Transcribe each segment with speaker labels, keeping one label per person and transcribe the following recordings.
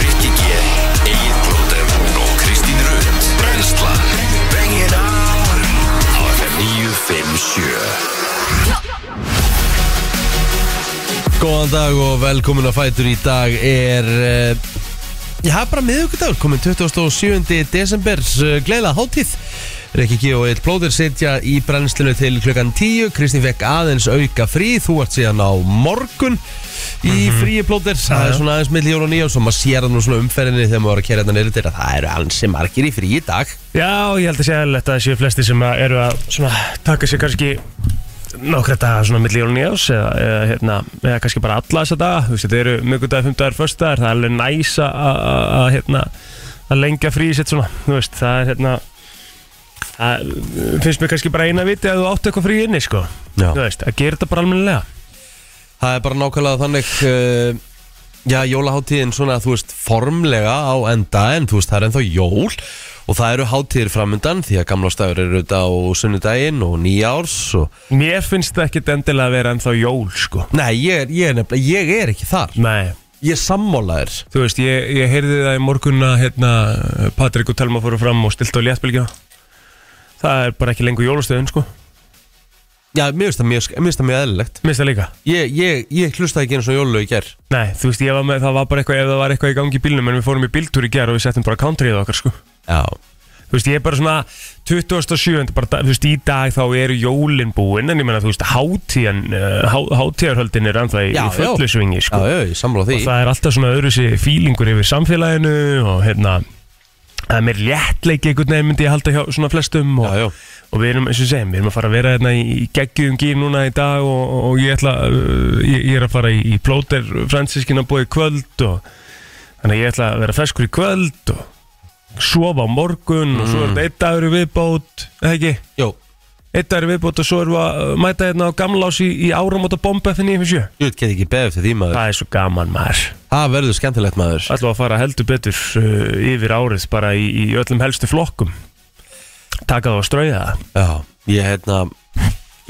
Speaker 1: Rikki G, Egil Blóter og Kristín Rund Brenslan Bring it on Á FM 957
Speaker 2: Góðan dag og velkomin að fætur í dag er eh, Já, bara miðugudagur, komin 27. desember eh, Gleila hátíð Rikki G og Eitt Plóður sitja í brennslinu til klukkan 10 Kristín fekk aðeins auka frí Þú ert síðan á morgun Í mm
Speaker 3: Mhm.
Speaker 2: fríi Plóður Það er svona aðeins milli jól og nýjól Svo maður sér það nú svona umferðinni Þegar maður er að kera þetta neyri til að Það eru ansi margir í frí í dag
Speaker 4: Já, ég held að sé aðeinlegt að það séu flesti sem að eru að svona, taka sér kannski nokkra daga svona milli jólun í ás eða, eða, hérna, eða kannski bara alla þessa daga þú veist, þetta eru miðgudagar, fymtudagar, föstudagar það er alveg næs að- að að, hérna, að lengja frí sitt svona þú veist, það er hérna það finnst mér kannski bara eina viti að þú átt eitthvað frí inni sko
Speaker 2: Já.
Speaker 4: þú veist, að gera þetta bara almennilega
Speaker 2: Það er bara nákvæmlega þannig uh, Já, jólaháttíðin svona, þú veist, formlega á enda En þú veist, það er ennþá jól Og það eru hátíðir framundan Því að gamla stafur eru þetta á sunnudaginn og nýjárs og...
Speaker 4: mér finnst það ekkit endilega að vera ennþá jól sko
Speaker 2: Nei, ég er, ég, er nefnilega, ég er ekki þar
Speaker 4: nei
Speaker 2: Ég er sammálaður
Speaker 4: Þú veist, ég, ég heyrði það í morgun að hérna, Patrik og Telma fóru fram og stilt á léttbylgjuna Það er bara ekki lengur jólastöðun, sko
Speaker 2: Já, mér finnst það mjög, mér finnst það mjög eðlilegt
Speaker 4: Minnst það líka?
Speaker 2: Ég, ég, ég hlusta ekki einu svona jólu í ger
Speaker 4: Nei, þú veist, ég var með, það var bara eitthvað ef það var eitthvað í gangi í bílnum en við fórum í bíltúr í gerð og við settum bara countryið okkar, sko
Speaker 2: Já,
Speaker 4: Þú veist, ég er bara svona 27. bara, da- þú veist, í dag þá eru jólin búin en ég meina, þú veist, hátíðan uh, há, hátíðarhöldin er anþá í,
Speaker 2: Já,
Speaker 4: í fullu
Speaker 2: já.
Speaker 4: svingi,
Speaker 2: já,
Speaker 4: sko
Speaker 2: já, ég sammála því
Speaker 4: og það er alltaf svona öðruðsi fílingur yfir samfélaginu og hérna það er mér léttleik einhvern veginn myndi ég halda hjá svona flestum og,
Speaker 2: Já, já.
Speaker 4: og við erum eins og segjum, við erum að fara að vera hérna í, í geggjum gýr núna í dag og, og, og ég ætla uh, ég, ég er að fara í, í plóter fransiskin að búa í kvöld og þannig að ég ætla að vera feskur í kvöld og sofa á morgun og svo er þetta einn dagur í viðbót eða ekki,
Speaker 2: Mm. Jó,
Speaker 4: einn dagur í viðbót og svo erum við að uh, mæta hérna á gamlás í, í áramóta bomba FN 97
Speaker 2: ég get ekki beðið til því maður
Speaker 4: það er svo gaman maður
Speaker 2: Það verður skemmtilegt maður
Speaker 4: ætlum að fara heldur betur uh, yfir árið bara í, í öllum helstu flokkum taka það og strauja það
Speaker 2: Já, ég hérna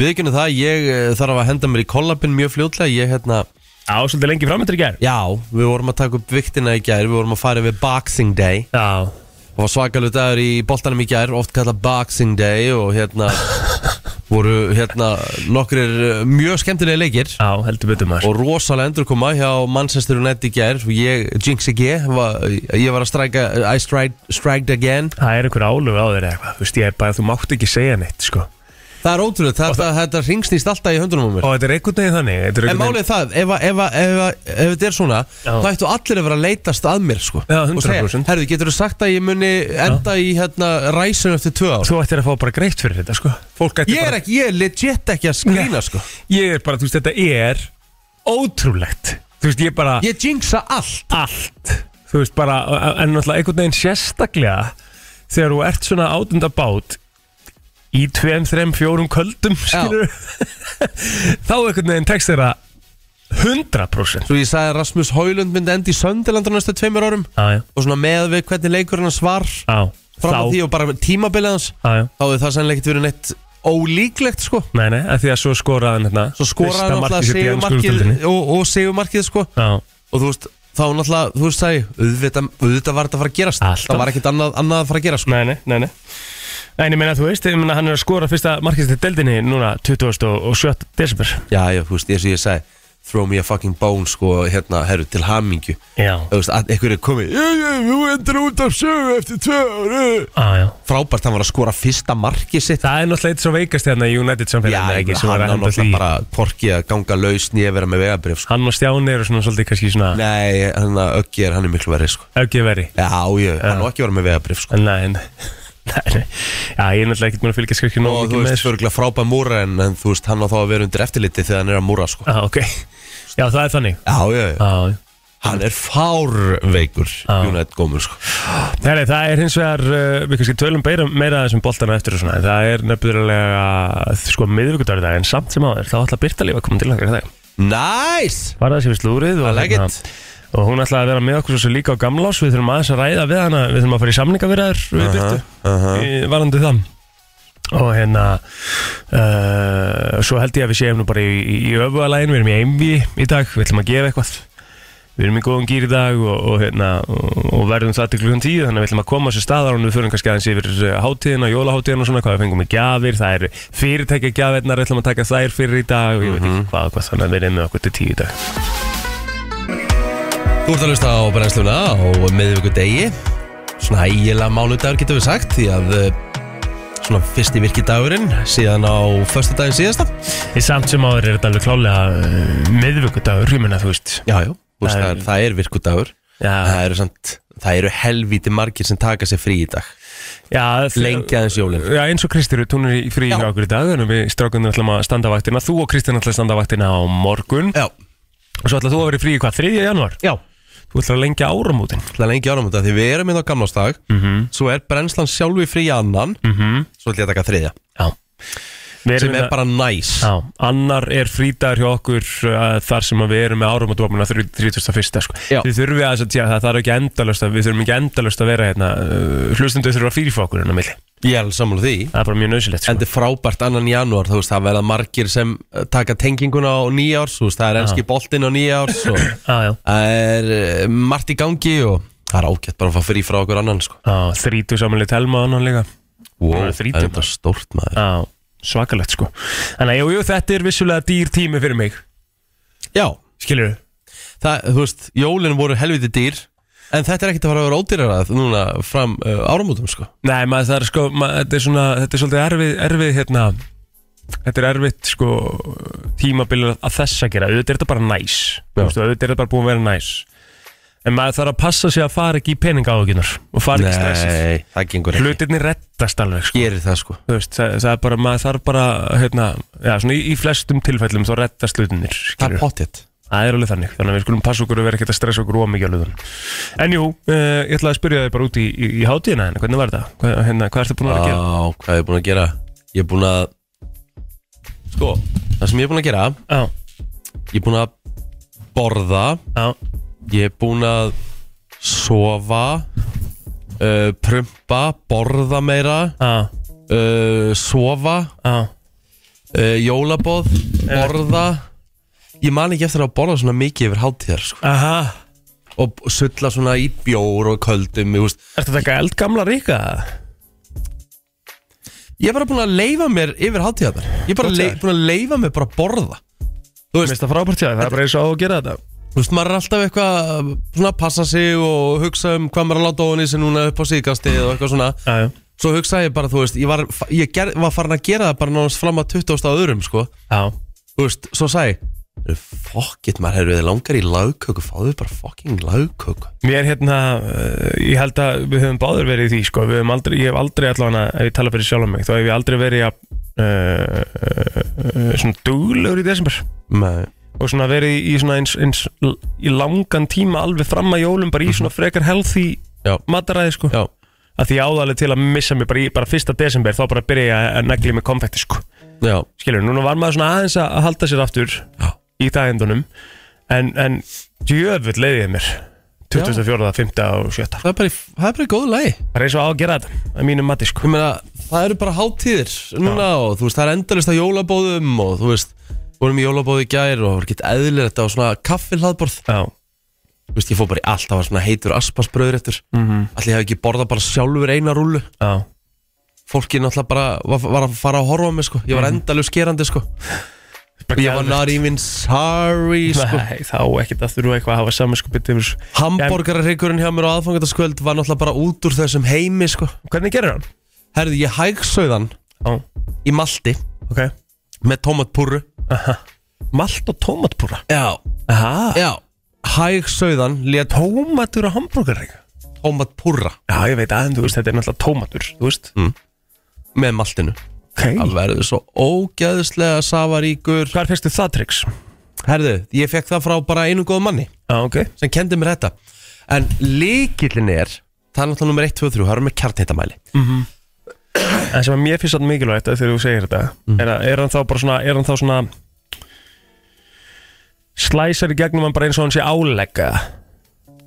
Speaker 2: Við ekki það, ég eh, þarf að henda mér í kollabin mjög fljótlega Ég hérna,
Speaker 4: Já, svolítið lengi framöndur í gær
Speaker 2: já, við vorum að taka upp viktina í gær Við vorum að fara yfir Boxing Day
Speaker 4: Já,
Speaker 2: Það var svakalut dagur í boltanum í gær Oft kallað Boxing Day Og hérna voru hérna nokkrir eh, mjög skemmtilega leikir
Speaker 4: já heldur betur maður
Speaker 2: Og rosalega endurkoma hjá Manchester United í gær Og ég, Jinx ekki, var, ég var að strike I strike, striked again
Speaker 4: Það er einhver álöf á þér eða eitthvað Þú veist, ég er bara, þú mátt ekki segja neitt, sko
Speaker 2: Það er ótrúlega, þetta, þetta ringsnýst alltaf í höndunum á mér
Speaker 4: Og þetta er einhvern veginn þannig þetta er
Speaker 2: En
Speaker 4: einhvern
Speaker 2: málið er það, ef, að- ef, að- ef, ef, ef þetta er svona
Speaker 4: Já.
Speaker 2: þá ættu allir að vera að leitast að mér sko.
Speaker 4: Já,
Speaker 2: og segja,
Speaker 4: 100%.
Speaker 2: herðu, getur þú sagt að ég muni enda í hérna, ræsum eftir tvö ár
Speaker 4: Þú ættir að fá bara greitt fyrir þetta, sko Fólk ætti
Speaker 2: Ég er
Speaker 4: bara
Speaker 2: ekki, ég er legit ekki að skrýna sko.
Speaker 4: Ég er bara, þú veist, þetta er ótrúlegt Þú veist, ég bara
Speaker 2: Ég jinxa allt
Speaker 4: allt þú veist bara, en náttúrulega einhvern veginn sérstaklega þegar þú ert svona átunda bát í tveim, þreim, fjórum köldum skilur þá einhvern veginn tekst þeirra 100%
Speaker 2: Svo ég sagði að Rasmus Haulund myndi enda í Söndilandur næstu tveimur árum
Speaker 4: já, já,
Speaker 2: og svona með við hvernig leikur hans var
Speaker 4: já,
Speaker 2: fram að því og bara tímabilið hans
Speaker 4: já, já,
Speaker 2: þá er það sannlega ekkert verið neitt ólíklegt sko.
Speaker 4: nei, nei, að því að svo skoraðan hérna,
Speaker 2: svo skoraði hann alltaf
Speaker 4: sigumarkið
Speaker 2: segumarkið og, og segumarkið sko.
Speaker 4: já,
Speaker 2: og þú veist þá náttúrulega, þú veist sagði auðvitað, auðvitað var þetta að fara að gerast
Speaker 4: Alltaf.
Speaker 2: það var ekkit annað, annað að fara að gerast sko.
Speaker 4: nei, nei, nei, nei En ég meina þú veist, ég meina hann er að skora fyrsta markist til deldinni núna 27. desember
Speaker 2: já, já, þú veist, eins og ég sagði throw me a fucking bone, sko, hérna, herru, til hamingju
Speaker 4: Já,
Speaker 2: þú veist, að einhverju er komið já, já, þú endur út af sögu eftir tvö ára
Speaker 4: já, já
Speaker 2: frábært, hann var að skora fyrsta markið sitt
Speaker 4: Það er náttúrulega eitt svo veikast hérna í United
Speaker 2: já,
Speaker 4: samfélaginu
Speaker 2: ekki,
Speaker 4: ekki, sem
Speaker 2: hann
Speaker 4: var
Speaker 2: var
Speaker 4: að henda því
Speaker 2: náttúrulega bara porkið að ganga laus nýja vera með vegabrif, sko
Speaker 4: Hann og Stjáni eru svona svolítið kannski svona
Speaker 2: nei, hann að öggi er, hann er miklu verið, sko
Speaker 4: ekki veri
Speaker 2: já, já, hann á ekki að vera með vegabrif, sko
Speaker 4: Nei, nei, nei, nei. Já, ég er náttúrulega ekkert múin að fylgjast kannski nóg
Speaker 2: og þú
Speaker 4: mikið með
Speaker 2: veist,
Speaker 4: þessu
Speaker 2: örugglega frábær múra en, en þú veist, hann á þá að vera undir eftirliti þegar hann er að múra, sko
Speaker 4: Já, Ah, ok Já, það er þannig
Speaker 2: já, já, já
Speaker 4: Já, já
Speaker 2: Hann er fárveikur United gómur sko
Speaker 4: Nei, nei, það er hins vegar, uh, við kannski tölum beira, meira að þessum boltana eftir og svona, en það er nefnilega, sko, miðvíkudagur í dag, en samt sem áður, þá ætla Byrtalíf að koma til langar í dag.
Speaker 2: Næs!
Speaker 4: Varða sér við slúrið og,
Speaker 2: I like
Speaker 4: hérna,
Speaker 2: it.
Speaker 4: og hún ætlaði að vera með okkur svo líka á gamlás, við þurfum aðeins að ræða við hana, við þurfum að fara í samninga við þær, við Byrtu, varandi það. og hérna uh, svo held ég að við séum nú bara í, í, í öfualægin, við erum í einvi í dag við ætlum að gefa eitthvað við erum í góðum gýr í dag og, og, hérna, og, og verðum það til klukkan tíu þannig að við ætlum að koma sér staðar og við förum kannski aðeins yfir eh, hátíðina, jólaháttíðina og svona hvað við fengum í gjafir, það eru fyrirtækja gjafirnar, við ætlum að taka þær fyrir í dag og ég veit ekki hvað, og hvað þannig að við erum með okkur til tíu í dag
Speaker 2: Þú ert að hlusta á brennsluna á miðvíku degi Svona ægilega mánudagur getum við sagt Því að eh, svona fyrsti virki dagurinn Síðan á förstu daginn síðasta
Speaker 4: Í samt sem áður er þetta alveg klálega miðvökkudagur, ég menna þú veist
Speaker 2: Já, já, Úst,
Speaker 4: Það
Speaker 2: það,
Speaker 4: er-
Speaker 2: er, það er virku dagur Það
Speaker 4: Já,
Speaker 2: eru, samt, það eru helvíti margir sem taka sér frí í dag
Speaker 4: já
Speaker 2: Lengi aðeins jólin
Speaker 4: Já, eins og Kristur, hún er í frí
Speaker 2: Já.
Speaker 4: hjá okkur í dag en við strákunum ætlum að standa vaktina þú og Kristur ætlum að standa vaktina á morgun
Speaker 2: Já,
Speaker 4: og svo ætlum þú að vera í frí í hvað, 3. januar
Speaker 2: já
Speaker 4: Þú ætlum að lengja áramótin
Speaker 2: Það er lengi áramönda því við erum inn á gamlástag
Speaker 4: -hmm.
Speaker 2: Svo er brennslan sjálf í frí í annan
Speaker 4: -hmm.
Speaker 2: Svo ætlum ég að taka þriðja
Speaker 4: Já Við erum
Speaker 2: Sem er
Speaker 4: hérna-
Speaker 2: bara næs
Speaker 4: Já, annar er frítagur hjá okkur uh, þar sem að við erum með áramótvopnuna 31. Sko.
Speaker 2: Já.
Speaker 4: Við þurfum að segja það, það er ekki endalöst að, við þurfum ekki endalöst að vera hérna, uh, hlustundu þurfum að fyrirfá okkur hérna á milli.
Speaker 2: Ég er alveg sammála því
Speaker 4: Það er bara mjög nöðsilegt
Speaker 2: En
Speaker 4: sko.
Speaker 2: þetta er frábært annan janúar, þú veist, það verða margir sem eh, taka tenginguna á nýjárs, þú veist, það er enski boltinn á nýjárs og
Speaker 4: ah, já.
Speaker 2: það er eh, margt í gangi og það er ágætt bara að fá frí frá okkur annan, sko.
Speaker 4: Á, þrítu samanlega telma annan líka Bara
Speaker 2: það
Speaker 4: þrítug
Speaker 2: er þetta stórt maður.
Speaker 4: á, Svakalegt sko Þannig að jú, jú, þetta er vissulega dýr tími fyrir mig
Speaker 2: Já,
Speaker 4: Skilur við?
Speaker 2: það, þú veist, jólin voru helviti dýr, en þetta er ekkert að fara að vera ódýrarað núna fram uh, áramótum, sko.
Speaker 4: Nei, maður það er sko maður, þetta, er svona, þetta er svolítið erfið, erfið hérna Þetta er erfitt sko tímabil að þess að gera Auðvitað er þetta bara næs Þú veistu, Auðvitað er þetta bara búin að vera næs En maður þarf að passa sig að fara ekki í peninga áhugunar Og fara ekki stressið
Speaker 2: Nei, það gengur ekki.
Speaker 4: Hlutirni rettast alveg sko
Speaker 2: Gerir það, sko.
Speaker 4: Þú veist, það, það er bara, maður þarf bara, hérna, já, svona í, í flestum tilfellum þá rettast hlutinir,
Speaker 2: Það
Speaker 4: skilur.
Speaker 2: er pottitt.
Speaker 4: Það er alveg þannig, þannig að við skulum passa okkur að vera ekkert að stressa okkur ómikið á löðunum. En jú, uh, ég ætlaði að spyrja þig bara út í, í, í hátíðina hérna, hvernig var þetta? Hvað, hérna, hvað ertu búin að vera að gera?
Speaker 2: Á, hvað er ég búin að gera? Ég er búin að, sko, það sem ég er búin að gera,
Speaker 4: Já,
Speaker 2: ég er búin að borða
Speaker 4: já,
Speaker 2: ég er búinn að sofa uh, prumpa, borða meira
Speaker 4: já,
Speaker 2: uh, sofa
Speaker 4: já,
Speaker 2: uh, jólabóð, borða ég man ekki eftir að borða svona mikið yfir hátíðar sko.
Speaker 4: aha,
Speaker 2: og sulla svona í bjór og köldum ég, veist.
Speaker 4: ertu að taka eldgamla ríka?
Speaker 2: ég er bara búinn að leifa mér yfir hátíðarnar ég er bara
Speaker 4: Gott
Speaker 2: le-
Speaker 4: hjá þér.
Speaker 2: búinn að leifa mér bara að borða
Speaker 4: Þú veist, það frábært sér, það er bara eins og á að gera þetta.
Speaker 2: Þú veist, maður er alltaf eitthvað svona að passa sig og hugsa um hvað maður er að láta ofan í sig núna upp á síðkastið og eitthvað svona
Speaker 4: Já, já,
Speaker 2: Svo hugsaði ég bara, þú veist, ég var, ég ger, var farin að gera það bara náttúrulega fram að 20 á öðrum, sko.
Speaker 4: já,
Speaker 2: Þú veist, svo sagði ég, "Heyrðu, fuck it, maður, hefur þið langar í lagköku, fáðu bara fucking lagköku.
Speaker 4: mér hérna, uh, ég held að við höfum báður verið í því, sko, við höfum aldrei, ég hef aldrei allavega, ef ég tala fyrir sjálf um mig, þá hef ég aldrei verið að, uh, uh, uh, svona duglegur í desember.
Speaker 2: Nei.
Speaker 4: og svona verið í svona eins, eins í langan tíma alveg fram að jólum bara í svona frekar healthy
Speaker 2: Mhm. Já.
Speaker 4: mataræði sko
Speaker 2: Já,
Speaker 4: að því áðalið til að missa mig bara í bara fyrsta desember þá bara byrja ég að negli með konfekti sko
Speaker 2: já,
Speaker 4: skilur, núna var maður svona aðeins að að halda sér aftur
Speaker 2: Já.
Speaker 4: í dagendunum en, en djöfull leiðið mér 24. 5. og 7.
Speaker 2: það er bara, í, það er bara í góðu lagi.
Speaker 4: bara eins og á að gera þetta að mínum mati sko
Speaker 2: Ég meina, það eru bara hátíðir núna og þú veist, það er endalist að jólabóðum og þú veist, vorum í jólabóði í gær og var gett eðlir þetta á svona kaffihlaðborð.
Speaker 4: Já,
Speaker 2: Þú veist, ég fór bara í allt, það var svona heitur aspasbröður eftir.
Speaker 4: Mhm.
Speaker 2: Allir hafi ekki borðað bara sjálfur eina rúlu.
Speaker 4: já,
Speaker 2: fólki náttúrulega bara var, var að fara að horfa á mig sko ég var
Speaker 4: Mhm.
Speaker 2: endalega skerandi sko og ég var not even sorry sko
Speaker 4: Nei, þá ekkert aftur og eitthvað að hafa saminskupið yfir þessu.
Speaker 2: hambúrgararhryggurinn hjá mér á aðfangandaskvöld var náttúrulega bara út úr þessum heimi sko
Speaker 4: Hvernig gerir hann?
Speaker 2: herðu ég hægsauðan
Speaker 4: Já,
Speaker 2: í malti
Speaker 4: ok
Speaker 2: með tomatpúru
Speaker 4: Malt og tómatpúra
Speaker 2: já,
Speaker 4: Aha.
Speaker 2: já hægsauðan létt
Speaker 4: tómatur og hambúrgar Já,
Speaker 2: tomatpúra
Speaker 4: ég veit aðeins, þú veist, þetta er náttúrulega tómatur, þú veist
Speaker 2: Mm. með maltinu
Speaker 4: okay.
Speaker 2: það verður svo ógæðislega safaríkur
Speaker 4: Hvar fyrstu það triks?
Speaker 2: herðu ég fekk það frá bara einu góðu manni
Speaker 4: Já, ok
Speaker 2: sem kendi mér þetta en líkillin er það er náttúrulega nummer 1, 2, 3, það eru með kjarnhittamæli
Speaker 4: En sem að mér finnst þetta mikilvægt að þegar þú segir þetta
Speaker 2: Mm.
Speaker 4: er, að, er hann þá bara svona, er hann þá svona slæsar í gegnum hann bara eins og hann sé álegga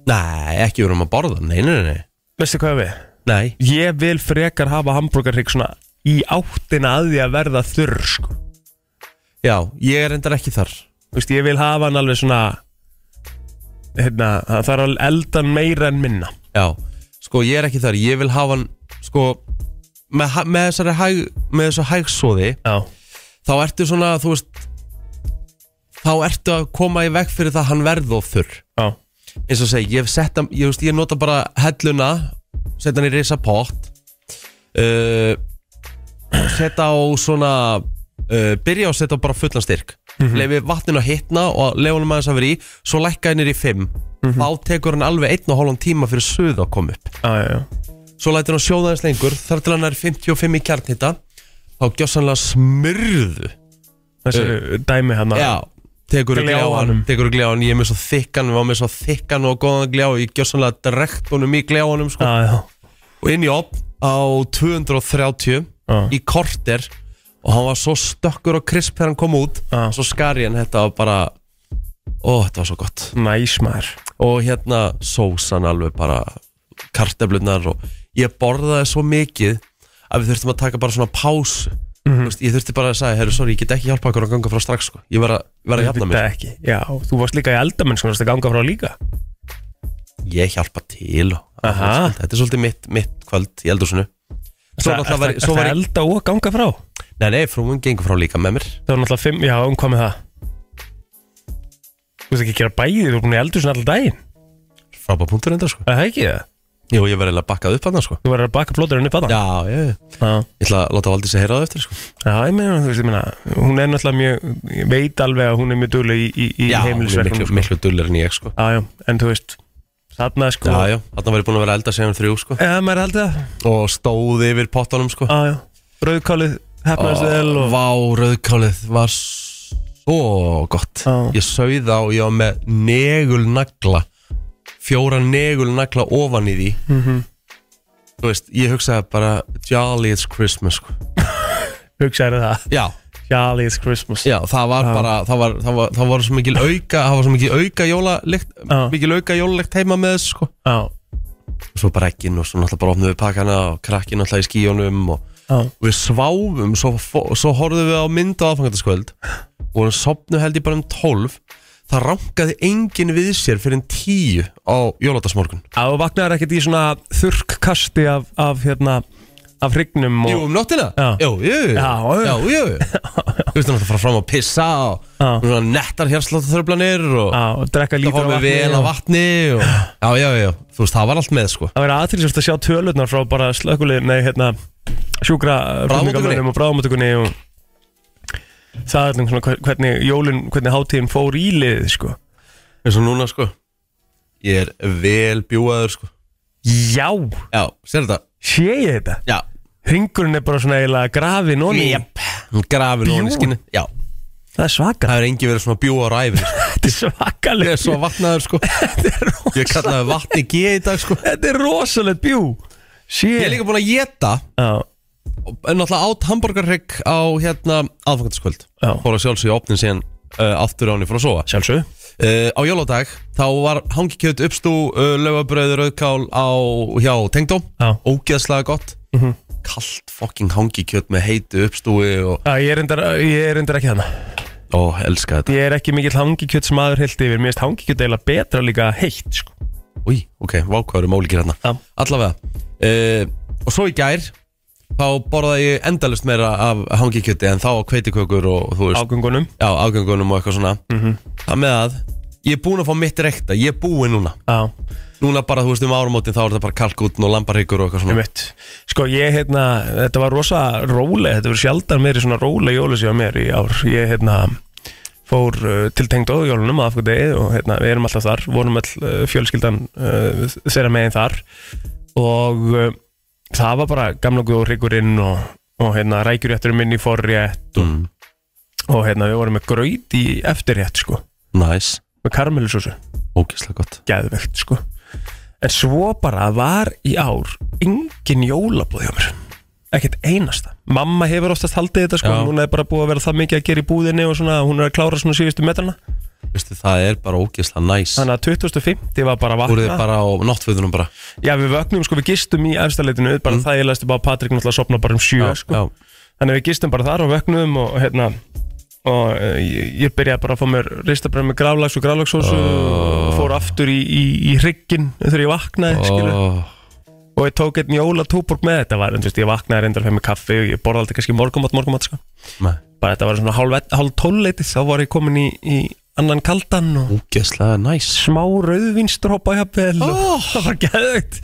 Speaker 2: nei, ekki verðum að borða, nei, nei, nei
Speaker 4: Veistu hvað við?
Speaker 2: nei,
Speaker 4: Ég vil frekar hafa hambúrgarrygg svona í áttina að því að verða þurr sko.
Speaker 2: Já, ég er endar ekki þar
Speaker 4: Þú veist, ég vil hafa hann alveg svona hérna, það þarf að elda hann meira en minna
Speaker 2: Já, sko ég er ekki þar Ég vil hafa hann, sko með, ha- með þessari hæg, með þessu hægsóði
Speaker 4: Já,
Speaker 2: þá ertu svona, þú veist þá ertu að koma í veg fyrir það að hann verð of þurr
Speaker 4: já,
Speaker 2: eins og segi, ég hef sett hann, ég, veist, ég nota bara helluna, setja hann í risa pott uh, setja á svona uh, byrja á að setja á bara fullan styrk mm
Speaker 4: Mhm.
Speaker 2: -hmm. lefi vatninu að hitna og lefa hann maður að vera í, svo lækka hann er í 5 þá tekur hann alveg einn og hálfan tíma fyrir suðu að koma upp
Speaker 4: Mhm. já, já, já.
Speaker 2: svo lætur hann sjóða aðeins lengur þar til hann er 55 í kjarnhita þá gjössanlega smurðu
Speaker 4: Þessi dæmi hérna. hann
Speaker 2: já, tekur í gljáanum
Speaker 4: Gljáanum.
Speaker 2: tekur í gljáanum, ég er með svo þykkan við varum með svo þykkan og góðan gljá ég gjössanlega drekt honum í gljáanum sko.
Speaker 4: já, já,
Speaker 2: og inn í opn á 230
Speaker 4: Já.
Speaker 2: í korter og hann var svo stökkur og krisp þegar hann kom út
Speaker 4: Já.
Speaker 2: svo skari hann þetta var bara ó, þetta var svo gott
Speaker 4: næs maður
Speaker 2: og hérna sósan alveg bara karteflunar og ég borðaði svo mikið að við þurftum að taka bara svona pásu
Speaker 4: Mhm.
Speaker 2: mm veist, ég þurfti bara að segja, herru, sorry, ég get ekki hjálpa okkur að ganga frá strax, sko, ég verð að, verð að hjálpa
Speaker 4: Þetta
Speaker 2: mér
Speaker 4: ekki, já, þú varst líka í eldamenn sko, að ganga frá líka
Speaker 2: ég hjálpa til og,
Speaker 4: Aha.
Speaker 2: þetta er svolítið mitt, mitt kvöld í eldúsinu svo
Speaker 4: Það
Speaker 2: náttúrulega var,
Speaker 4: er
Speaker 2: svo var
Speaker 4: það
Speaker 2: ég
Speaker 4: elda og ganga frá
Speaker 2: nei, nei, frúin gengur frá líka með mér
Speaker 4: Það var náttúrulega fimm, já, um hvað með það? Þú veist ekki að gera bæði, þú er búin í eldur sinna alltaf daginn
Speaker 2: frábæð punktur enda, sko
Speaker 4: Er Það er ekki það?
Speaker 2: jú, ég verð eiginlega bakkað upp hann, sko
Speaker 4: Þú verður að baka plóturinn upp að það
Speaker 2: já, ég,
Speaker 4: Já,
Speaker 2: ég ætla að láta Valdís að heyra það eftir, sko
Speaker 4: já, ég meina, þú veist, ég meina Hún er náttúrulega mjög, ég veit alveg að hún er mjög dugleg í, í, í
Speaker 2: já, hún er
Speaker 4: heimilisverkunum
Speaker 2: miklu,
Speaker 4: sko.
Speaker 2: miklu dullir en ég, sko
Speaker 4: Já, já, en þú veist, þarna sko
Speaker 2: já, já, þarna var ég búin að vera að elda sem þrjú, sko
Speaker 4: Já, maður heldur það
Speaker 2: og stóði yfir pottanum sko
Speaker 4: Já, já, brauðkálið, hefnaðast vel og
Speaker 2: Vá, rauðkálið var svo gott
Speaker 4: Á.
Speaker 2: Ég sauð á, ég var með negul nagla Fjóra negul nagla ofan í því Þú veist, ég hugsaði bara Jolly it's Christmas sko
Speaker 4: Hugsaðu um það,
Speaker 2: Já,
Speaker 4: Jolly is Christmas
Speaker 2: já það var bara, það var, það var, það var svo mikil auka Það var svo mikil auka jólalikt
Speaker 4: Á.
Speaker 2: Mikil auka jólalikt heima með þessu sko
Speaker 4: já,
Speaker 2: Og svo bara ekkin og svo náttúrulega bara opnum við pakkana Og krakkin náttúrulega í skíunum og
Speaker 4: já.
Speaker 2: og við sváfum svo, fó- svo horfðum við á mynd á aðfangandaskvöld og hann sopnu held ég bara um 12 það rankaði engin við sér fyrir en 10 á jólátasmorgun
Speaker 4: Já, og vaknaður ekkert í svona þurrkkasti af, af hérna, af hrygnum og...
Speaker 2: Jú, um nóttina?
Speaker 4: Já.
Speaker 2: Jú, jú, jú.
Speaker 4: Já, jú.
Speaker 2: já, jú. Þú veist hann að fara fram og pissa og
Speaker 4: Já.
Speaker 2: og svona nettar hérsláttarþörflanir og
Speaker 4: Já, og drekka
Speaker 2: það
Speaker 4: lítur
Speaker 2: fór við vel á vatni og já, já, já, þú veist, það var allt með sko
Speaker 4: Það verður aðtilsvært að sjá tölurnar frá bara slökulið, nei, hérna, sjúkra flutningamönnum og bráðamóttökunni og það er allir svona hver- hvernig jólun, hvernig hátíðin fór í liðið, sko.
Speaker 2: eins og núna sko ég er vel bjúaður sko
Speaker 4: Já,
Speaker 2: já, sér þetta?
Speaker 4: sé ég þetta?
Speaker 2: Já,
Speaker 4: Hringurinn er bara svona eiginlega grafin og ný.
Speaker 2: Hún grafir núna í
Speaker 4: Bjú.
Speaker 2: skinni Já,
Speaker 4: Það er svaka.
Speaker 2: það er engi verið svona bjúaður á æfri
Speaker 4: Þetta er svakaleg.
Speaker 2: Ég er svo vatnaður sko Ég kallaði vatni G í dag sko
Speaker 4: Þetta er rosalegt bjú. Sé.
Speaker 2: Ég er líka búin að geta
Speaker 4: Já,
Speaker 2: En náttúrulega át hamburgarrygg á hérna aðfangandaskvöld
Speaker 4: Já.
Speaker 2: Fór að sjálfsögja opnin síðan uh, aftur á henni fór að sofa
Speaker 4: sjálfsög.
Speaker 2: uh, Á jóládag þá var hangikjöt uppstú uh, laufabröður auðkál á hjá tengdóm
Speaker 4: Já.
Speaker 2: Ógeðslega gott mm
Speaker 4: Mhm.
Speaker 2: -hmm. Kalt fucking hangikjöt með heitu uppstúi og,
Speaker 4: Já, ég er reyndar, ég er reyndar ekki þannig.
Speaker 2: og elska þetta
Speaker 4: Ég er ekki mikill hangikjött sem aður heilt yfir. Mér finnst hangikjött eiginlega betra líka heitt, sko.
Speaker 2: Új, ok, vákvæður um ólíkir hérna
Speaker 4: Já.
Speaker 2: Allavega uh, Og svo í gær Þá borðaði ég endalust meira af hangikjöti En þá kveitikökur og þú veist
Speaker 4: Ágöngunum.
Speaker 2: Já, afgöngunum og eitthvað svona
Speaker 4: Mhm.
Speaker 2: Það með að Ég er búinn að fá mitt rekta, ég er búinn núna
Speaker 4: Já,
Speaker 2: Núna bara, þú veist, um áramótin þá er þetta bara kalkútn og lambarhyggur og eitthvað svona
Speaker 4: einmitt. Sko, ég, hérna, þetta var rosa róleg. Þetta var sjaldan meiri svona róleg jólusíða mér í ár. Ég, hérna, fór uh, til tengd óðjólunum að afgöndið og hérna, við erum alltaf þar. Vorum all uh, fjölskyldan uh, þeirra megin þar. Og uh, það var bara gamla guð og hryggurinn og, og hérna, rækjurjætturinn minn í forrétt
Speaker 2: mm,
Speaker 4: og hérna, við vorum með gröyt í eftirrétt, sko.
Speaker 2: Næs,
Speaker 4: Með karmelusósu.
Speaker 2: ógeðslega gott
Speaker 4: geðvegt sko en svo bara var í ár engin jólabúð hjá mér ekkert einasta mamma hefur oftast haldið þetta sko
Speaker 2: Já.
Speaker 4: núna er bara búið að vera það mikið að gera í búðinni og svona hún er að klára svona síðustu metrana
Speaker 2: Veistu, það er bara ógeðslega næs
Speaker 4: Þannig að 2050 var bara að
Speaker 2: Þú eruð
Speaker 4: vakna
Speaker 2: bara á náttföðunum bara
Speaker 4: Já, við vögnum, sko, við gistum í efstaleitinu bara mm. það ég læstu bara að Patrik náttúrulega sopna bara um sjö, sko
Speaker 2: já.
Speaker 4: Þannig að við gistum bara þar og vögnum og hérna og eh, ég, ég byrjaði bara að fá mér ristabröð með grálags og grálagssósu og fór aftur í, í, í hrygginn þegar ég vaknaði, oh.
Speaker 2: Ó,
Speaker 4: og ég tók einn jóla túborg með þetta var, en þú veist, ég vaknaði reyndar fyrir mig kaffi og ég borða aldrei kannski morgumat, morgumat, sko
Speaker 2: nei.
Speaker 4: bara þetta var svona hálf, ett- hálf tólleitið þá var ég komin í, í annan kaldan og
Speaker 2: Ógeðslega Oh. næs
Speaker 4: smá rauðvinstrópa jafnvel og það var geðveikt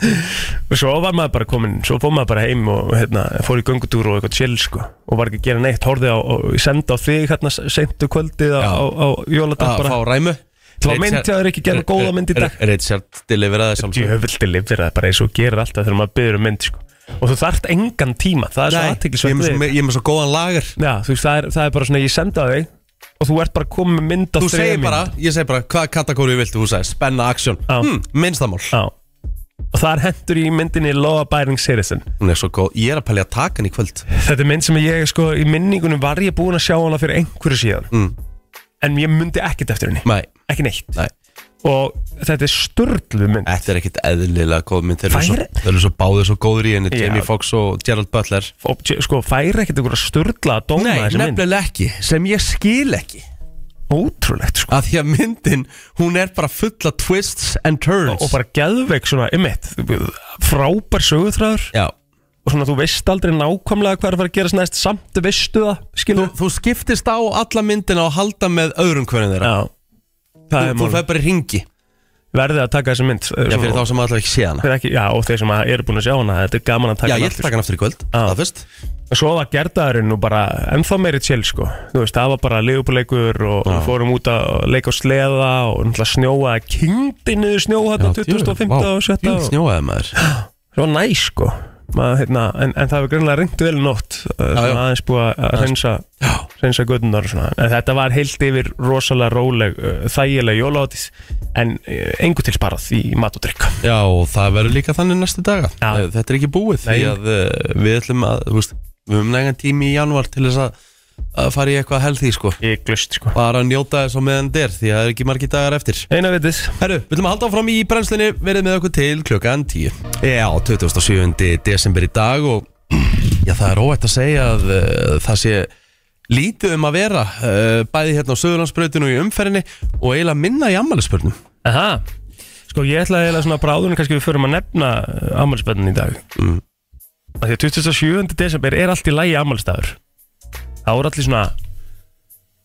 Speaker 4: og svo var maður bara komin, svo fór maður bara heim og hérna, fór í göngutúr og eitthvað chill sko og var ekki að gera neitt, horfið á og ég sendi á þig hérna sendu kvöldið á,
Speaker 2: Já.
Speaker 4: á, á jóladag
Speaker 2: Að fá
Speaker 4: bara
Speaker 2: ræmu
Speaker 4: Það var mynd hjá þér ekki gerð góða mynd í dag.
Speaker 2: Richard deliveraði sjálf
Speaker 4: djöfildi lifir það bara eins og þú gerir alltaf þegar maður byrður mynd sko og þú þarft engan tíma, það er svo
Speaker 2: ég er
Speaker 4: aðteklisvægt
Speaker 2: með svo- ég er með svo góðan lager
Speaker 4: Já, þú veist, það er, það er bara svona ég sendi á þig og þú ert bara komið með mynd á
Speaker 2: Þú
Speaker 4: þriðja
Speaker 2: segir bara,
Speaker 4: mínútu.
Speaker 2: ég segir bara, hvaða kategóri viltu, þú segir, spenna, aksjón
Speaker 4: Já.
Speaker 2: hm, Minnstamál
Speaker 4: Já Og þar hendur ég í myndinni Law Abiding Citizen
Speaker 2: Hún er svo góð, ég er að pælja að taka hann í kvöld
Speaker 4: Þetta er mynd sem ég, sko, í minningunum var ég búin að sjá hana fyrir einhverju síðan
Speaker 2: Mm.
Speaker 4: En ég myndi ekkert eftir henni
Speaker 2: Nei,
Speaker 4: Ekki neitt
Speaker 2: nei,
Speaker 4: Og þetta er störlu mynd
Speaker 2: þetta er ekkit eðlilega góð mynd Þeir eru
Speaker 4: Fær-
Speaker 2: svo, þeir eru svo báðir svo góður í henni
Speaker 4: Já.
Speaker 2: Jamie Foxx og Gerald Butler
Speaker 4: Og tj- sko, færi ekkert einhverja störla að dóma
Speaker 2: Nei,
Speaker 4: þessi mynd
Speaker 2: nefnilega ekki, sem ég skil ekki
Speaker 4: Ótrúlegt, sko
Speaker 2: að því að myndin, hún er bara fulla twists and turns
Speaker 4: Og bara geðveik svona, ymmit Frábær sögutræður
Speaker 2: Já,
Speaker 4: Og svona, þú veist aldrei nákvæmlega hvað er að fara að gerast næst Samt veistu það, skilur
Speaker 2: þú skiptist á alla myndina og halda með öðrum hvernig þeirra
Speaker 4: Já
Speaker 2: Þú,
Speaker 4: Það er
Speaker 2: þú
Speaker 4: mál
Speaker 2: fær bara í ringi
Speaker 4: Verðið að taka þessi mynd eh,
Speaker 2: Já, fyrir þá sem allavega ekki sé hana
Speaker 4: Fyrir ekki, já, og þeir sem að eru búin að sjá hana Þetta er gaman að taka
Speaker 2: Já,
Speaker 4: hana
Speaker 2: ég
Speaker 4: aftur,
Speaker 2: ætla að taka hann aftur í kvöld
Speaker 4: Já.
Speaker 2: Það fyrst
Speaker 4: Og Svo var gerðaðurinn nú bara ennþá meiri chill sko Þú veist, það var bara liðbúleikur og við fórum út að leika á sleða og náttúrulega snjóaði kynnti niður snjó hérna 2015 og 17
Speaker 2: Jú,
Speaker 4: og
Speaker 2: snjóaði maður
Speaker 4: það var næs sko Maður, hérna, en, en það var greinlega reynd vel í nótt uh, svona
Speaker 2: já.
Speaker 4: aðeins búið að- að reynsa
Speaker 2: Já,
Speaker 4: reynsa gödunar og svona en þetta var heilt yfir rosalega róleg uh, þægilega jólaháttís en uh, engu til sparað í mat og drikka
Speaker 2: já og það verður líka þannig næstu daga
Speaker 4: Já.
Speaker 2: Eh, Þetta er ekki búið því
Speaker 4: Nei.
Speaker 2: að eh, við ætlum að, þú veist Við höfum nægan tími í janúar til þess að, að fara í eitthvað helði sko
Speaker 4: Ég glust sko
Speaker 2: Bara að njóta þess á meðan der því að það er ekki margir dagar eftir
Speaker 4: Eina vitið
Speaker 2: Herru, við ætlum að halda áfram í brennslinni verið með okkur til klukkan 10 Já, 27. desember í dag og já, það er óætt að segja að uh, það sé lítið um að vera uh, bæði hérna á Söðurlandsbrautinu og í umferðinni og eiginlega minna í ammælisbörnum
Speaker 4: Aha Sko ég ætlaði eiginlega svona bráðunum kannski við förum að nefna ammálspennin í dag
Speaker 2: Mm.
Speaker 4: Af Því að 27. desember er allt í lægi ammálstafur Það voru allir svona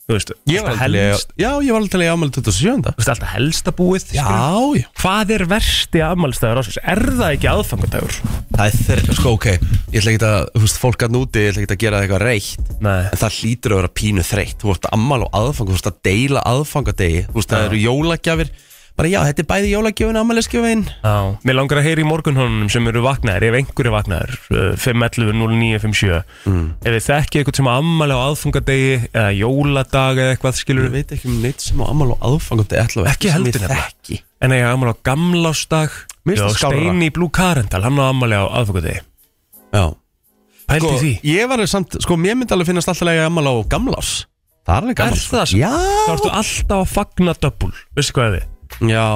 Speaker 4: Þú veist, alltaf
Speaker 2: til í-
Speaker 4: helst,
Speaker 2: Já, ég var alveg til í ammæli 27.
Speaker 4: þú veist alltaf helsta búið
Speaker 2: Já,
Speaker 4: skilur.
Speaker 2: já,
Speaker 4: Hvað er versti ammálstafur ásins? Er það ekki aðfangandagur?
Speaker 2: það er þeirra, sko, ok Ég ætla ekki að, þú veist, fólk að núti, ég ætla ekki að gera það eitthvað reitt
Speaker 4: Nei
Speaker 2: En það hlýtur að vera pínu þreytt Þú ert ammál og aðfang, þú ert að deila aðfangadegi Þú veist, það eru jólagjafir Bara já, þetta er bæði jólagjöfin og ammælisgjöfin
Speaker 4: Já. Mér langar að heyra í morgunhónunum sem eru vaknaðir, ef einhverju vaknaðir, uh, 5.11.09.57. Mm. Ef þið þekkið eitthvað sem ammali á aðfungadegi, eða jóladag eða eitthvað skilur,
Speaker 2: Ég veit ekki um neitt sem á ammál og aðfangandi allavega
Speaker 4: Ekki
Speaker 2: sem
Speaker 4: heldur
Speaker 2: ég
Speaker 4: nefnilega.
Speaker 2: þekki
Speaker 4: en eiga ammali á gamlásdag,
Speaker 2: Mér finnst
Speaker 4: Já,
Speaker 2: það skárra.
Speaker 4: Steini Blue Karendal, hann á ammali á aðfungadegi.
Speaker 2: Já
Speaker 4: Pældi
Speaker 2: Sko,
Speaker 4: því.
Speaker 2: ég var samt, sko, mér myndi alveg finnast alltaf lega ammál á gamlás Það er alveg
Speaker 4: Er
Speaker 2: gamlás
Speaker 4: það
Speaker 2: sko.
Speaker 4: svo? Þá ertu
Speaker 2: Já
Speaker 4: alltaf að fagna döbbul, veistu hvað er þið?
Speaker 2: Já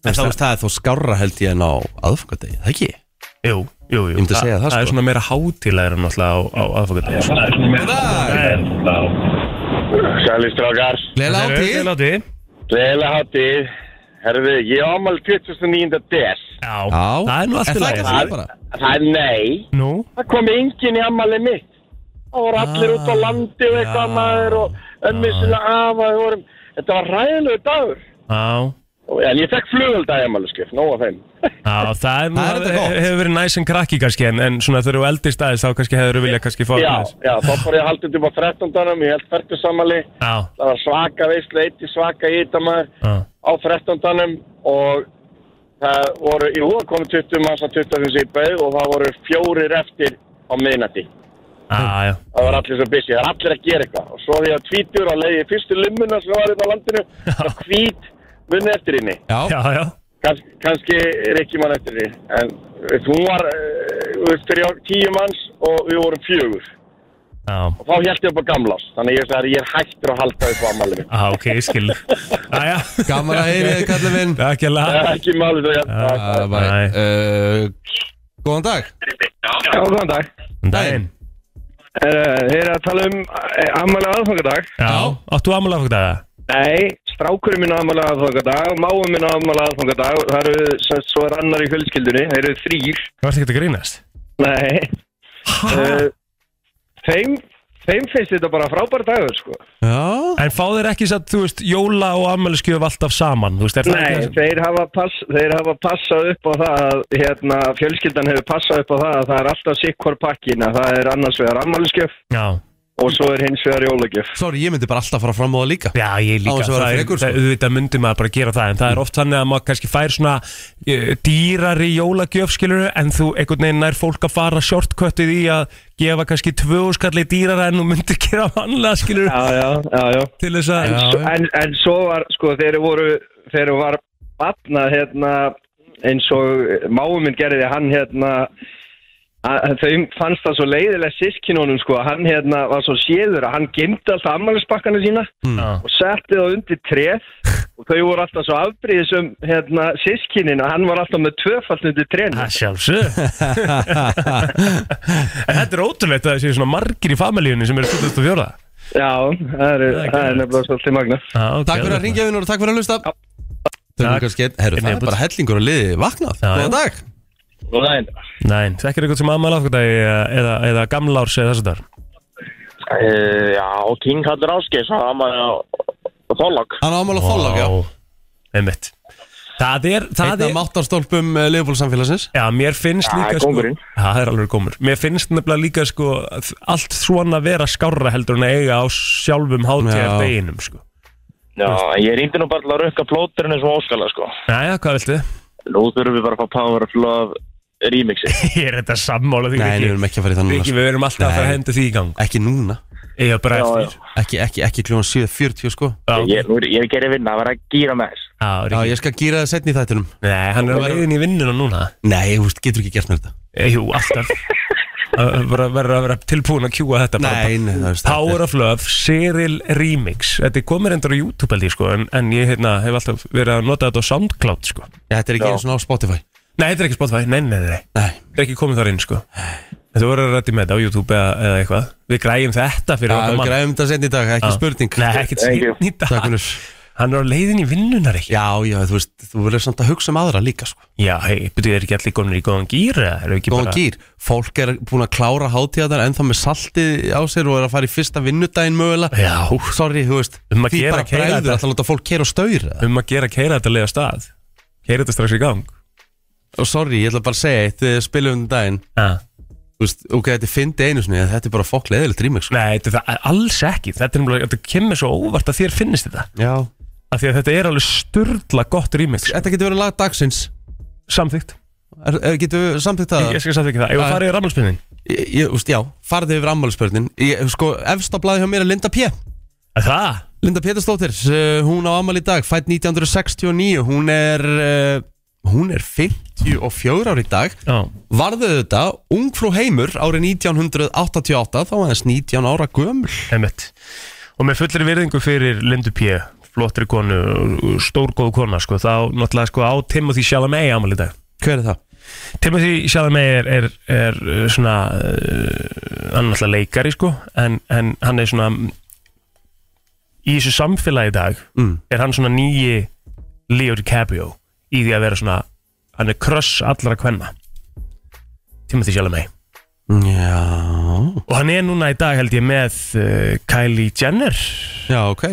Speaker 2: En þá veist það er þó skárra held ég en á aðfangandi Það ekki
Speaker 4: Jú, jú,
Speaker 2: Ég
Speaker 4: jú.
Speaker 2: myndi
Speaker 4: Þa-
Speaker 2: segja það,
Speaker 4: Það er
Speaker 2: sko.
Speaker 4: svona meira hátilæra náttúrulega á, á aðfungadegi. Það er svona meira hátilæra.
Speaker 5: Sæli strákar,
Speaker 2: Gleila á til
Speaker 4: Gleðilega hátíð.
Speaker 5: gleðilega hátíð Herðu, ég á ámæli 29. des
Speaker 4: Já,
Speaker 2: Já
Speaker 4: það er nú allt í
Speaker 2: En það
Speaker 4: lagi.
Speaker 2: ekki það bara
Speaker 5: Það er nei,
Speaker 4: Nú,
Speaker 5: það kom enginn í ámæli mitt Það voru allir út á landi og eitthvað
Speaker 4: Ah, já.
Speaker 5: maður og ömmu sinna af að við vorum Þetta var ræðilegu dagur
Speaker 4: já.
Speaker 5: Og- En ég fekk flugölda í ámæli skif, nóg af þeim
Speaker 4: Já, það er nú,
Speaker 2: Það er þetta gott.
Speaker 4: hefur verið næs en krakki kannski en, en svona þegar þú eldist aðeins þá kannski hefur þú viljað kannski fá
Speaker 5: Já,
Speaker 4: aðeins.
Speaker 5: já, þá fór ég að halda upp á 13. danum, ég held færtusamæli
Speaker 4: Já,
Speaker 5: Það var svaka veislu, eitt í svaka í þetta maður
Speaker 4: já,
Speaker 5: á 13. og það voru í húða komið 20 manns að 25 í bauð og það voru fjórir eftir á miðnætti.
Speaker 4: já, já.
Speaker 5: Það var allir svo busy, það var allir að gera eitthvað. Og svo því að tvítur að leiði fyrstu limmuna sem var þetta á landinu, það hvít munni eftir henni.
Speaker 2: Já
Speaker 4: já, já.
Speaker 5: Kans, kannski er ekki mann eftir henni, en þú veist, hún var eh, þú veist, fyrir tíu manns og við vorum fjögur.
Speaker 4: Já,
Speaker 6: og þá held ég upp á gamlás þannig ég sagði að ég er hættur að halda upp á ammælinu
Speaker 4: á, ok, ég skil Æja,
Speaker 2: Gaman að heyri þið, kallið minn
Speaker 4: takk ég
Speaker 6: það er ekki málið þú
Speaker 2: Það
Speaker 6: hérna
Speaker 2: var
Speaker 4: Nei.
Speaker 2: uh,
Speaker 5: eh,
Speaker 2: Góðan dag
Speaker 6: Já, góðan dag
Speaker 4: Dæin
Speaker 6: Þeir eru að tala um ammæli aðfangadag
Speaker 4: Já, áttu amal aðfoktaða?
Speaker 6: Nei, strákurinn minn á ammæli aðfangadag máum minn á ammæli aðfangadag það eru, sem- svo er annar í fjölskyldunni þeir eru þrýr
Speaker 4: Það varst ekki að grínast
Speaker 6: Nei uh, þeim, þeim finnst þetta bara frábær dagur sko.
Speaker 2: Já
Speaker 4: En fá þeir ekki satt, þú veist, jóla og ammæliskjöf alltaf saman, þú veist, er það
Speaker 6: Nei,
Speaker 4: ekki
Speaker 6: þeir hafa, pass, þeir hafa passað upp á það að hérna, fjölskyldan hefur passað upp á það að það er alltaf sikkvar pakkin að það er annars vegar ammælisgjöf
Speaker 4: Já,
Speaker 6: og svo er hins vegar jólagjöf
Speaker 2: Sorry, ég myndi bara alltaf fara fram á það líka
Speaker 4: já, ég
Speaker 2: Á,
Speaker 4: líka
Speaker 2: þessu var
Speaker 4: Það er,
Speaker 2: frekur, sko.
Speaker 4: það, auðvitað myndi maður bara gera það En það er oft þannig að maður kannski fær svona uh, dýrari jólagjöf, skilur En þú, einhvern veginn nær fólk að fara shortcuttið í að gefa kannski tvö skalli dýrara en þú myndir gera vanlega, skilur
Speaker 6: Já, já, já, já.
Speaker 4: Til þess að
Speaker 2: Já, já.
Speaker 6: En, en svo var, sko, þeir voru, þeir var batna, hérna, eins og máuminn gerði, hann, hérna, að- þau fannst það svo leiðilega sískinunum, sko, að hann, hérna, var svo séður að hann gemdi alltaf ammælisbakkana sína
Speaker 2: Mm.
Speaker 4: Já.
Speaker 6: og setti það undir treð og þau voru alltaf svo afbríðisum, hérna, sískinin að hann var alltaf með tvöfalt undir treðinu.
Speaker 4: Það sjálfsög En þetta er ótrúlegt að það séu svona margir í familíunni sem eru 24
Speaker 6: Já, það er, það er nefnilega svolítið magna.
Speaker 4: ah, okay,
Speaker 2: Takk fyrir að ringja vinnur og takk fyrir að hlusta Þau eru
Speaker 4: Takk.
Speaker 2: kannski einn- Herru, það
Speaker 4: Einnig
Speaker 2: er bara hellingur að liði vaknað
Speaker 4: Já,
Speaker 2: Góðan dag
Speaker 6: Góðan.
Speaker 4: Nein, þekkir eitthvað sem aðmæla afgöndagi eða, eða gamlárs eða þess að þar
Speaker 5: Uh, já, King Hattur Áskis, hann var maður á á Þorlák.
Speaker 2: Hann ámála fólk, já
Speaker 4: Einmitt Það er, það
Speaker 2: Einn af
Speaker 4: er
Speaker 2: máttarstólpum eh, Leopold samfélagsins
Speaker 4: Já, mér finnst
Speaker 5: Það
Speaker 4: líka
Speaker 5: er
Speaker 4: sko-
Speaker 5: kóngurinn.
Speaker 4: Já, það er alveg gómur Mér finnst nefnilega líka sko að allt svona vera skárra heldur en að eiga á sjálfum hátíðar deginum sko
Speaker 5: Já, en ég reyndi nú bara til að rökka plóturinn eins og óskala, sko.
Speaker 4: Næja, hvað viltu?
Speaker 5: Nú þurfum við bara að fá Power of Love remixi.
Speaker 4: Ég er þetta sammála því
Speaker 2: Nei, við erum ekki að fara í þannig
Speaker 4: Við erum alltaf að fara að
Speaker 2: Nei.
Speaker 4: henda því í gang
Speaker 2: Ekki núna
Speaker 4: Ég er bara
Speaker 5: Já,
Speaker 4: eftir
Speaker 2: Ekki, ekki, ekki kljóðan 7.40 sko
Speaker 4: Já,
Speaker 5: Ég, nú, er- ég er gerðið vinna, það var að gýra með þess.
Speaker 4: Já,
Speaker 2: Já,
Speaker 4: Ríkki.
Speaker 2: ég skal gýra það setni í þættinum
Speaker 4: Nei, hann er að leiðin í vinnuna núna
Speaker 2: Nei, þú veist, getur ekki gert mér þetta
Speaker 4: e, Jú, alltaf Að bara verður að vera tilbúin að kjúa þetta bara.
Speaker 2: Nei, nei, það veist
Speaker 4: Power of Love, Cyril Remix Þetta er komið reyndar á YouTube held ég sko En, en ég hérna, hef alltaf verið að nota þetta á SoundCloud sko Nei,
Speaker 2: Þetta er ekki eins og á Spotify
Speaker 4: þetta er ekki Spotify, nei, nei, nei, nei
Speaker 2: Nei,
Speaker 4: Þetta er ekki komið þar inn sko Þetta voru að rætti með þetta á YouTube eða, eða eitthvað Við græjum þetta fyrir
Speaker 2: það
Speaker 4: okkar
Speaker 2: er
Speaker 4: mann
Speaker 2: græðum þetta setni í dag, ekki
Speaker 4: Já.
Speaker 2: spurning
Speaker 4: Nei, ekkert síðan í dag
Speaker 2: Takk fyrir
Speaker 4: Hann er á leiðin í vinnunar ekki
Speaker 2: Já, já, þú veist, þú verður samt að hugsa um aðra líka sko.
Speaker 4: Já, hei, betur er ekki allir konur í góðan gýr
Speaker 2: Góðan gýr, fólk er búin að klára hátíðar ennþá með saltið á sér og er að fara í fyrsta vinnudaginn mögulega
Speaker 4: Já,
Speaker 2: Sorry, þú veist,
Speaker 4: Um að
Speaker 2: því
Speaker 4: gera
Speaker 2: bara
Speaker 4: keira
Speaker 2: bregður
Speaker 4: þetta.
Speaker 2: alltaf að láta fólk keira og staur
Speaker 4: um að gera keira þetta leið á stað keira þetta strax í gang
Speaker 2: Og sorry, ég ætla bara að segja eitt, þegar við spilum um daginn
Speaker 4: ah.
Speaker 2: Þú veist, ok, þetta er fyndi einu sinni, en þetta er bara fólk leðilegt rýmix
Speaker 4: Nei, þetta er það alls ekki þetta, er nefnilega, þetta kemur svo óvart að þér finnist þetta
Speaker 2: Já
Speaker 4: af því að þetta er alveg sturdla gott rýmix
Speaker 2: Þetta getur verið lag dagsins
Speaker 4: samþygt,
Speaker 2: er, er, Getur við samþýtt það?
Speaker 4: ég skal samþykja það ef
Speaker 2: Já.
Speaker 4: að fara í rammalspinnin
Speaker 2: Ég, ég, úst, já, farðið yfir ammálspörnin Sko, efst á blaði hjá mér er Linda P
Speaker 4: það,
Speaker 2: Linda Pétursdóttir, uh, hún á ammál í dag Fætt 1969, hún er uh, Hún er 54 ár í dag
Speaker 4: já,
Speaker 2: Varðið þetta, ungfrú heimur Árið 1988, þá aðeins 19 ára gömul
Speaker 4: emitt og með fullri virðingu fyrir Lindu P flottri konu, stórgóð kona sko, þá náttúrulega sko á Timothy Chalamet ámali dag
Speaker 2: Hver er það?
Speaker 4: Timothy Chalamet er, er, er uh, svona uh, hann er náttúrulega leikari sko en, en hann er svona mm, í þessu samfélagi í dag
Speaker 2: Mm.
Speaker 4: er hann svona nýji Leo DiCaprio í því að vera svona hann er kröss allra kvenna Timothy Chalamet
Speaker 2: Já,
Speaker 4: og hann er núna í dag held ég með uh, Kylie Jenner
Speaker 2: já, ok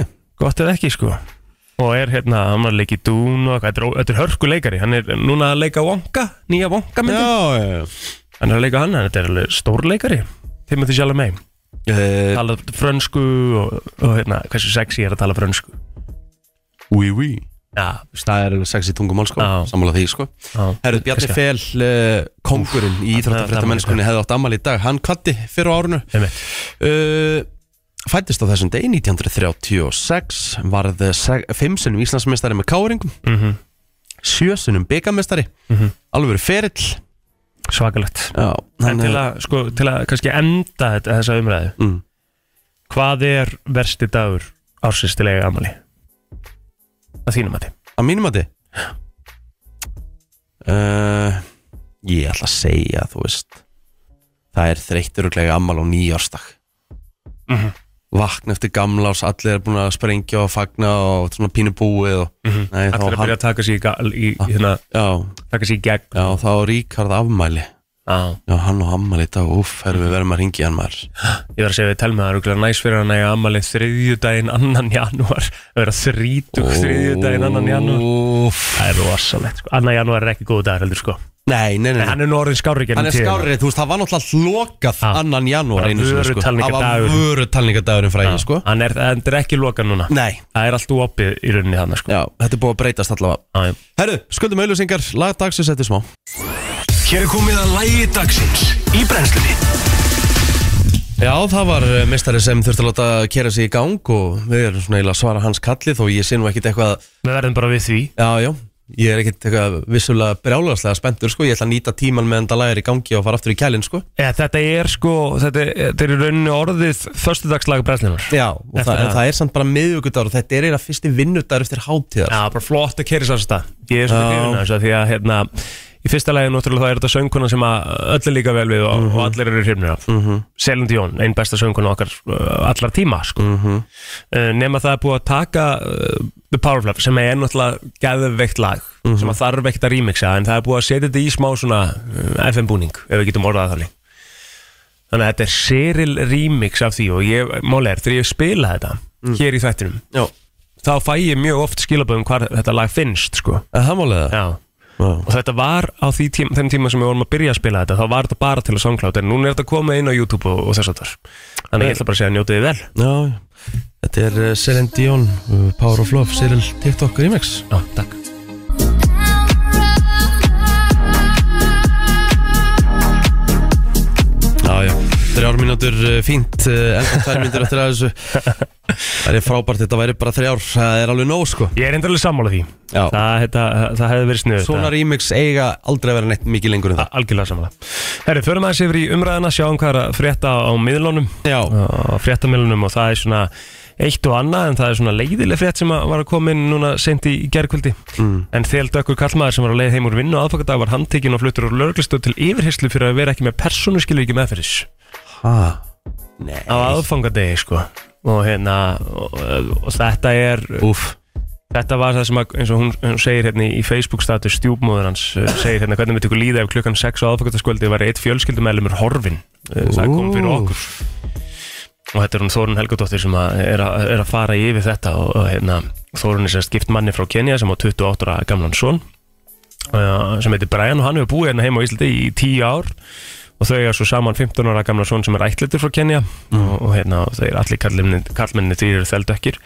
Speaker 4: gott eða ekki sko og er hérna, hann var að leika í Dune og eitthvað, þetta er, ó- þetta er hörku leikari, hann er núna að leika Wonka, nýja Wonka myndin
Speaker 2: Já, já, já
Speaker 4: hann er að leika hann, en þetta er alveg stórleikari Timothy Chalamet,
Speaker 2: Uh,
Speaker 4: tala frönsku og, og hérna, hversu sexy er að tala frönsku
Speaker 2: oui, oui.
Speaker 4: Já,
Speaker 2: Það er alveg sexy tungumál sko,
Speaker 4: Já.
Speaker 2: sammála því sko
Speaker 4: já
Speaker 2: Herru, Bjarni Fel, uh, kongurinn í
Speaker 4: þarna
Speaker 2: Íþróttafrétta
Speaker 4: var
Speaker 2: mennskunni hefði átt ammal í dag Hann kvatti fyrir á árunu
Speaker 4: einmitt.
Speaker 2: uh, Fættist á þessum degi 1936 Varð seg- fimm sinnum Íslandsmeistari með káringum
Speaker 4: Mhm.
Speaker 2: Sjö sinnum byggamestari Alveg verið ferill
Speaker 4: Svakalegt
Speaker 2: Já,
Speaker 4: En
Speaker 2: hann,
Speaker 4: til
Speaker 2: er-
Speaker 4: að, sko, til að kannski enda þetta, þessa umræðu
Speaker 2: Mm.
Speaker 4: Hvað er versti dagur ársins til eiga amali? Að þínum að þið
Speaker 2: Að mínum að þið uh, Ég ætla að segja þú veist Það er þreyttur og glega ammal á nýjárstak
Speaker 4: Mhm.
Speaker 2: Vakna eftir gamla ás Allir er búin að sprengja og fagna Og svona pínu búið og, mm -hmm. nei,
Speaker 4: Mhm.
Speaker 2: Ah,
Speaker 4: Allir að byrja að taka sér í, ga- í, í, hérna,
Speaker 2: Já,
Speaker 4: taka sér í gegn
Speaker 2: já, þá er Ríkard afmæli
Speaker 4: ah.
Speaker 2: Já, hann og afmæli í dag Úff, erum við verðum að ringi hann maður
Speaker 4: Ég var að segja við telma það er okkur næs fyrir hann að eiga amali þriðjudaginn annan janúar Það er að þrítug þriðjudaginn annan janúar
Speaker 2: Úff
Speaker 4: Það er rosalegt sko. Annan janúar er ekki góð dagur heldur sko
Speaker 2: Nei, nei, nei,
Speaker 4: En
Speaker 2: nei.
Speaker 4: hann er nú orðin skárri
Speaker 2: Hann er skárið, þú veist, það var náttúrulega lokað
Speaker 4: Já.
Speaker 2: annan janúar
Speaker 4: Ah. Bara
Speaker 2: einu sinni, sko. Það var
Speaker 4: vörutalningardagurinn.
Speaker 2: vörutalningadagurinn fræði, sko
Speaker 4: sko Hann er, hann er ekki lokað núna
Speaker 2: Nei,
Speaker 4: Það er allt opið í rauninni hann sko
Speaker 2: já, þetta er búið að breytast allavega
Speaker 4: ah,
Speaker 2: Herru, skuldum auðlýsingar, lagdagsins eftir smá
Speaker 1: Hér er komið að lægi dagsins í brennslunni
Speaker 2: Já, það var eh, meistari sem þurfti að láta kera sig í gang og við erum svona eiginlega að svara hans kalli þó ég sé nú ekkit eitthvað,
Speaker 4: Við verðum bara við því
Speaker 2: já, já ég er ekkit eitthvað vissulega brjálagslega spenntur sko, ég ætla að nýta tíman meðan það lagir í gangi og fara aftur í kælinn sko
Speaker 4: ja, Þetta er sko, þetta er, þetta er í rauninni orðið Föstudagslaga brennslunar
Speaker 2: Já, og
Speaker 4: Eftir
Speaker 2: það,
Speaker 4: það.
Speaker 2: en það er samt bara miðvikudagur og þetta er eiginlega fyrsti vinnudagur eftir hátíðar
Speaker 4: Já, bara flott að keri sér stað Ég
Speaker 2: Já.
Speaker 4: er svona hrifin af þessu af því að hérna Í fyrsta lagi náttúrulega það er þetta sönguna sem að öll er líka vel við og, og allir eru hrifnir af mm -hmm. Selin Dion, einn besta sönguna okkar uh, allar tíma sko. mm -hmm. Nefn að það er búið að taka uh, The Power Flap sem er náttúrulega geðveikt lag sem að þarf ekkert að remixa en það er búið að setja þetta í smá svona uh, FM búning ef við getum orðað það þannig Þannig að þetta er seril remix af því og ég, máli er, þegar ég spila þetta hér í þættinum
Speaker 2: Mm. Já,
Speaker 4: þá fæ ég mjög oft skilaböðum hvað þetta lag finnst sko.
Speaker 2: Er það málega það?
Speaker 4: Já.
Speaker 2: Já.
Speaker 4: og þetta var á því tím, þeim tíma sem við vorum að byrja að spila þetta þá var þetta bara til að songkláta en núna er þetta komið inn á YouTube og, og þess að þar þannig að ég ætla bara að segja að njótið þið vel
Speaker 2: Já, já. þetta er eh, Celine Dion,
Speaker 4: uh,
Speaker 2: eh, Power of Love, Cyril TikTok Remix
Speaker 4: Já, takk
Speaker 2: Já, já, þrjár mínútur uh, fínt uh, Ennum tvær mínútur eftir að þessu Það er frábært, þetta væri bara þrjár Það er alveg nóg, sko
Speaker 4: Ég er endalega sammála því
Speaker 2: Já.
Speaker 4: það, þetta, það hefði verið sniður
Speaker 2: Svona remix eiga aldrei að vera neitt mikið lengur en það
Speaker 4: Algjörlega sammála Herri, förum aðeins yfir í umræðina sjáum hvað er að frétta á miðlunum
Speaker 2: Já,
Speaker 4: á fréttamilunum og það er svona eitt og annað en það er svona leiðileg frétt sem að var að koma inn núna sent í gerkvöldi mm. en þeld okkur kallmaður sem var að leið heim úr vinnu aðfokadag var handtekinn og fluttur úr lögreglistöð til yfirheyslu fyrir að vera ekki með persónuskilur ekki meðferðis
Speaker 2: ha Nei,
Speaker 4: á aðfangadegi sko og hérna og, og þetta er
Speaker 2: úf
Speaker 4: þetta var það sem að eins og hún, hún segir hérna í Facebook status stjúpmóður hans uh, segir hérna hvernig myndi ykkur líða ef klukkan 6 á aðfokastaskvöldi var eitt fjölskyldumælumur horfin uh, það kom fyrir okkur og þetta er hún Þórun Helgadóttir sem að er, að, er að fara yfir þetta og, og hérna, Þórun er sérst gift manni frá Kenya sem á 28 ára gamlan son uh, sem heitir Brian og hann hefur búið hérna heima á Íslandi í 10 ár og þau er svo saman 15 ára gamlan son sem er ætlitur frá Kenya
Speaker 2: Mm.
Speaker 4: og, og hérna, og þau eru allir karlmenni, karlmenni því eru þeldökkir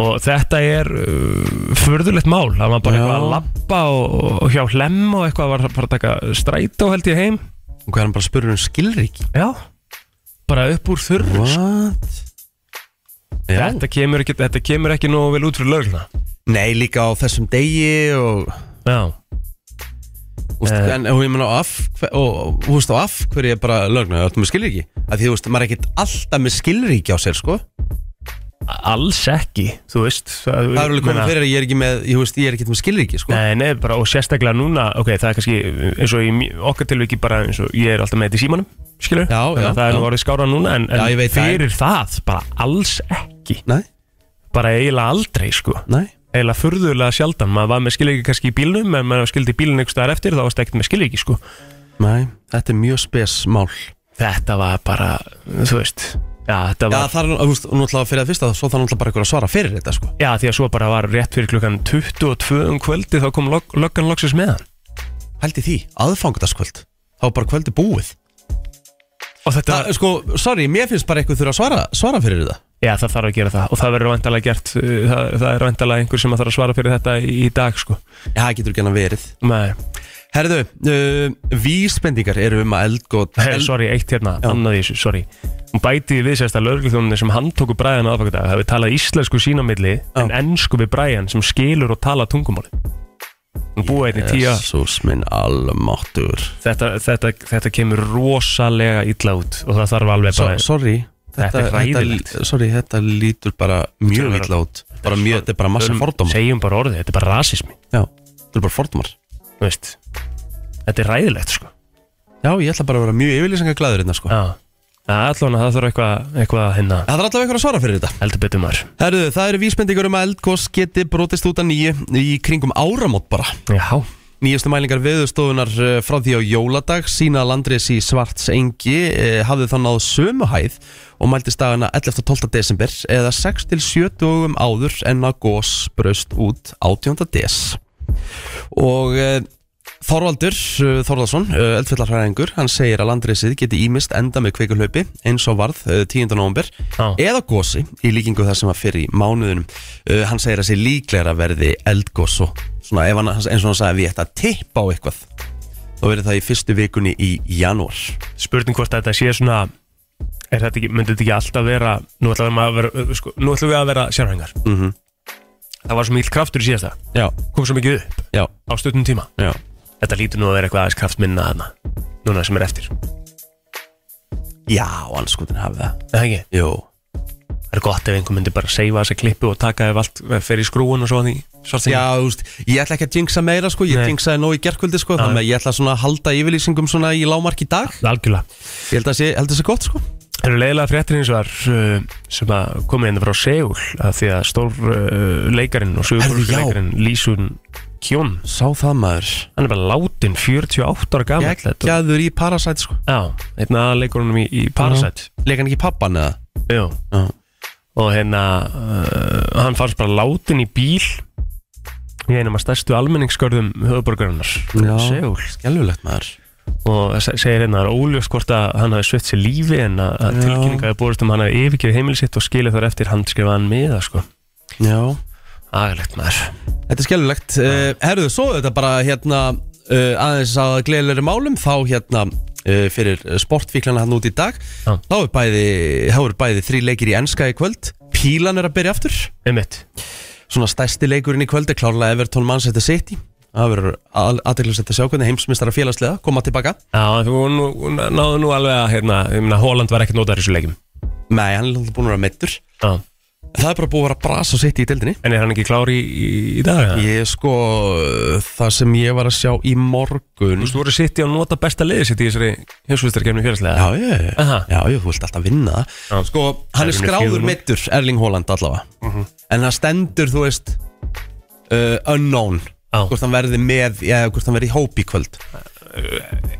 Speaker 4: og þetta er uh, förðulegt mál það var bara
Speaker 2: Já.
Speaker 4: eitthvað að labba og, og hjá hlem og eitthvað var bara að taka strætó held ég heim
Speaker 2: Og hvað er hann bara að spurra um skilríki?
Speaker 4: já, bara upp úr þurru
Speaker 2: What? Já,
Speaker 4: Þetta kemur, ekki, þetta kemur ekki nógu vel út fyrir lögla
Speaker 2: nei, líka á þessum degi og,
Speaker 4: Já,
Speaker 2: úst,
Speaker 4: Eh.
Speaker 2: en, og ég meina á af, hver- og, og, úst, á af hverju er bara lögna, það er með skilríki að því, þú veist, maður er ekkert alltaf með skilríki á sér, sko
Speaker 4: alls ekki Þú veist Það,
Speaker 2: Það er alveg komið fyrir að ég er ekki með, ég veist, ég er ekki með skilríki, sko
Speaker 4: Nei, nei, bara og sérstaklega núna Ok, það er kannski eins og í mj- okkar tilviki bara eins og ég er alltaf með þetta í símanum Skilur,
Speaker 2: Já, já,
Speaker 4: það er nú
Speaker 2: já.
Speaker 4: orðið skára núna En, en
Speaker 2: Já, ég veit það.
Speaker 4: fyrir það, bara alls ekki
Speaker 2: Nei,
Speaker 4: Bara eiginlega aldrei, sko
Speaker 2: nei
Speaker 4: Eiginlega furðulega sjaldan, maður var með skilviki kannski í bílnum En maður skildi bílinn einhvers staðar eftir, þá varst ekkert með skilviki, sko
Speaker 2: Nei, þetta er mjög spes mál
Speaker 4: Þetta var bara, þú veist Já, þetta
Speaker 2: Já,
Speaker 4: var
Speaker 2: það er nú- þú veist, náttúrulega fyrir að fyrsta Svo það er náttúrulega bara einhver að svara fyrir þetta, sko
Speaker 4: Já, því að svo bara var rétt fyrir klukkan 22 um kvöldi þá kom log loggan loksins með hann
Speaker 2: Hældi því, aðfangadagskvöld Þá er bara kvöldi búið
Speaker 4: Og þetta,
Speaker 2: það, Sko, sorry, mér finnst bara eitthvað þurfa að svara, svara fyrir þetta
Speaker 4: já það þarf að gera það og það verður vandalega gert, uh, það, það er vandalega einhver sem að þarf að svara fyrir þetta í í dag sko
Speaker 2: Já, það getur ekki hann verið
Speaker 4: Nei,
Speaker 2: Herðu, uh, vísbendingar eru um að eldgótt
Speaker 4: hey, sorry, eitt hérna, annað í þessu, sorry Hún bæti við sérst að lögreglþjónunni sem hann tóku Brian aðfakadag hafi talað íslensku sín á milli en ennsku við Brian sem skilur og tala tungumáli Hún búið einni tíu ár.
Speaker 2: Jesus minn almáttur
Speaker 4: þetta, þetta, þetta kemur rosalega illa út og það þarf alveg
Speaker 2: so,
Speaker 4: bara
Speaker 2: Sorry,
Speaker 4: Þetta er hræðilegt.
Speaker 2: þetta, sorry, þetta lítur bara mjög
Speaker 4: Þetta er-
Speaker 2: illa út bara mjög, þetta er bara massa
Speaker 4: Tölum-
Speaker 2: fordómar
Speaker 4: Segjum bara orðið, þetta er bara rasismi
Speaker 2: já, þetta er bara fordómar
Speaker 4: Þú veist Þetta er ræðilegt sko
Speaker 2: já, ég ætla bara að vera mjög yfirlýsingar glæður hérna sko.
Speaker 4: Já Allan að það þarf eitthvað eitthvað hérna
Speaker 2: það er allavega eitthvað að svara fyrir þetta
Speaker 4: heldur betur maður
Speaker 2: Herðu, það eru vísbendingur um að eldkoss geti brotist út að nýju í kringum áramót bara
Speaker 4: Já
Speaker 2: Nýjastu mælingar veðurstofunar eh, frá því á jóladag sína landris í Svarts Engi eh, hafði þá náð sömu hæð og mæltist dagana 11. og 12. desember eða 6 til 7 dögum áður en að gós braust út 18. des og eh, Þorvaldur eh, Þorðarsson, eldfjallarhæðingur hann segir að landrisið geti ímist enda með kveikulhaupi eins og varð eh, 10. november
Speaker 4: Já.
Speaker 2: eða gósi í líkingu það sem var fyrir í mánuðunum uh, hann segir að sé líklegra verði eldgós og svona ef hann, eins og hann sagði við ætta að tippa á eitthvað þá verður það í fyrstu vikunni í janúar
Speaker 4: Spurning hvort þetta sé svona Er þetta ekki, myndi þetta ekki alltaf vera Nú ætlum við að vera, sko, nú ætlum við að vera sérhængar
Speaker 2: Mhm.
Speaker 4: Það var svo mikil kraftur í síðasta
Speaker 2: já,
Speaker 4: Kom svo mikið upp
Speaker 2: já,
Speaker 4: á stutnum tíma
Speaker 2: já
Speaker 4: Þetta lítur nú að vera eitthvað aðeins kraft minna þarna Núna sem er eftir
Speaker 2: já, anskutin hafið það
Speaker 4: Er Það ekki?
Speaker 2: jú,
Speaker 4: Það er gott ef einhver myndi bara seifa þessa klippu og taka ef allt fer í skrúun og svo að því svartsengi.
Speaker 2: já, þú veist, ég ætla ekki að jinxa meira sko, ég
Speaker 4: Nei.
Speaker 2: jinxaði nóg í gerkvöldi sko,
Speaker 4: Já.
Speaker 2: þannig að ég ætla svona að halda yfirlýsingum svona í lámark í dag
Speaker 4: Algjörlega.
Speaker 2: ég held að sé, held að sé gott sko
Speaker 4: Það eru leiðilega fréttir eins og var uh, sem að komið hérna frá Seúl að því að stór uh, leikarinn og
Speaker 2: Herðu, já.
Speaker 4: sögurleikarinn Lísun Kjón
Speaker 2: sá það maður,
Speaker 4: hann er bara látin 48 ára gamall þetta-
Speaker 2: geggjaður í Parasite sko
Speaker 4: Já, einn að leikurunum í, í Parasite
Speaker 2: leik hann ekki pappan eða?
Speaker 4: Jú
Speaker 2: Já.
Speaker 4: og hérna uh, hann fannst bara látin í bíl í einum af stærstu almenningskörðum höfuborgarinnar
Speaker 2: Já.
Speaker 4: Seúl
Speaker 2: Skelfulegt maður
Speaker 4: og það se- segir hérna að það er óljóst hvort að hann hafi sveitt sér lífi en að, að
Speaker 2: Já.
Speaker 4: tilkynninga hafi borist um að hann hafi yfirgefið heimili sitt og skilið þar eftir handskrifaðan miða sko.
Speaker 2: Já,
Speaker 4: aðgæðlegt maður
Speaker 2: Þetta er skellulegt uh, Herðu, svo er þetta bara hérna uh, aðeins að gleðilegri málum þá hérna uh, fyrir sportfíklana hann út í dag
Speaker 4: Já.
Speaker 2: þá er bæði, þá eru bæði þrý leikir í enska í kvöld Pílan er að byrja aftur
Speaker 4: einmitt,
Speaker 2: svona stærsti leikurinn í kvöld er klárlega Everton Manchester City það verður aðeinslega að sjá hvernig heimsmyndstara félagslega koma tilbaka
Speaker 4: já þú nú, nú- náðu nú alveg að hérna, ég meina Holland var ekkert nótar í þessu leikum
Speaker 2: Nei, hann er alltaf búin að vera meittur
Speaker 4: já.
Speaker 2: Það er bara búið að vera brasa City í deildinni
Speaker 4: en er hann ekki klár í, í, í dag? eða?
Speaker 2: Ég sko, uh, það sem ég var að sjá í morgun
Speaker 4: þú veist, voru sitt í að nota besta liði sitt í þessari hjósvistarkefni félagslega
Speaker 2: Já, já, já,
Speaker 4: Aha.
Speaker 2: já, já, þú vilt alltaf vinna
Speaker 4: Já.
Speaker 2: það Sko, hann er
Speaker 4: Erfinu
Speaker 2: skráður
Speaker 4: fjögur. Mhm.
Speaker 2: meittur Erling Haaland allavega En það stendur, þú veist uh, Unknown
Speaker 4: Já.
Speaker 2: Hvort hann verði með, já, hvort hann verði í hóp í kvöld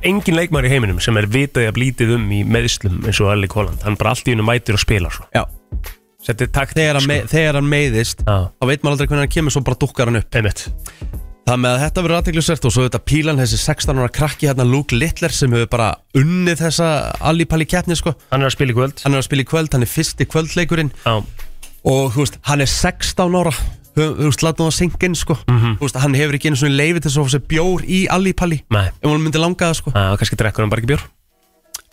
Speaker 4: engin leikmar Eh, í heiminum sem er vitaði að blítið um í meðslum eins og Erling Holland hann bara allt í hennu mætir og spilar svo.
Speaker 2: Já,
Speaker 4: þetta er takt
Speaker 2: þegar, hann, me, þegar hann meiðist
Speaker 4: sko. Já.
Speaker 2: Þá veit maður aldrei hvernig hann kemur, svo bara dukkar hann upp
Speaker 4: einmitt
Speaker 2: Það með að þetta verður aðteglisvert og svo þetta pílan Þessi 16 ára krakki hérna Luke Littler Sem hefur bara unnið þessa allipalli keppni sko.
Speaker 4: hann er að spila í kvöld
Speaker 2: Hann er að spila í kvöld, hann er fyrsti kvöldleikurinn
Speaker 4: já,
Speaker 2: og þú veist, hann er 16 ára þú þú veist, látum það syngin sko
Speaker 4: Mhm.
Speaker 2: þú veist, hann hefur ekki einu svona leifi til þess að fá sér bjór í allípalli, ef
Speaker 4: nei
Speaker 2: hann myndi langa það sko
Speaker 4: Já, kannski drekkur hann bara ekki bjór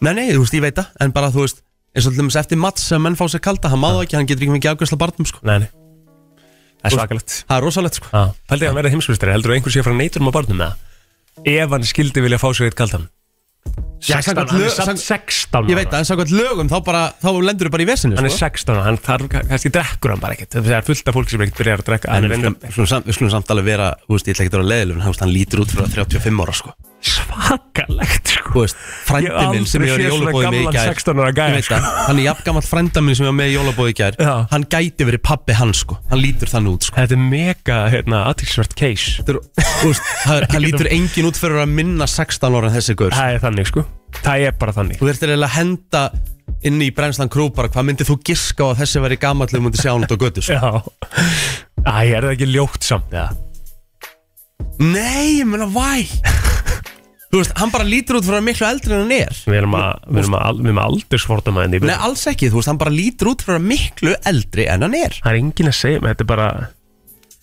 Speaker 2: nei, nei, þú veist, ég veit það, en bara þú veist eins og til dæmis eftir mats sem menn fá sér kalda hann maður ekki, hann getur ekki mikið afgjörsla barnum sko
Speaker 4: Nei, nei Það er svakalegt
Speaker 2: það er rosalegt sko,
Speaker 4: Já, pældi að hann verði heimsfyrstari Heldur þú að einhver sé frá neyturum á barnum með það? Ef hann skildi vilja fá sér eitt kaldan
Speaker 2: Já,
Speaker 4: 16,
Speaker 2: samkvæmt
Speaker 4: hann
Speaker 2: lög-
Speaker 4: er samt
Speaker 2: samkvæmt-
Speaker 4: 16
Speaker 2: ég veit það, en samkvæmt lögum þá bara, þá lendur þú bara í vesinu
Speaker 4: Hann er
Speaker 2: sko
Speaker 4: 16 ára, hann þarf ka- kannski drekkur hann bara ekkert Það er fullt af fólk sem ekkert byrjar að drekka
Speaker 2: En
Speaker 4: Hann
Speaker 2: við
Speaker 4: er
Speaker 2: skulum-
Speaker 4: enda
Speaker 2: við skulum samt- við skulum samt alveg vera, þú veist, ég ætla ekki að vera leiðileg, en hann, þú veist, hann lítur út fyrir að 35 ára, sko.
Speaker 4: svakalegt
Speaker 2: Þú
Speaker 4: sko.
Speaker 2: veist, frændi minn sem ég var í jólabóði með í
Speaker 4: gamlan
Speaker 2: gær.
Speaker 4: 16 ára
Speaker 2: Ég
Speaker 4: gæja
Speaker 2: veit
Speaker 4: sko.
Speaker 2: það, hann er jafn gammal frænda minn sem ég var með í jólabóði í gær
Speaker 4: Já.
Speaker 2: Hann gæti verið pabbi hans sko, hann lítur þann út sko
Speaker 4: Þetta er mega hérna, aðtilsvert case
Speaker 2: Þetta er- þú veist, það- Hann lítur engin út fyrir að minna 16 ára en þessi gaur
Speaker 4: Það er þannig sko Það er bara þannig
Speaker 2: Þú þurftir eiginlega að henda inn í brennslan krú bara hvað myndir þú giska á að þessi væri gamall þegar þú myndir sjá hann út á götu sko
Speaker 4: Já Æ, er það ekki ljótt samt eða?
Speaker 2: Nei, ég meina, væ Þú veist, hann bara lítur út fyrir að miklu eldri en hann er
Speaker 4: Við erum að, við erum að, við erum að aldursfordama henni í byrjun.
Speaker 2: Nei, alls ekki, þú veist, hann bara lítur út fyrir að miklu eldri en hann er
Speaker 4: Það er enginn að segja, þetta er bara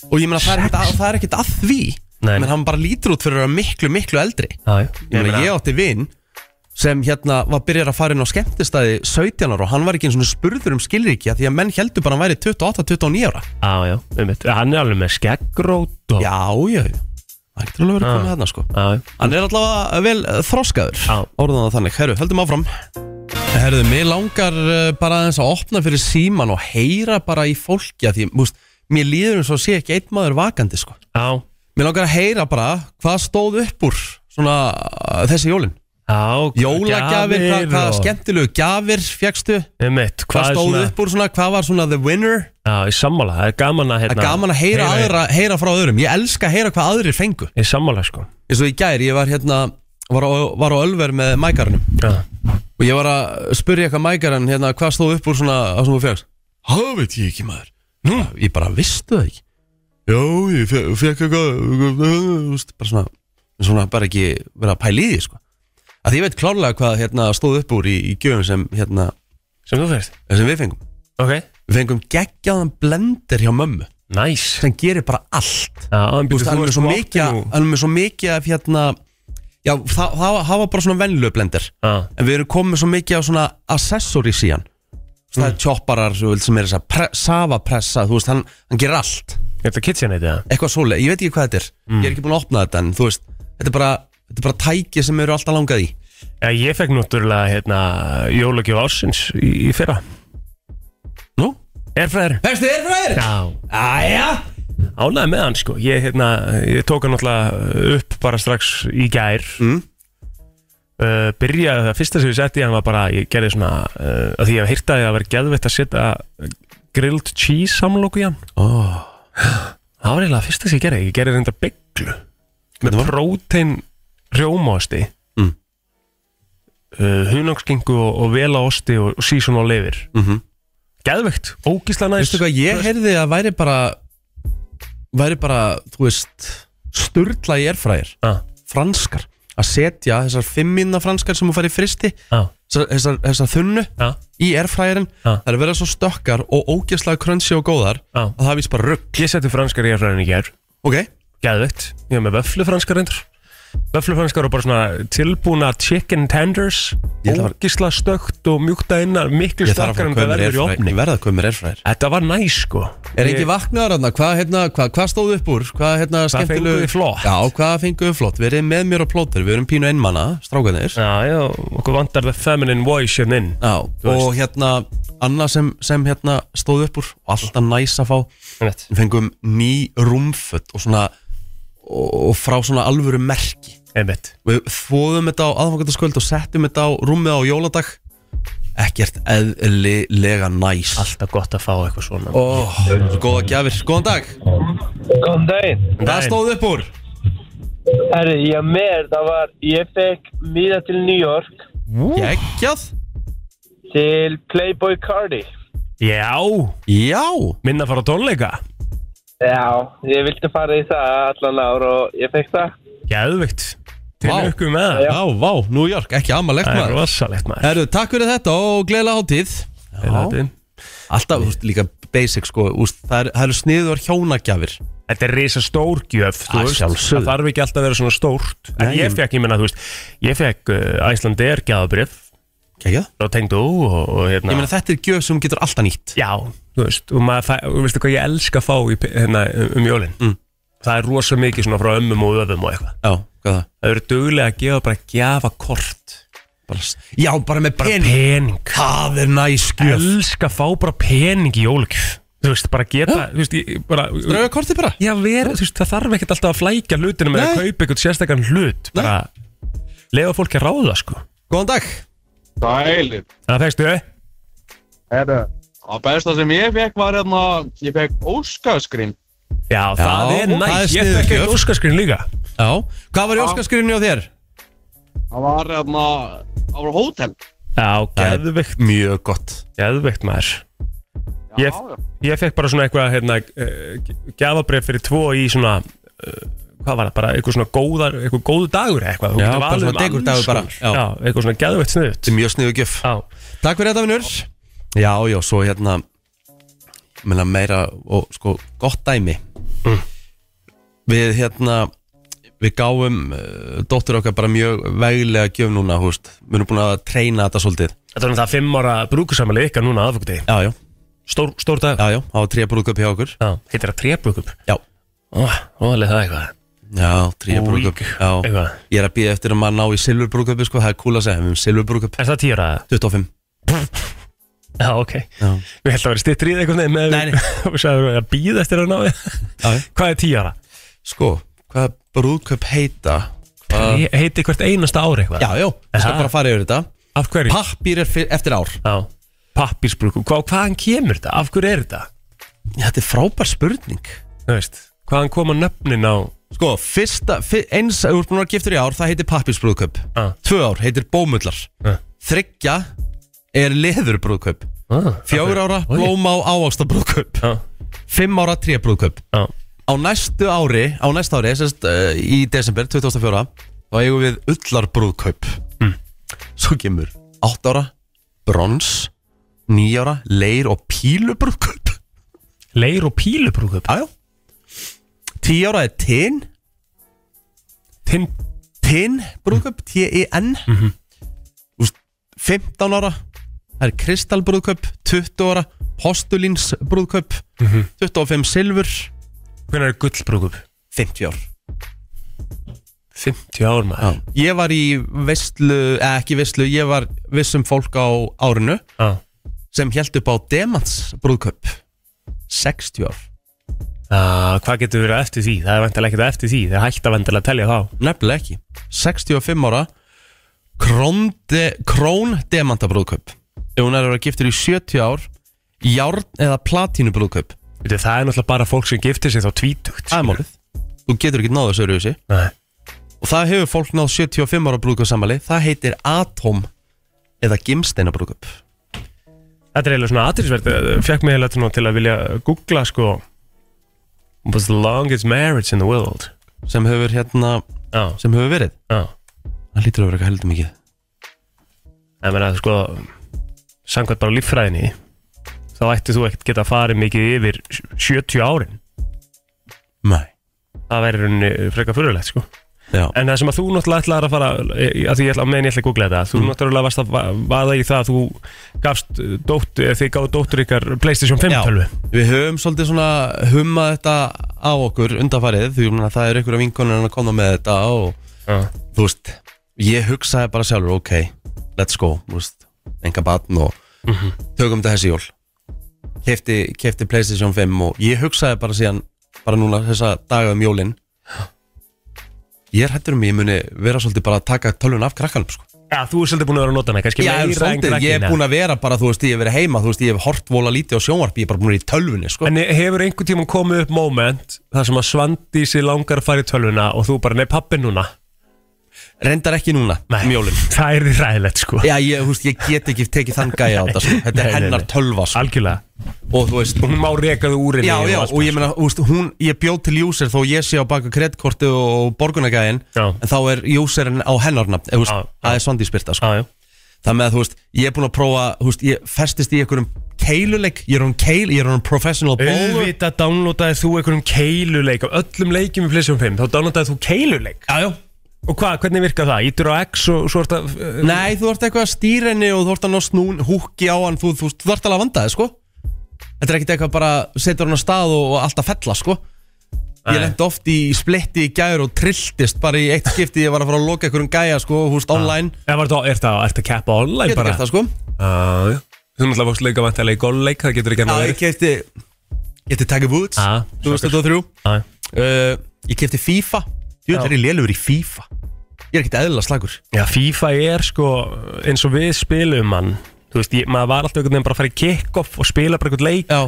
Speaker 2: Og ég meina, það er ekkert að, það er ekkert að því
Speaker 4: Nei.
Speaker 2: Men hann bara lítur út fyrir að vera miklu, miklu eldri
Speaker 4: Já,
Speaker 2: Ég, meina, ég átti vinn sem hérna var byrjar að fara inn á skemmtistæði 17 ára og hann var ekki eins og spurður um skilríkja því að menn heldur bara að hann væri 28-29 ára
Speaker 4: Já, já, einmitt. Hann er alveg með skeggrót og...
Speaker 2: Já, já, já Það getur alveg verið
Speaker 4: Ah.
Speaker 2: komið þarna sko
Speaker 4: Já, Ah. já.
Speaker 2: Hann er allavega vel eh, þroskaður
Speaker 4: Já.
Speaker 2: Orðan það þannig, herru, höldum áfram Herðu, mér langar eh, bara aðeins að opna fyrir síman og heyra bara í fólki að því, múst, mér líður eins og sé ekki einn maður vakandi, sko
Speaker 4: Já,
Speaker 2: Mér langar að heyra bara hvað stóð upp úr svona eh, þessi jólin
Speaker 4: já
Speaker 2: Jólagjafir, hvað, hvað skemmtilegu gjafir fjekstu,
Speaker 4: Einmitt,
Speaker 2: hvað
Speaker 4: hvað er
Speaker 2: stóð
Speaker 4: svona
Speaker 2: upp úr svona, hvað var svona the winner
Speaker 4: Já, ég sammála, það er gaman að
Speaker 2: Það
Speaker 4: hérna
Speaker 2: er gaman að heyra, aðra, heyra frá öðrum Ég elska að heyra hvað aðrir fengu
Speaker 4: Ég sammála, sko
Speaker 2: eins og í gær, ég var hérna var á, var á Ölver með mækarnum
Speaker 4: Já,
Speaker 2: og ég var að spyrja eitthvað mækarn hérna, hvað stóð upp úr svona að sem þú fegst það veit ég ekki maður Nú, ég bara vistu það ekki já, ég fe fekk eitthvað þú veist, bara svona, svona bara ekki vera að pæla í því sko. að ég veit klárlega hvað hérna, stóð upp úr í, í gjöfum sem, hérna,
Speaker 4: sem þú fyrst
Speaker 2: sem við fengum
Speaker 4: Ok
Speaker 2: við fengum geggjaðan blender hjá mömmu
Speaker 4: Næs
Speaker 2: sem gerir bara allt
Speaker 4: Já, en
Speaker 2: Þú veist,
Speaker 4: býttu,
Speaker 2: hann er með
Speaker 4: ert
Speaker 2: svo
Speaker 4: svo
Speaker 2: mikið
Speaker 4: opnur nú.
Speaker 2: hann er með svo mikið af hérna já, það, það, það var bara svona venlöf blender
Speaker 4: Já,
Speaker 2: en við erum komið svo mikið af svona accessories í hann Svo
Speaker 4: Mm.
Speaker 2: það er chopparar þú veist, sem er þess að pre safa pressa þú veist, hann, hann gerir allt
Speaker 4: þetta KitchenAid, já
Speaker 2: eitthvað svoleið, ég veit ekki hvað þetta er ég
Speaker 4: Mm.
Speaker 2: er ekki búin að opna þetta en þú veist þetta er bara, þetta er bara tæki sem eru alltaf langað í
Speaker 4: Já, ég fekk náttúrulega, hérna, jólagjöf ársins í, í fyrra
Speaker 2: Nú?
Speaker 4: Erfræður
Speaker 2: Fæstu þér frá þér?
Speaker 4: Já
Speaker 2: Æja
Speaker 4: ánægði með hann sko ég, hérna, ég tók hann náttúrulega upp bara strax í gær mm. uh, byrjaði það fyrsta sem ég setti hann var bara ég gerði svona uh, að því ég hýrta að það var geðveitt að setja grilled cheese samlóku í hann
Speaker 2: oh,
Speaker 4: það var eiginlega fyrsta sem ég gerði ég gerði reynda bygglu með prótein rjómaosti
Speaker 2: Mm.
Speaker 4: uh, hunangskingu og, og velaosti og, og sísun og lifir mm
Speaker 2: Mhm.
Speaker 4: geðveikt, ógísla næst
Speaker 2: Veistu hvað, ég heyrði að væri bara væri bara, þú veist sturla í erfræðir
Speaker 4: ah,
Speaker 2: franskar að setja þessar fimmina franskar sem þú fær í fristi
Speaker 4: ah,
Speaker 2: þessar, þessar, þessar þunnu
Speaker 4: ah.
Speaker 2: í airfryerin
Speaker 4: Já.
Speaker 2: það er verið svo stökkar og ógeðslega crunchy og góðar
Speaker 4: Já.
Speaker 2: að það víst bara rugg
Speaker 4: ég setti franskar í erfræðin í gær
Speaker 2: ok,
Speaker 4: Gæðveikt, ég hef með vöflufranskar reyndur Vöflufranskar og bara svona tilbúna chicken tenders
Speaker 2: Ég ætla að-
Speaker 4: Ógisla stökt og mjúkt að innan Miklu
Speaker 2: ég þarf að
Speaker 4: stökkar
Speaker 2: fara að
Speaker 4: en
Speaker 2: koma
Speaker 4: það verður í opni
Speaker 2: airfryer verða að koma airfryer
Speaker 4: Þetta var næ sko
Speaker 2: er ekki vaknaður hérna, hvað hérna, hva, hva stóð upp úr hvað hérna skemmtilegu
Speaker 4: fenguð þið flott?
Speaker 2: já, hvað fenguð við flott, við erum með mér og plóter við erum pínu einmana, strákanir
Speaker 4: Já, já, okkur vantar the feminine voice hérna inn
Speaker 2: já, og hérna annað sem, sem hérna stóð upp úr og alltaf næs að fá
Speaker 4: Einmitt.
Speaker 2: við fengum ný rúmfött og svona og, og frá svona alvöru merki
Speaker 4: Einmitt
Speaker 2: við þvóðum þetta á aðfangandaskvöld og settum þetta á rúmið á jóladag ekkert eðlilega næs
Speaker 4: Alltaf gott að fá eitthvað svona
Speaker 2: Ó, svo góða gjafir, góðan dag
Speaker 7: Góðan daginn.
Speaker 2: það
Speaker 4: Daginn.
Speaker 2: stóð upp úr
Speaker 7: Herri, ég mér, það var, ég fekk miða til New York
Speaker 2: geggjað,
Speaker 7: til Playboy Cardi.
Speaker 4: Já,
Speaker 2: já
Speaker 4: minna að fara á tónleika
Speaker 7: Já, ég vildi fara í það allan ár og ég fekk það.
Speaker 4: Gæðveikt Til
Speaker 2: Vá.
Speaker 4: ykkur með það
Speaker 2: já, vá, New York, ekki amalegt
Speaker 4: Það er
Speaker 2: maður
Speaker 4: rosalegt maður
Speaker 2: Herru, takk fyrir þetta og gleðilega hátíð
Speaker 4: Þetta
Speaker 2: Já.
Speaker 4: er-
Speaker 2: alltaf, þú veist, líka basic sko, úst, það eru- það eru sniður hjónagjafir
Speaker 4: Þetta er risa stórgjöf þú
Speaker 2: Að
Speaker 4: veist.
Speaker 2: sjálfsögðu.
Speaker 4: Það þarf ekki alltaf að vera svona stórt En
Speaker 2: Nei.
Speaker 4: ég fekk, ég menna, þú veist Ég fekk uh, Æslander gæðabrif
Speaker 2: geggjað,
Speaker 4: Frá tengdu og, og hérna
Speaker 2: ég meina þetta er gjöf sem þú getur alltaf nýtt
Speaker 4: Já, þú veist Og maður, fæ, og veistu hvað ég elska að fá í, pe- hérna, um, um jólin mm. Það er rosa mikið svona frá ömmum og öfum og eitthvað
Speaker 2: já, hvað það,
Speaker 4: Það eru duglega að gefa bara gjafa kort
Speaker 2: bara, s- já, bara með
Speaker 4: Bara
Speaker 2: pening
Speaker 4: pening
Speaker 2: það er næs gjöf
Speaker 4: Elska að fá bara pening í jólgjöf Þú veist, bara geta, þú veist, ég, bara
Speaker 2: drauga kortið bara
Speaker 4: Já, ver, þú veist, það þarf ekkert alltaf að flækja hlutinu með að
Speaker 2: Nei.
Speaker 4: kaupa eitthvað sérstakann hlut bara lefa fólki að ráða, sko
Speaker 2: Góðan dag
Speaker 8: Sælir.
Speaker 4: Það fegstu þau?
Speaker 8: Herra. Það besta sem ég fekk var hérna, ég fekk óskarskrinn.
Speaker 4: Já, það er
Speaker 2: það er
Speaker 4: næst, ég
Speaker 2: sniðug
Speaker 4: fekk
Speaker 2: gjöf.
Speaker 4: eitt óskarskrinn líka
Speaker 2: Já, hvað var í Óskarskrifni á þér?
Speaker 8: Það var hérna, það var hótel.
Speaker 4: Já, geðveikt,
Speaker 2: Mjög gott
Speaker 4: geðveikt maður Ég, ég fekk bara svona eitthvað, hérna, gafabref fyrir tvo í svona eh, hvað var það, bara eitthvað svona góðar eitthvað góðu dagur eða eitthvað Þú
Speaker 2: Já,
Speaker 4: getur
Speaker 2: bara
Speaker 4: valið
Speaker 2: svona
Speaker 4: um
Speaker 2: degur
Speaker 4: alls
Speaker 2: dagur bara.
Speaker 4: konar.
Speaker 2: Já.
Speaker 4: Já, eitthvað svona geðveikt sniðut
Speaker 2: Þetta er mjög sniðu gjöf
Speaker 4: Já,
Speaker 2: Takk fyrir þetta vinnur Já, já, svo hérna menna meira og sko gott dæmi
Speaker 4: Mm.
Speaker 2: Við hérna við gáum uh, dóttur okkar bara mjög veglega gjöf núna, húst Við erum búin að treyna þetta svolítið
Speaker 4: þetta var það fimm ára brúkusamali ykkar núna aðfokti
Speaker 2: Já, já,
Speaker 4: Stór, stór dag
Speaker 2: já, já, á tríabrúðköp hjá okkur
Speaker 4: Já, heitir það trébúkup
Speaker 2: Já,
Speaker 4: Ó, Róðalega það eitthvað
Speaker 2: já, tríabrúðköp
Speaker 4: Úlík,
Speaker 2: Já,
Speaker 4: eitthvað.
Speaker 2: ég er að býða eftir að maður ná í silfurbrúðköpi, sko, það er kúla að segja, við erum silfurbrúðköp
Speaker 4: Er það tíra?
Speaker 2: 25
Speaker 4: Já, ok Við heldum að vera stittrið einhvern veginn með
Speaker 2: Nei, nei.
Speaker 4: Og sagður við að býða eftir að ná við
Speaker 2: Já, já.
Speaker 4: Hvað er tíu ára?
Speaker 2: Sko, hvað brúðköp heita? Hvað-
Speaker 4: He- Heiti hvert einasta ári eitthvað
Speaker 2: Já, já, við skal
Speaker 4: Aha.
Speaker 2: bara fara yfir þetta
Speaker 4: Af hverju?
Speaker 2: Pappír er fyr- eftir ár
Speaker 4: Já Pappísbrúku Hva, Hvaðan kemur þetta? Af hverju er þetta?
Speaker 2: Þetta er frábær spurning
Speaker 4: Þú veist Hvaðan koma nöfnin á
Speaker 2: Sko, fyrsta, fyr, eins að úrbunar giftur í ár, það heitir pappísbrúðkaup
Speaker 4: Ah.
Speaker 2: Tvö ár heitir bómullar
Speaker 4: Ah.
Speaker 2: Þryggja er leðurbrúðkaup
Speaker 4: ah,
Speaker 2: Fjör ára
Speaker 4: Oj.
Speaker 2: blóma og ávaxtabrúðkaup
Speaker 4: Já,
Speaker 2: Fimm ára trébrúðkaup
Speaker 4: já
Speaker 2: Á næstu ári, á næsta ári, sérst, uh, í desember 2004 Þá eigum við ullarbrúðkaup mm. Svo kemur átt ára, brons, nýjára, leir og pílubrúðkaup
Speaker 4: Leir og pílubrúku
Speaker 2: Jájá Tíu ára er tinn
Speaker 4: Tinn
Speaker 2: TIN brúðköp, T-I-N mm 15 ára það er Kristal brúðköp 20 ára, Postulins brúðköp
Speaker 4: Mhm.
Speaker 2: 25 silfur
Speaker 4: Hvernig er gullbrúku?
Speaker 2: 50 ár
Speaker 4: 50 ár maður
Speaker 2: ég var í veistlu, eða ekki veistlu ég var vissum fólk á árinu
Speaker 4: Já
Speaker 2: sem held upp á Demans brúðköp 60 ár
Speaker 4: Já, hvað getur verið eftir því? Það er vantilega ekkert eftir því Það er hægt að vantilega að telja þá
Speaker 2: nefnilega ekki 65 ára Krón, de, krón Demanta brúðköp ef hún er að vera giftur í 70 ár Járn eða platínu brúðköp
Speaker 4: Veitu, Það er náttúrulega bara fólk sem giftir sig þá tvítugt
Speaker 2: Það er málið Þú getur ekki náðu þessu öruvísi
Speaker 4: Nei.
Speaker 2: Og það hefur fólk náð 75 ára brúðköpsamali Það heitir Atom Eða Gimsteina brúðköp
Speaker 4: Þetta er eiginlega svona aðrisvert Fekk mig eiginlega til nú til að vilja googla sko Was the longest marriage in the world
Speaker 2: Sem hefur hérna
Speaker 4: Já,
Speaker 2: Sem hefur verið
Speaker 4: já
Speaker 2: Það lítur að vera eitthvað heldur mikið
Speaker 4: Það meina sko Samkvæmt bara líffræðinni Þá ætti þú ekkert geta farið mikið yfir 70 árin
Speaker 2: Nei
Speaker 4: Það væri í rauninni frekar fyrirlegt sko
Speaker 2: Já
Speaker 4: En það sem að þú náttúrulega ætlaði að fara eh, að því ég ætla að meðin ég ætla að googla þetta þú náttúrulega varst að va- vaða í það að þú gafst eh, dóttur, eh, þið gáðu dóttur ykkar Playstation 5 tölvu
Speaker 2: Við höfum svolítið svona hummað þetta á okkur undanfarið Því að það er einhverja vinkonir að koma með þetta og
Speaker 4: Já.
Speaker 2: þú veist Ég hugsaði bara sjálfur, ok, let's go Þú veist, enga batn og
Speaker 4: Mhm.
Speaker 2: Tökum þetta þessi jól kefti, kefti Playstation 5 og ég hugsaði bara síðan Bara núna þessa daga um jólin Ég er hættur um að ég muni vera svolítið bara að taka tölvun af krakkanum sko.
Speaker 4: Já, þú er svolítið búin að vera að nota hana, kannski
Speaker 2: Ég er
Speaker 4: meira en
Speaker 2: svolítið, ég er búin að vera bara, þú veist, ég hef verið heima Þú veist, ég hef hort vola lítið á sjónvarpi Ég er bara búin að vera í tölvunni, sko
Speaker 4: En hefur einhvern tíma komið upp moment þar sem að Svandísi langar að fara í tölvuna og þú bara, nei pappi núna
Speaker 2: Reyndar ekki núna,
Speaker 4: Nei,
Speaker 2: um jólin
Speaker 4: það er því ræðilegt sko
Speaker 2: Já, ég, húst, ég get ekki tekið þann gæja á þetta sko. Þetta
Speaker 4: Nei,
Speaker 2: er
Speaker 4: nei,
Speaker 2: hennar
Speaker 4: nei.
Speaker 2: tölva sko.
Speaker 4: Algjörlega,
Speaker 2: Og þú veist
Speaker 4: hún má rekaðu úrinni
Speaker 2: Já, já, og ég meina, húst, hún, ég bjóð til user þó ég sé á baka kreditkorti og borgunagæðin
Speaker 4: Já.
Speaker 2: en þá er userinn á hennar nafn eða, húst,
Speaker 4: Já, já.
Speaker 2: það er Svandi Spyrta sko.
Speaker 4: Já, já,
Speaker 2: Það með að, þú veist, ég er búin að prófa húst, ég festist í einhverjum keiluleik ég er hún keil, ég er hún professional bowler
Speaker 4: auðvitað downloadaði þú einhverjum keiluleik af öllum leikjum í Playstation 5, þá downloadaði þú keiluleik
Speaker 2: Já, já
Speaker 4: Og hvað, hvernig virkar það? Ítur á X og svo er þetta uh,
Speaker 2: Nei, þú ert eitthvað að stýra henni og þú ert að ná snún húki á hann, þú, þú, þú, ert alveg að vanda þig, sko Þetta er ekkert eitthvað bara setur hann á stað og, og allt að fella, sko Ég
Speaker 4: Nei.
Speaker 2: lendi oft í splitti í gæður og trilltist bara í eitt skipti ég var að fara að loka einhverjum gæja, sko,
Speaker 4: Ah.
Speaker 2: húst online
Speaker 4: Eða var þetta, er þetta, er þetta keppa online
Speaker 2: Getur
Speaker 4: bara?
Speaker 2: gert það, sko
Speaker 4: það Já, já Þú náttúrulega fórst leika vantilega í golfleik, það getur ekki
Speaker 2: Já,
Speaker 4: annað
Speaker 2: ég kefti Getið Tiger Woods,
Speaker 4: Já,
Speaker 2: 2003 uh,
Speaker 4: Já,
Speaker 2: Ég kefti FIFA Jú,
Speaker 4: Já.
Speaker 2: þetta er ég lélugur í FIFA Ég er ekkert eðla slagur
Speaker 4: Já, FIFA er sko eins og við spilum hann Þú veist, ég, maður var alltaf einhvern veginn bara að fara í kick-off og spila bara einhvern leik
Speaker 2: Já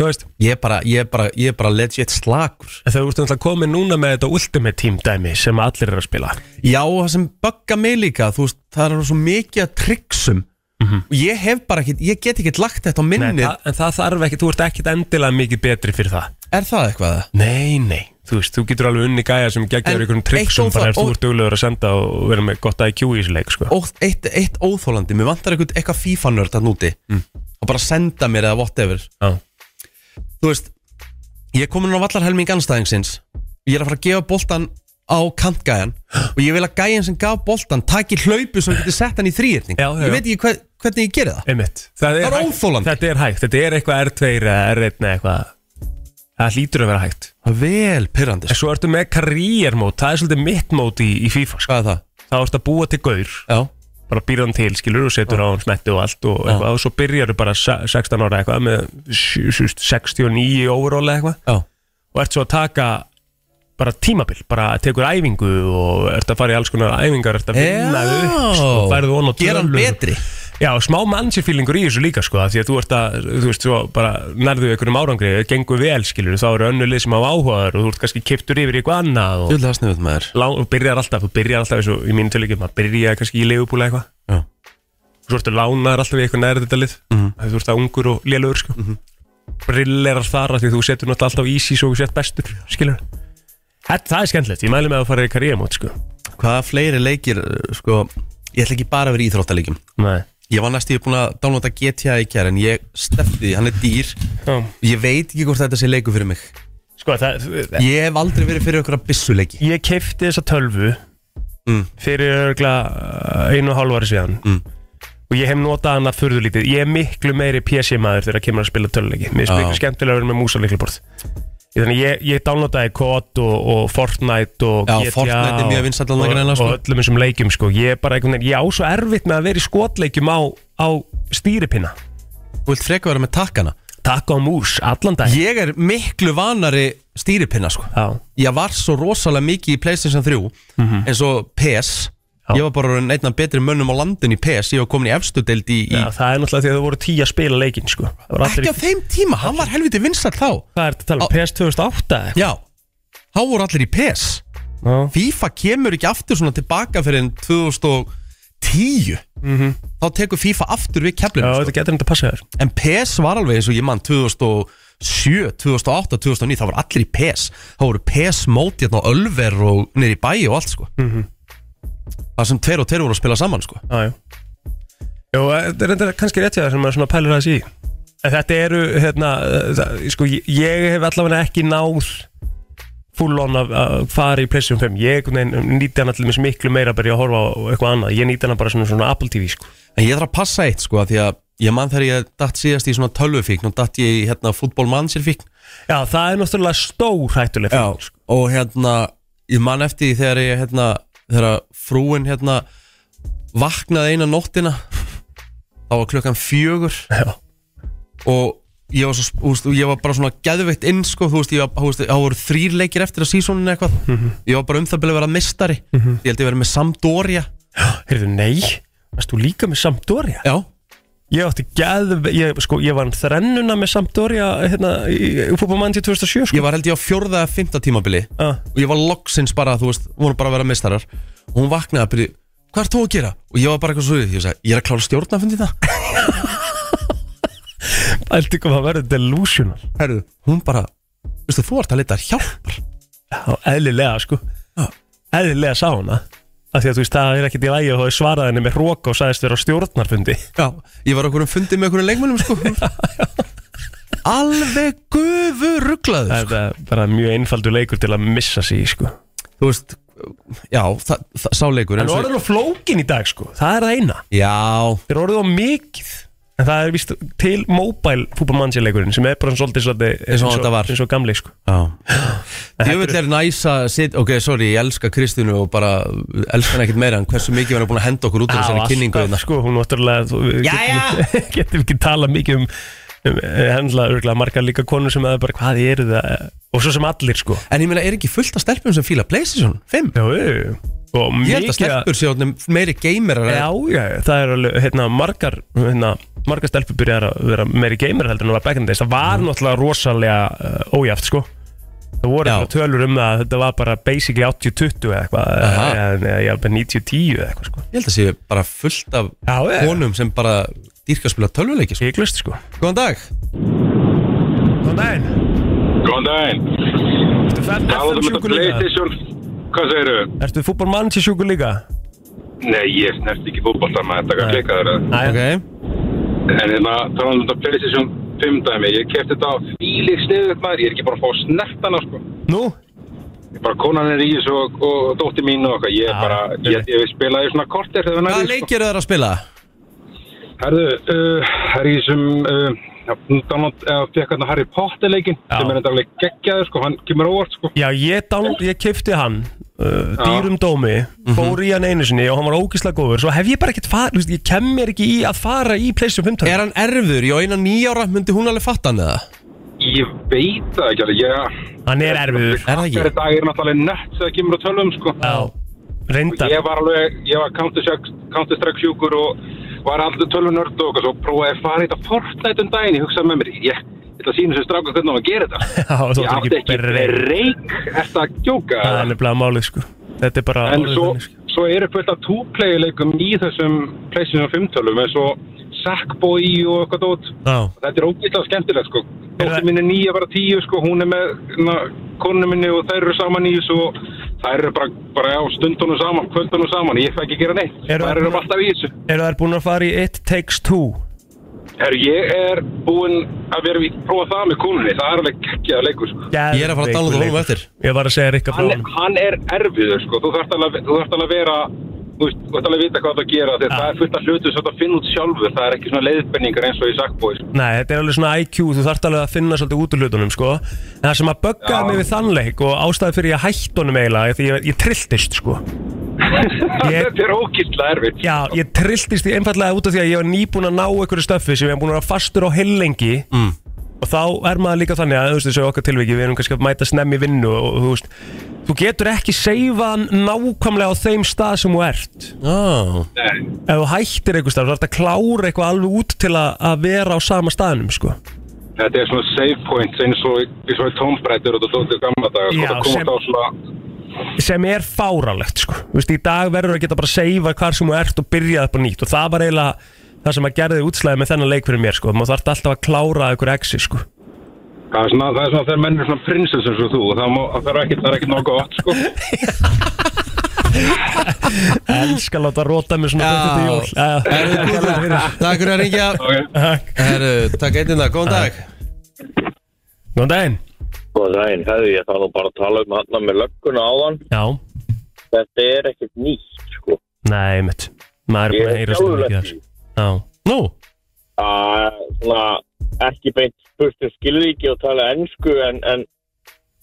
Speaker 4: Þú veist,
Speaker 2: Ég er bara, ég er bara, ég er bara legit slagur
Speaker 4: en þau ertu náttúrulega komin núna með þetta Ultimate Team dæmi sem allir eru að spila
Speaker 2: Já, það sem bugga mig líka þú veist, það er svo mikið að tryggsum og ég hef bara ekkert, ég get ekkert lagt þetta á minni,
Speaker 4: Mhm. Nei, það, En það þarf ekki, þú ert ekkert endilega mikið betri fyrir það
Speaker 2: er það eitthvað?
Speaker 4: Nei, nei Þú veist, þú getur alveg unni gæja sem geggjaður
Speaker 2: En
Speaker 4: einhvern
Speaker 2: eitt
Speaker 4: tryggsum
Speaker 2: óþá-
Speaker 4: bara ef þú
Speaker 2: ó-
Speaker 4: ert duglegur að senda og vera með gott IQ í þessu leik, sko
Speaker 2: Ó, eitt, eitt óþólandi, mér vantar eitthvað, eitthvað FIFA-nörd að núti og bara senda mér eða whatever
Speaker 4: Mm. Já.
Speaker 2: Þú veist, ég er komin á vallarhelming anstæðingsins ég er að fara að gefa boltan á kantgæjan og ég vil að gæjan sem gaf boltan taki hlaupu sem getur sett hann í þrýrning
Speaker 4: Já,
Speaker 2: ég
Speaker 4: já, já.
Speaker 2: veit ekki hver, hvernig ég geri það
Speaker 4: Einmitt. Það
Speaker 2: Það er
Speaker 4: hægt.
Speaker 2: óþolandi.
Speaker 4: Þetta er hægt, þetta er eitthvað R2 eða R1 eða eitthvað Það hlýtur að vera hægt
Speaker 2: Það er vel pyrrandi
Speaker 4: En svo ertu með karriérmót, það er svolítið mitt mót í, í FIFA sko.
Speaker 2: Hvað er það?
Speaker 4: Það ertu að búa til gaur
Speaker 2: Já,
Speaker 4: bara býr hann til, skilur, og setur á hann smetti og allt og eitthvað, og svo byrjar þú bara se- 16 ára eitthvað með sjú- sjú- 69 overall eða eitthvað
Speaker 2: Já.
Speaker 4: og ert svo að taka bara tímabil, bara tekur æfingu og ert að fara í alls konar æfingar ert að vinna
Speaker 2: Já.
Speaker 4: þig upp sko, færðu von og
Speaker 2: Gera hann
Speaker 4: tölur.
Speaker 2: betri.
Speaker 4: Já, smá mannsifílingur í þessu líka sko, af því að þú ert að, þú veist, svo bara nærðu einhverjum árangri, ef það gengur vel skilur þá eru önnur lið sem hafa áhugaður og þú ert kannski kiptur yfir í eitthvað annað og,
Speaker 2: Þú vil það sniðut maður
Speaker 4: lang, og byrjar alltaf, þú byrjar alltaf eins og í mínu tölíkjum, maður byrjar kannski í leifupúla eitthvað
Speaker 2: Já. Mhm.
Speaker 4: Svo ertu lánaður alltaf í eitthvað nærið þetta lið mm -hmm. þú ert að ungur og lélugur sko mm brillerar þar af því að þú setur náttúrulega alltaf í sís og þú sett bestur, skilur Þetta, það er skemmtilegt, ég mæli með að fara í karriémót sko.
Speaker 2: Hvaða fleiri leikir, uh, sko Ég ætla ekki bara að vera í íþróttaleikjum
Speaker 4: Nei.
Speaker 2: Ég var næstu búin að downloada GTA í kjær En ég stefti því, hann er dýr
Speaker 4: Já.
Speaker 2: Ég veit ekki hvort þetta sé leiku fyrir mig
Speaker 4: Sko, það,
Speaker 2: Ég hef aldrei verið fyrir okkur að byssuleiki
Speaker 4: ég kefti þessa tölvu
Speaker 2: Mm.
Speaker 4: fyrir örgla eh, einu og hálfari síðan
Speaker 2: Mm.
Speaker 4: og ég hef notað hana furðulítið ég er miklu meiri PC maður þegar kemur að spila tölvuleiki mér
Speaker 2: Já.
Speaker 4: er miklu skemmtilega að vera með músalikliborð þannig ég, ég downloadaði COD og, og Fortnite og
Speaker 2: Já,
Speaker 4: GTA
Speaker 2: Fortnite er mjög vinsæll
Speaker 4: og,
Speaker 2: þarna greinilega,
Speaker 4: og,
Speaker 2: sko.
Speaker 4: og öllum þessum leikjum sko. ég er bara einhvern veginn, ég á svo erfitt með að vera í skotleikjum á, á stýripinna
Speaker 2: Þú vilt freka vera með takkana
Speaker 4: takk á mús, allan dag
Speaker 2: Ég er miklu vanari stýripinna, sko
Speaker 4: Já,
Speaker 2: Ég var svo rosalega mikið í Playstation 3
Speaker 4: Mhm.
Speaker 2: eins og PS
Speaker 4: Já.
Speaker 2: Ég var bara orðinn einn af betri mönnum á landin í PS Ég var komin í efstu deild í, í...
Speaker 4: Já, það er náttúrulega því að það voru tíu að spila leikin sko. Það voru allir
Speaker 2: Ekki
Speaker 4: í-
Speaker 2: á þeim tíma, hann var helviti vinsall þá
Speaker 4: Hvað er þetta að tala um? PS 2008? eða
Speaker 2: Já, þá voru allir í PS
Speaker 4: eitthvað? Já.
Speaker 2: FIFA kemur ekki aftur svona tilbaka fyrir en 2010 Þá tekur FIFA aftur við
Speaker 4: Mhm. Já,
Speaker 2: keflinu sko.
Speaker 4: þetta getur þetta að passa þér
Speaker 2: En PS var alveg eins og ég mann 2007, 2008, 2009 Það voru allir í PS Það voru PS móti hérna á Ölver og niður í bæi og allt sko Það sem tveir og tveir voru að spila saman sko
Speaker 4: Mhm. Já, já Jó, þetta er reyndar kannski rétt hjá það sem maður svona pælir aðeins í En þetta eru, hérna, eh, það, sko, ég- ég hef allavega ekki náð full on að- að fara í PlayStation 5 Ég nein, nýti hana til þess miklu meira bara í að horfa á eitthvað annað Ég nýti hana bara svona, svona Apple TV, sko
Speaker 2: En ég þarf að passa eitt sko af Því að ég mann þegar ég datt síðast í svona tölvufíkn Og datt ég í hérna fútbolmannsirfíkn
Speaker 4: Já, það er náttúrulega stór hættuleg sko.
Speaker 2: Já, og hérna ég man eftir því þegar ég hérna þegar að frúin hérna vaknaði eina nóttina þá var klukkan fjögur
Speaker 4: Já.
Speaker 2: og ég var, svo, úst, ég var bara svona geðveikt inn sko, þú veist, ég var, þú veist, þá voru þrýr leikir eftir að sísóninu eitthvað
Speaker 4: Mhm.
Speaker 2: ég var bara um það byrja að vera mistari ég held ég verið með Sampdoria
Speaker 4: Heyrðu, nei, varst þú líka með Sampdoria?
Speaker 2: Já,
Speaker 4: Ég átti geð, ég, sko, ég var hann þrennuna með Sampdoria, hérna, í, í fútbolmann til 2007, sko Ah.
Speaker 2: ég var held ég á fjórða eða fymta tímabili
Speaker 4: Já.
Speaker 2: og ég var loksins bara, þú veist, hún var bara að vera mistarar og hún vaknaði að byrja, hvað er þú að gera? og ég var bara eitthvað svo, ég sagði, ég er að klára stjórnafundi það
Speaker 4: Allt ykkur var verið delusional
Speaker 2: Herru, hún bara Vistu, þú ert að leita hjálpar
Speaker 4: Já, eðlilega sko
Speaker 2: Já.
Speaker 4: Eðlilega sá hana Af því að þú veist, það er ekkert í lægi og þú svaraði henni með hróka og sagðist þér á stjórnarfundi
Speaker 2: Já, ég var okkur um fundi með okkur leikmennum sko. Alveg gufu rugglaður sko.
Speaker 4: Það er bara mjög einfaldur leikur til að missa sig í, sko
Speaker 2: Þú veist, já, það, það, sá leikur
Speaker 4: En
Speaker 2: eins og-
Speaker 4: orðin og flókin í dag sko, það er það eina
Speaker 2: Já,
Speaker 4: Þeir orðið á mikið En það er víst til mobile fútbolmannsleikurinn sem er bara svolítið svolítið
Speaker 2: Eins og þetta var.
Speaker 4: eins og gamli sko
Speaker 2: já Djöfull er næsa sit, Ok, sorry, ég elska Kristínu og bara elska hann ekkert meira en hversu mikið hann er búin að henda okkur út úr þessari kynningu
Speaker 4: alltaf,
Speaker 2: hérna.
Speaker 4: sko, hún náttúrulega þú- við
Speaker 2: Jæja.
Speaker 4: getum, getum ekki talað mikið um, um hendla örgulega margar líka konur sem að bara hvað eru það og svo sem allir sko
Speaker 2: En ég meina, er ekki fullt af stelpum sem fíla Playstation 5?
Speaker 4: já, jú, jú. og
Speaker 2: Ég held að
Speaker 4: mikið að-
Speaker 2: stelpur séu orðnir meiri geimerar
Speaker 4: já, já, það er alveg hérna, margar, hérna, margar stelpur byrjar að vera meiri geimur heldur en það var back in the days það var náttúrulega rosalega uh, ójæft sko það voru
Speaker 2: Mm. Já.
Speaker 4: bara tölur um það að þetta var bara basically 80-20 eða eitthvað
Speaker 2: Aha.
Speaker 4: eða eða jafnvel 90-10 eða eitthvað sko
Speaker 2: Ég held að séu bara fullt af
Speaker 4: já,
Speaker 2: konum sem bara dýrka að spila tölvuleiki sko.
Speaker 4: Íglust sko
Speaker 2: Góðan dag
Speaker 4: Góðan daginn
Speaker 3: Góðan daginn,
Speaker 4: Ertu fan
Speaker 3: talaðu
Speaker 4: FM
Speaker 3: um þetta
Speaker 4: sjúkur líka?
Speaker 3: Playstation Hvað segir þau?
Speaker 4: Ertu fútból mannsi sjúkur líka?
Speaker 3: Nei, ég snert ekki fótbolta maður, þetta
Speaker 4: Nei.
Speaker 3: kann klika þeirra
Speaker 4: Æja, okay.
Speaker 3: En hérna, talaðu um þetta Playstation 5 dæmi Ég kefti þetta á fílík sniðuð maður Ég er ekki bara að fá snertana sko
Speaker 4: nú?
Speaker 3: Ég bara konan er í þessu og, og dótti mín og eitthvað Ég
Speaker 4: Já,
Speaker 3: er bara,
Speaker 4: einmitt.
Speaker 3: ég, ég spilaði svona kortir þegar sko.
Speaker 2: Hvaða
Speaker 3: nærðist,
Speaker 2: leikir eru þær að spila?
Speaker 3: Herðu, uh, það er í þessum uh, já, Donald, eða fekk hérna Harry Potter leikinn
Speaker 4: Já.
Speaker 3: sem er þetta alveg geggjaður sko, hann kemur óvart sko
Speaker 4: Já, ég, dán, ég kifti hann uh, dýrum dómi
Speaker 2: Mhm.
Speaker 4: fór í hann einu sinni og hann var ógislega góður svo hef ég bara ekkert farið, þú veist, ég kem mér ekki í að fara í Playstation 5
Speaker 2: Er hann erfður? Jó, einan nýjára myndi hún alveg fatta hann eða?
Speaker 3: Ég veit það ekki alveg, ég...
Speaker 4: Hann er erfiður
Speaker 2: Er það
Speaker 3: Hverju
Speaker 2: ekki?
Speaker 3: dag er náttúrulega nött þegar kemur að tölum, sko.
Speaker 4: Já, reyndar
Speaker 3: Ég var alveg, ég var Counter-Strike Counter sjúkur og var alltaf tölvunörd og eitthvað svo prófaði að fara í þetta Fortnite um daginn, ég hugsaði með mér, ég ég ætla að sína þessu stráka hvernig á að gera þetta.
Speaker 4: Já,
Speaker 3: Ég
Speaker 4: þú átt
Speaker 3: átti
Speaker 4: ekki
Speaker 3: ekki reik, ertu að djóka?
Speaker 4: Það er nefnilega málið sko Þetta er bara
Speaker 3: En
Speaker 4: orðið
Speaker 3: svo,
Speaker 4: þannig, sko.
Speaker 3: svo eru fullt af túpleileikum í þessum Playstation 5 tölum eins og Sackboy og eitthvað út.
Speaker 4: Já,
Speaker 3: Þetta er ógeðslega skemmtilegt sko.
Speaker 4: Er það-
Speaker 3: Dóttir mín er nýja bara tíu sko, hún er með na, konu minni og þær eru saman í þessu og þær eru bara, bara á stundunum saman, kvöldunum saman, ég fæ ekki að gera neitt.
Speaker 4: Eru-
Speaker 3: þær eru alltaf í þessu.
Speaker 4: eru þær búin að fara í It Takes Two
Speaker 3: Herru, ég er búinn að vera að prófa það með konunni, það er alveg geggjað leikur sko.
Speaker 2: Ég er að fara að downloada honum eftir.
Speaker 4: Ég var að segja Rikka frá
Speaker 3: Hann,
Speaker 4: honum
Speaker 3: hann er erfiður sko, þú þarft alveg, þú þarft alveg að vera, þú veist, þú þarft alveg að vita hvað það gera því að
Speaker 4: Ja.
Speaker 3: það er fullt af hlutum sem það finn út sjálfur, það er ekki svona leiðbenningar eins og í Sackboy sko.
Speaker 4: Nei, þetta er alveg svona IQ, þú þarft alveg að finna svolítið út úr hlutunum sko En það sem að böggaði
Speaker 3: Já.
Speaker 4: mig við þannleik og ástæði fyrir ég að hætt honum eiginlega er Því ég, ég trilltist sko Ég-
Speaker 3: Þetta er ógísla erfitt.
Speaker 4: Já, ég trilltist því einfallega út af því að ég var nýbúin að ná einhverju stöffi sem ég var búin að vera fastur á heilengi mm. og þá er maður líka þannig að, þú veist, þessu okkar tilviki, við erum kannski að mæta snemmi í vinnu og, þú veist, þú getur ekki seifaðan nákvæmlega á þeim stað sem þú ert.
Speaker 2: Já
Speaker 3: Nei.
Speaker 4: Ef þú hættir einhver stað, þú ert að klára eitthvað alveg út til að, að vera á sama staðnum, sko.
Speaker 3: Þetta er svona save points eins og eins og í tómbrættur og þetta er gamla daga sko,
Speaker 4: Já,
Speaker 3: það komast
Speaker 4: sem-
Speaker 3: á svona
Speaker 4: Sem er fáralegt, sko. Þú veist, í dag verður að geta bara seifa hvar sem þú ert og byrja upp á nýtt og það var eiginlega það sem að gerði útslæði með þennan leik fyrir mér, sko. Maður þarf alltaf að klára einhver exi, sko.
Speaker 3: það er svona, það er svona þegar menn er svona prinsess eins og þú og það, má, það er ekki, það er ekki nokkuð gott sko
Speaker 4: elska að láta róta mig svona beint upp í jól Já, já.
Speaker 2: Herru, Guður, Takk fyrir að ringja
Speaker 3: okay.
Speaker 4: Takk.
Speaker 2: Herru, takk einnig það, góðan dag
Speaker 4: Góðan daginn
Speaker 9: Góðan daginn, Sko, hefði ég það nú bara að tala um hann með lögguna á hann.
Speaker 4: Já,
Speaker 9: Þetta er ekkert nýtt, sko.
Speaker 4: nei, mitt Maður er búin að heyra sér mikið þar Já, nú,
Speaker 9: að svona, ekki beint spurt um skilvíki og tala ennsku en, en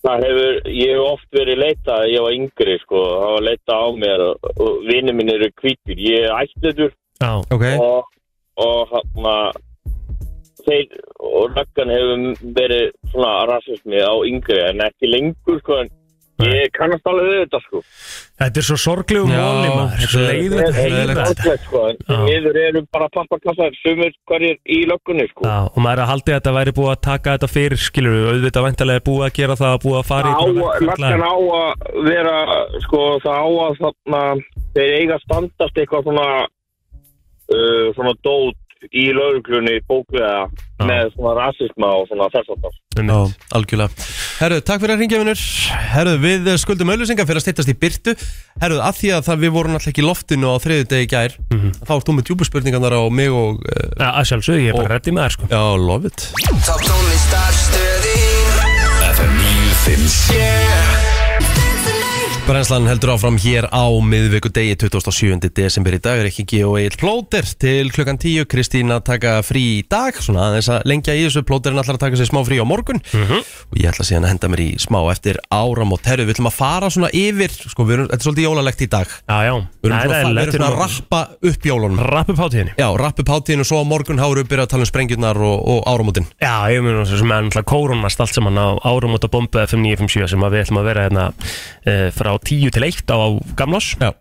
Speaker 9: það hefur, ég hef oft verið leitað þegar ég var yngri sko, það var leitað á mér og, og vinni minn eru hvítur, ég er ætletur
Speaker 4: já,
Speaker 2: Ok,
Speaker 9: og, og hann þeir og röggan hefur verið svona rasismi á yngri en ekki lengur sko en ég kannast alveg við þetta sko
Speaker 4: þetta er svo sorglegu
Speaker 2: Já,
Speaker 4: móli maður Þetta er svo
Speaker 2: þetta er-
Speaker 9: Ég
Speaker 4: leiðilegt að
Speaker 9: er
Speaker 4: heyra þetta
Speaker 9: átlegt sko en
Speaker 4: Já.
Speaker 9: niður eru bara pappakassar sumir hverjir í löggunni sko
Speaker 4: Já, og maður er að haldi að þetta væri búið að taka þetta fyrir skilur við, auðvitað vantarlega er búið að gera það búið að fara
Speaker 9: Það
Speaker 4: í
Speaker 9: á-
Speaker 4: einhverja
Speaker 9: löggan
Speaker 4: verkfalla.
Speaker 9: á að vera sko, það á að þarna þeir eiga að standast eitthvað svona uh, svona dót í lauruglunni bókveða
Speaker 4: Já.
Speaker 9: með svona rasisma og svona þess að
Speaker 2: Já,
Speaker 4: Einmitt.
Speaker 2: algjörlega Herru, takk fyrir að ringja vinnur Herru, við eh, skuldum auðlýsingar fyrir að steytast í byrtu Herru, að því að það við vorum alltaf ekki í loftinu á þriðu degi gær Þá ert þú með djúbuspurningarnar á mig og uh,
Speaker 4: Mhm. Já, að sjálfsög, ég er bara reddi með það sko
Speaker 2: Já, love it
Speaker 1: Top tónlistarstöðin FM 957
Speaker 2: Brennslan heldur áfram hér á miðvikudegi 27. desember í dag er ekki G.O. Egil Plóter til klukkan 10 Kristín að taka frí í dag svona aðeins að lengja í þessu Plóterinn ætlar að taka sér smá frí á morgun
Speaker 4: Mhm.
Speaker 2: og ég ætla síðan að henda mér í smá eftir áramót Herru, við ætlum að fara svona yfir sko, við erum, þetta er svolítið jólalegt í dag
Speaker 4: Já, já,
Speaker 2: Við erum svona,
Speaker 4: eðlilegt,
Speaker 2: við erum svona að rappa upp jólunum
Speaker 4: rapp upp hátíðinni
Speaker 2: Já, rappa upp hátíðinu svo á morgun háru upp byrja að tala um sprengjurnar og, og áramótin
Speaker 4: Já, ég mun sem er náttúrulega kórónast allt saman á árum út á bombu 5957 sem að við ætlum að vera hérna e, frá 10 til 1 á Gamlás
Speaker 2: Já.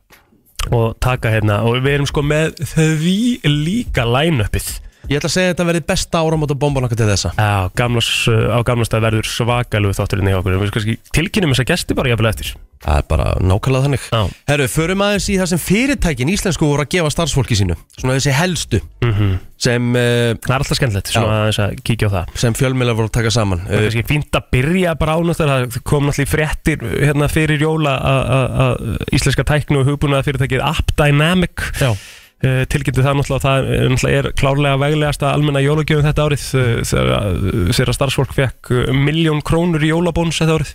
Speaker 4: og taka hérna og við erum sko með því líka line-upið
Speaker 2: Ég ætla að segja að þetta verði besta áramóta bomban okkar til þessa
Speaker 4: á Gamlás, eh, á Gamlás það verður svakalug þátturinn í okkur við kannski tilkynum þessa gesti bara jafnvel eftir
Speaker 2: Það er bara nákvæmlega þannig
Speaker 4: Já.
Speaker 2: Herru, förum aðeins í það sem fyrirtækin íslensku voru að gefa starfsfólki sínu Svona þessi helstu
Speaker 4: Mhm.
Speaker 2: sem, eh,
Speaker 4: Það er alltaf skemmtilegt, svona aðeins að kíkja á það
Speaker 2: sem fjölmiðlar voru að taka saman
Speaker 4: Það er
Speaker 2: Eh,
Speaker 4: kannski fínt að byrja bara á náttúrulega það kom náttúrulega í fréttir hérna fyrir jóla að- að að íslenska tæknu og hugbúnaða fyrirtækið AppDynamic
Speaker 2: Já.
Speaker 4: uh, tilkynnti það náttúrulega og það eh, náttúrulega er klárlega veglegasta almenna jólagjöfum þetta árið eh, þegar að- þegar að starfsfólk fekk miljón krónur í jólabónus þetta árið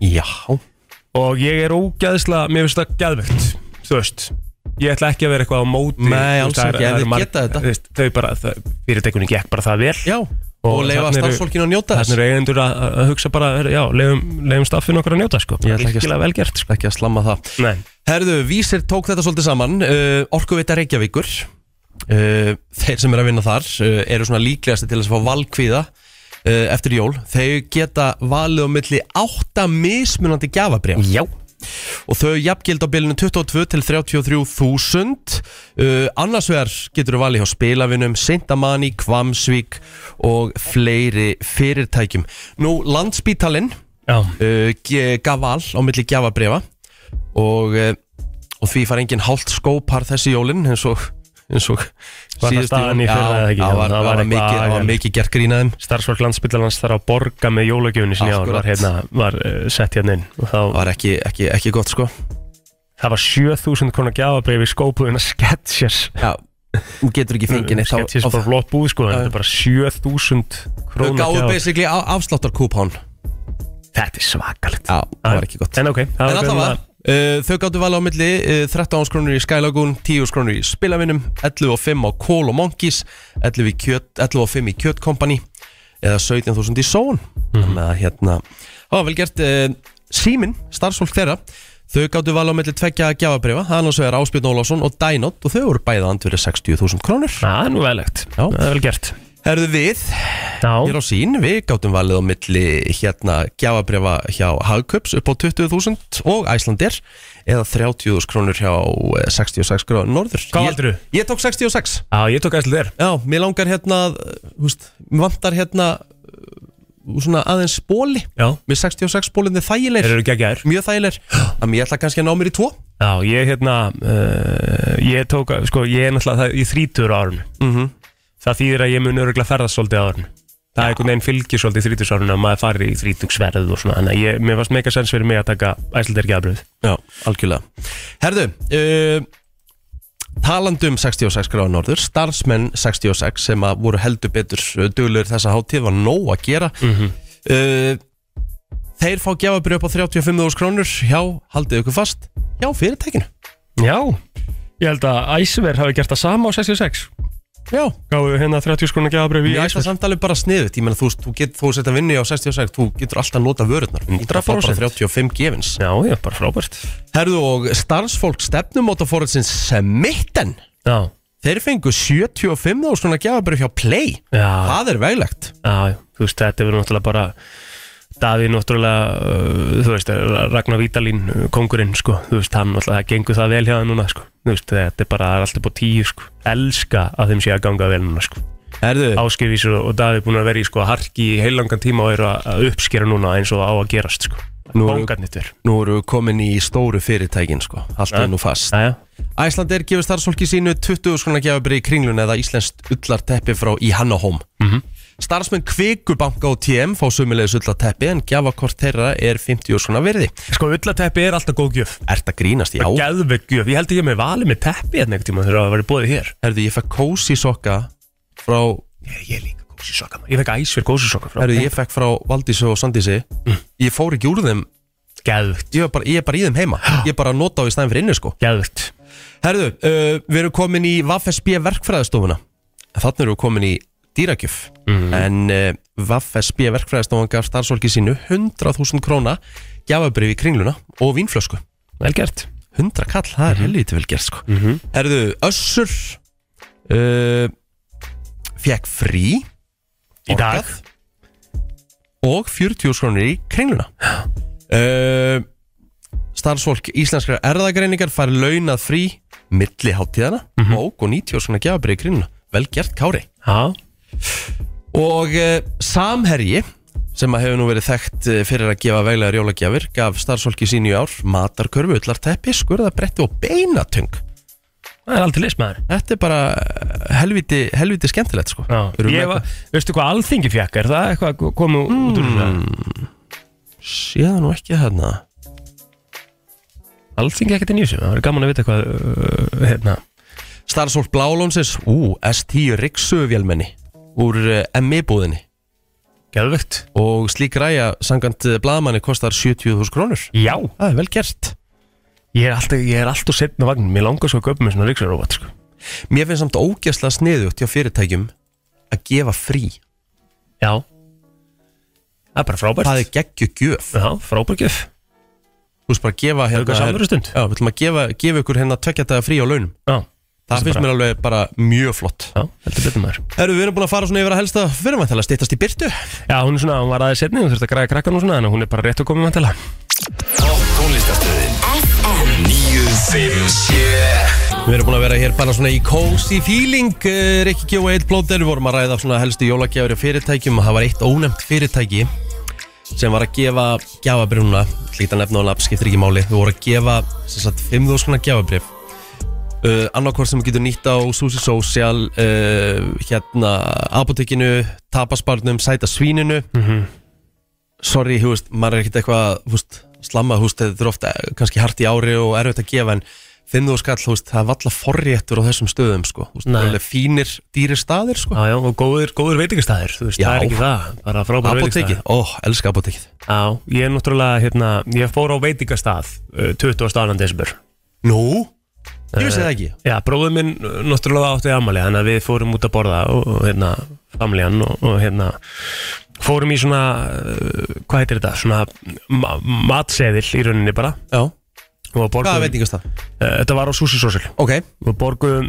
Speaker 2: Já,
Speaker 4: og ég er ógæðislega, mér finnst það gæðvegt þú veist ég ætla ekki að vera eitthvað á móti
Speaker 2: Nei, alls
Speaker 4: þú veist, það er-
Speaker 2: ekki, en
Speaker 4: það eru
Speaker 2: þeir
Speaker 4: marg-
Speaker 2: geta þetta.
Speaker 4: þú veist, Þau bara, það- fyrirtækunni gekk bara það vel
Speaker 2: Já, og, og leifa
Speaker 4: þarna eru-
Speaker 2: starfsfólkinu að njóta
Speaker 4: Þannig
Speaker 2: þess
Speaker 4: eru eigendur að, að hugsa bara, heyrðu, já, leiðum, leiðum staffinu okkar að njóta, sko.
Speaker 2: Ég ætla ekki að-
Speaker 4: Virkilega vel gert, sko.
Speaker 2: Ekki að slamma það
Speaker 4: Nei.
Speaker 2: Herðu, Vísir tók þetta svolítið saman uh, Orkuveita Reykjavíkur uh, Þeir sem eru að vinna þar uh, eru svona líklegasti til þess að fá valkvíða uh, eftir jól Þeir geta valið á milli átta mismunandi gjafabrjaf
Speaker 4: Já.
Speaker 2: og þau jafngild á bilinu 22 til 33.000 uh, annars vegar getur þau valið hjá spilavinum, Seintamani, Kvamsvík og fleiri fyrirtækjum. Nú, Landspítalinn
Speaker 4: Já.
Speaker 2: uh, ge- gaf val á milli gjafabrifa og, uh, og því far engin hálft skópar þessi jólinn eins og eins og
Speaker 4: Var það
Speaker 2: síðustu
Speaker 4: staðan
Speaker 2: jólin.
Speaker 4: í fyrra
Speaker 2: Já,
Speaker 4: eða ekki?
Speaker 2: það var, það
Speaker 4: Það var
Speaker 2: var,
Speaker 4: eitthvað
Speaker 2: mikið, það var
Speaker 4: agalegt.
Speaker 2: mikið gert grínaðum
Speaker 4: Starfsfólk landsbytlarlans þarf að borga með jólagjöfunni sinni á,
Speaker 2: Akkurat.
Speaker 4: var, hérna, var uh, sett hérna inn. Og
Speaker 2: það
Speaker 4: þá,
Speaker 2: var ekki, ekki, ekki gott sko
Speaker 4: það var 7000 konar gjafabrif í skópuðina Skechers.
Speaker 2: Já, þú getur ekki fengið neitt á-
Speaker 4: Skechers
Speaker 2: á-
Speaker 4: er bara flott búð, sko, en þetta er bara 7000
Speaker 2: Þau
Speaker 4: krónar
Speaker 2: gáðu
Speaker 4: gjafabréf.
Speaker 2: basically á- afsláttarkúpán
Speaker 4: Þetta er svakalegt.
Speaker 2: Já, það var ekki gott
Speaker 4: En ok, það
Speaker 2: En alltaf var
Speaker 4: bara-
Speaker 2: uh, Þau gáttu vala á milli uh, 13 skrónur í Skylagoon 10 skrónur í Spilavinum 11 og 5 á Kól og Monkeys 11, í kjöt, 11 og 5 í Kjöt Company eða 17.000 í Són
Speaker 4: Mhm.
Speaker 2: Þannig að hérna Það var vel gert uh, Símin, starfsfólk þeirra Þau gáttu vala á milli tveggja gjafabrifa annars vegar Áspjörn Ólafsson og Dænot og þau voru bæða andverið 60.000 krónur
Speaker 4: Það er nú velegt.
Speaker 2: Já.
Speaker 4: Það er vel gert.
Speaker 2: Herðu við, hér
Speaker 4: Já.
Speaker 2: á sín Við gáttum valið á milli hérna gjafabrifa hjá Hagköps upp á 20.000 og Æslandir eða 30.000 krónur hjá eh, 66 krónur norður
Speaker 4: Hvað
Speaker 2: Ég-
Speaker 4: valdirðu?
Speaker 2: Ég tók 66
Speaker 4: Já, ég tók aðeins þér.
Speaker 2: Já, mér langar hérna að, eh, þú veist, Mér vantar hérna eh, svona aðeins spóli
Speaker 4: Já.
Speaker 2: Mér 66 spólinni þægilegir
Speaker 4: Eru geggjaður?
Speaker 2: Mjög þægilegir Þannig ég ætla kannski að ná mér í tvo
Speaker 4: Já, ég hérna, uh, ég tók, að- sko, ég er náttúrulega það, ég þrítur á árun.
Speaker 2: Mhm.
Speaker 4: Það þýðir að ég mun öruglega ferðast svolítið á árun. Það er einhvern veginn fylgir svolítið þrítursárun að maður farir í þrítugsverð og svona. Þannig að ég, mér varst mega sens fyrir mig að taka æslandir geðabröð.
Speaker 2: Já, algjörlega Herðu, uh, um talandum 66 gráða norður, starfsmenn 66 sem að voru heldur betur duglur þessa hátíð var nóg að gera mm
Speaker 4: Mhm.
Speaker 2: Þeir fá gjafabrið upp á 35.000 krónur hjá, haldið ykkur fast, hjá fyrirtækinu
Speaker 4: Já, ég held að æsver hafi gert það sama á 66.
Speaker 2: Já,
Speaker 4: Gáðu hérna 30 skrona geðabröð í
Speaker 2: ég ætla
Speaker 4: æsver.
Speaker 2: samtalið bara sniðut Ég meina þú, veist, þú getur, þú sett að vinni á 66 Þú getur alltaf nota vörurnar Þú getur að fá bara 35 gefins
Speaker 4: Já, já, bara frábært.
Speaker 2: Herðu og starfsfólk stefnumótafóriðsins Semitten
Speaker 4: Já,
Speaker 2: Þeir fengu 75.000 svona gjafabrið hjá Play
Speaker 4: já,
Speaker 2: Það er veglegt
Speaker 4: já, já. þú veist, þetta verður náttúrulega bara... Davíð náttúrulega, uh, þú veist, Ragnar Vítalín, uh, kongurinn, sko, þú veist, hann náttúrulega, það gengur það vel hjá það núna, sko, þú veist, þetta er bara, það er alltaf búið tíu, sko, elska að þeim sé að ganga vel núna, sko.
Speaker 2: Herðu,
Speaker 4: Áskifísur og Davíð búin að vera í, sko, harki í heilangan tíma og eru að- að uppskera núna eins og á að gerast, sko.
Speaker 2: Nú
Speaker 4: Nú
Speaker 2: eru-
Speaker 4: eru... Bóngarnittur.
Speaker 2: nú eru við komin í stóru fyrirtækin sko Allt er
Speaker 4: Ja.
Speaker 2: nú fast
Speaker 4: Jæja,
Speaker 2: Æslandir gefur starfsfólki sínu 20 skona gefabri í kringlun eða íslenskt ullarteppi frá í Hannahóm
Speaker 4: Mhm.
Speaker 2: Starfsmenn Kvikubanka og TM fá sömulegis ullarteppi en gjafakort þeirra er 50 skona virði
Speaker 4: sko, ullateppi er alltaf góð gjöf.
Speaker 2: Ert að grínast, já
Speaker 4: Já. Gæðveg gjöf, ég held ekki með valið með teppi hérna einhvern tíma þegar það var búið hér.
Speaker 2: Herðu, ég fekk kósi sokka frá
Speaker 4: Ég, ég líka góðsisokka, maður. Ég fekk æsver góðsisokka frá. Mm.
Speaker 2: Herðu, ég fekk frá Valdísi og Sandísi Ég fór ekki úr þeim,
Speaker 4: Geðvegt,
Speaker 2: ég er bara, ég er bara í þeim heima Ég er bara að nota á í stæðin fyrir inni sko
Speaker 4: geðvegt.
Speaker 2: Herðu, uh, við erum komin í VFSB verkfræðastofuna Þannig erum við komin í dýrakjöf
Speaker 4: Mhm.
Speaker 2: En uh, VFSB verkfræðastofan gaf starfsólki sínu 100.000 króna Gjafabrif í kringluna og vínflösku
Speaker 4: Vel gert.
Speaker 2: 100 kall, það er helviti vel gert sko
Speaker 4: Mhm.
Speaker 2: Herðu, Össur uh, Fjekk frí
Speaker 4: Í dag.
Speaker 2: borgað Og 40 skrónir í kringluna uh, Starfsfólk íslenskra erðagreiningar fari launað frí milli hátíðana og, og 90 skrónir gjafabrið í kringluna Vel gert Kári
Speaker 4: Mhm. Já,
Speaker 2: Og uh, Samherji sem að hefur nú verið þekkt eh, fyrir að gefa veglegar jólagjafir gaf starfsfólki sín í ár matarkörfu, ullarteppi, skurðabretti og beinatöng
Speaker 4: það er aldrei list maður.
Speaker 2: Þetta er bara eh, helviti, helviti skemmtilegt sko
Speaker 4: Já,
Speaker 2: Erum við
Speaker 4: ég
Speaker 2: með
Speaker 4: var, veistu hvað alþingi fekk, er það eitthvað komið út úr þessu?
Speaker 2: Sé það nú ekki þarna
Speaker 4: Alþingi ekkert í nýjusum, það var gaman að vita hvað, uh, hérna,
Speaker 2: Starfsfólk Blálónsins, ú, S10 Rikssöfjálmenni úr ME búðinni
Speaker 4: geðvögt.
Speaker 2: eh, og slík ræja sangant blaðmanni kostar 70.000 krónur
Speaker 4: Já,
Speaker 2: Það er vel gert
Speaker 4: Ég er alltaf, ég er alltaf setna vagnin, mér langar svo að köpa mér svona ríksverðróbot sko.
Speaker 2: Mér finnst samt ógæslega sniðugt hjá fyrirtækjum að gefa frí
Speaker 4: Já Það er bara frábært
Speaker 2: Það er geggjugjöf
Speaker 4: Já, frábært gjöf
Speaker 2: Þú veist bara að gefa hérna,
Speaker 4: Auka samverustund.
Speaker 2: Já, við ætlum að gefa, gefa ykkur hérna tvekja daga frí á launum
Speaker 4: Já,
Speaker 2: Það finnst mér alveg bara mjög flott
Speaker 4: Já, heldur betur maður
Speaker 2: Herru, við erum búin að fara svona yfir að helsta fyrirvæntalega stýttast í byrtu
Speaker 4: Já, hún er svona, hún var aðeins setni, hún þurfti að græða krakkan og svona Þannig að hún er bara rétt að koma með tala
Speaker 1: Topp tónlistastöðin
Speaker 2: Við erum búin að vera hér bara svona í cozy feeling eh, Rikki G og Eil Blóter Við vorum að ræða svona helstu jólagjafir í fyrirtækjum og það var eitt ónefnt fyrirtæki sem var að gefa gjafabrifuna líta nefn og nafn, skiptir ekki máli Við voru að gefa sem sagt 5.000 svona gjafabrif uh, annarkvort sem þú getur nýtt á Susi Social uh, hérna apotekinu tapasbarnum, sæta svíninu sorry, þú veist, maður er ekkert eitthvað þú veist, slamma, þú veist, þetta er ofta kannski hart í ári og erfitt að gefa en finn þú skall, þú veist, það er valla forréttur á þessum stöðum, sko, þú veist, það
Speaker 4: Nei.
Speaker 2: er alveg fínir dýrir staðir, sko,
Speaker 4: Já, já, og góður, góður veitingastæðir, þú veist,
Speaker 2: Já.
Speaker 4: það er ekki það Bara frábært
Speaker 2: apotekið ó, elska apotekið
Speaker 4: Já, ég er náttúrulega, hérna, ég fór á veitingastað uh, 22. desember Eh,
Speaker 2: nú, ég vissi það ekki
Speaker 4: Já, bróður minn uh, náttúrulega átti amali þannig að við fórum út að borða og, og hérna, familjan og, og hérna fórum í svona, uh, hvað heitir þetta svona ma matseðil í rauninni bara
Speaker 2: já,
Speaker 4: og borgum,
Speaker 2: hvaða veitingast það?
Speaker 4: Uh, þetta var á Susi Social
Speaker 2: ok,
Speaker 4: og borgum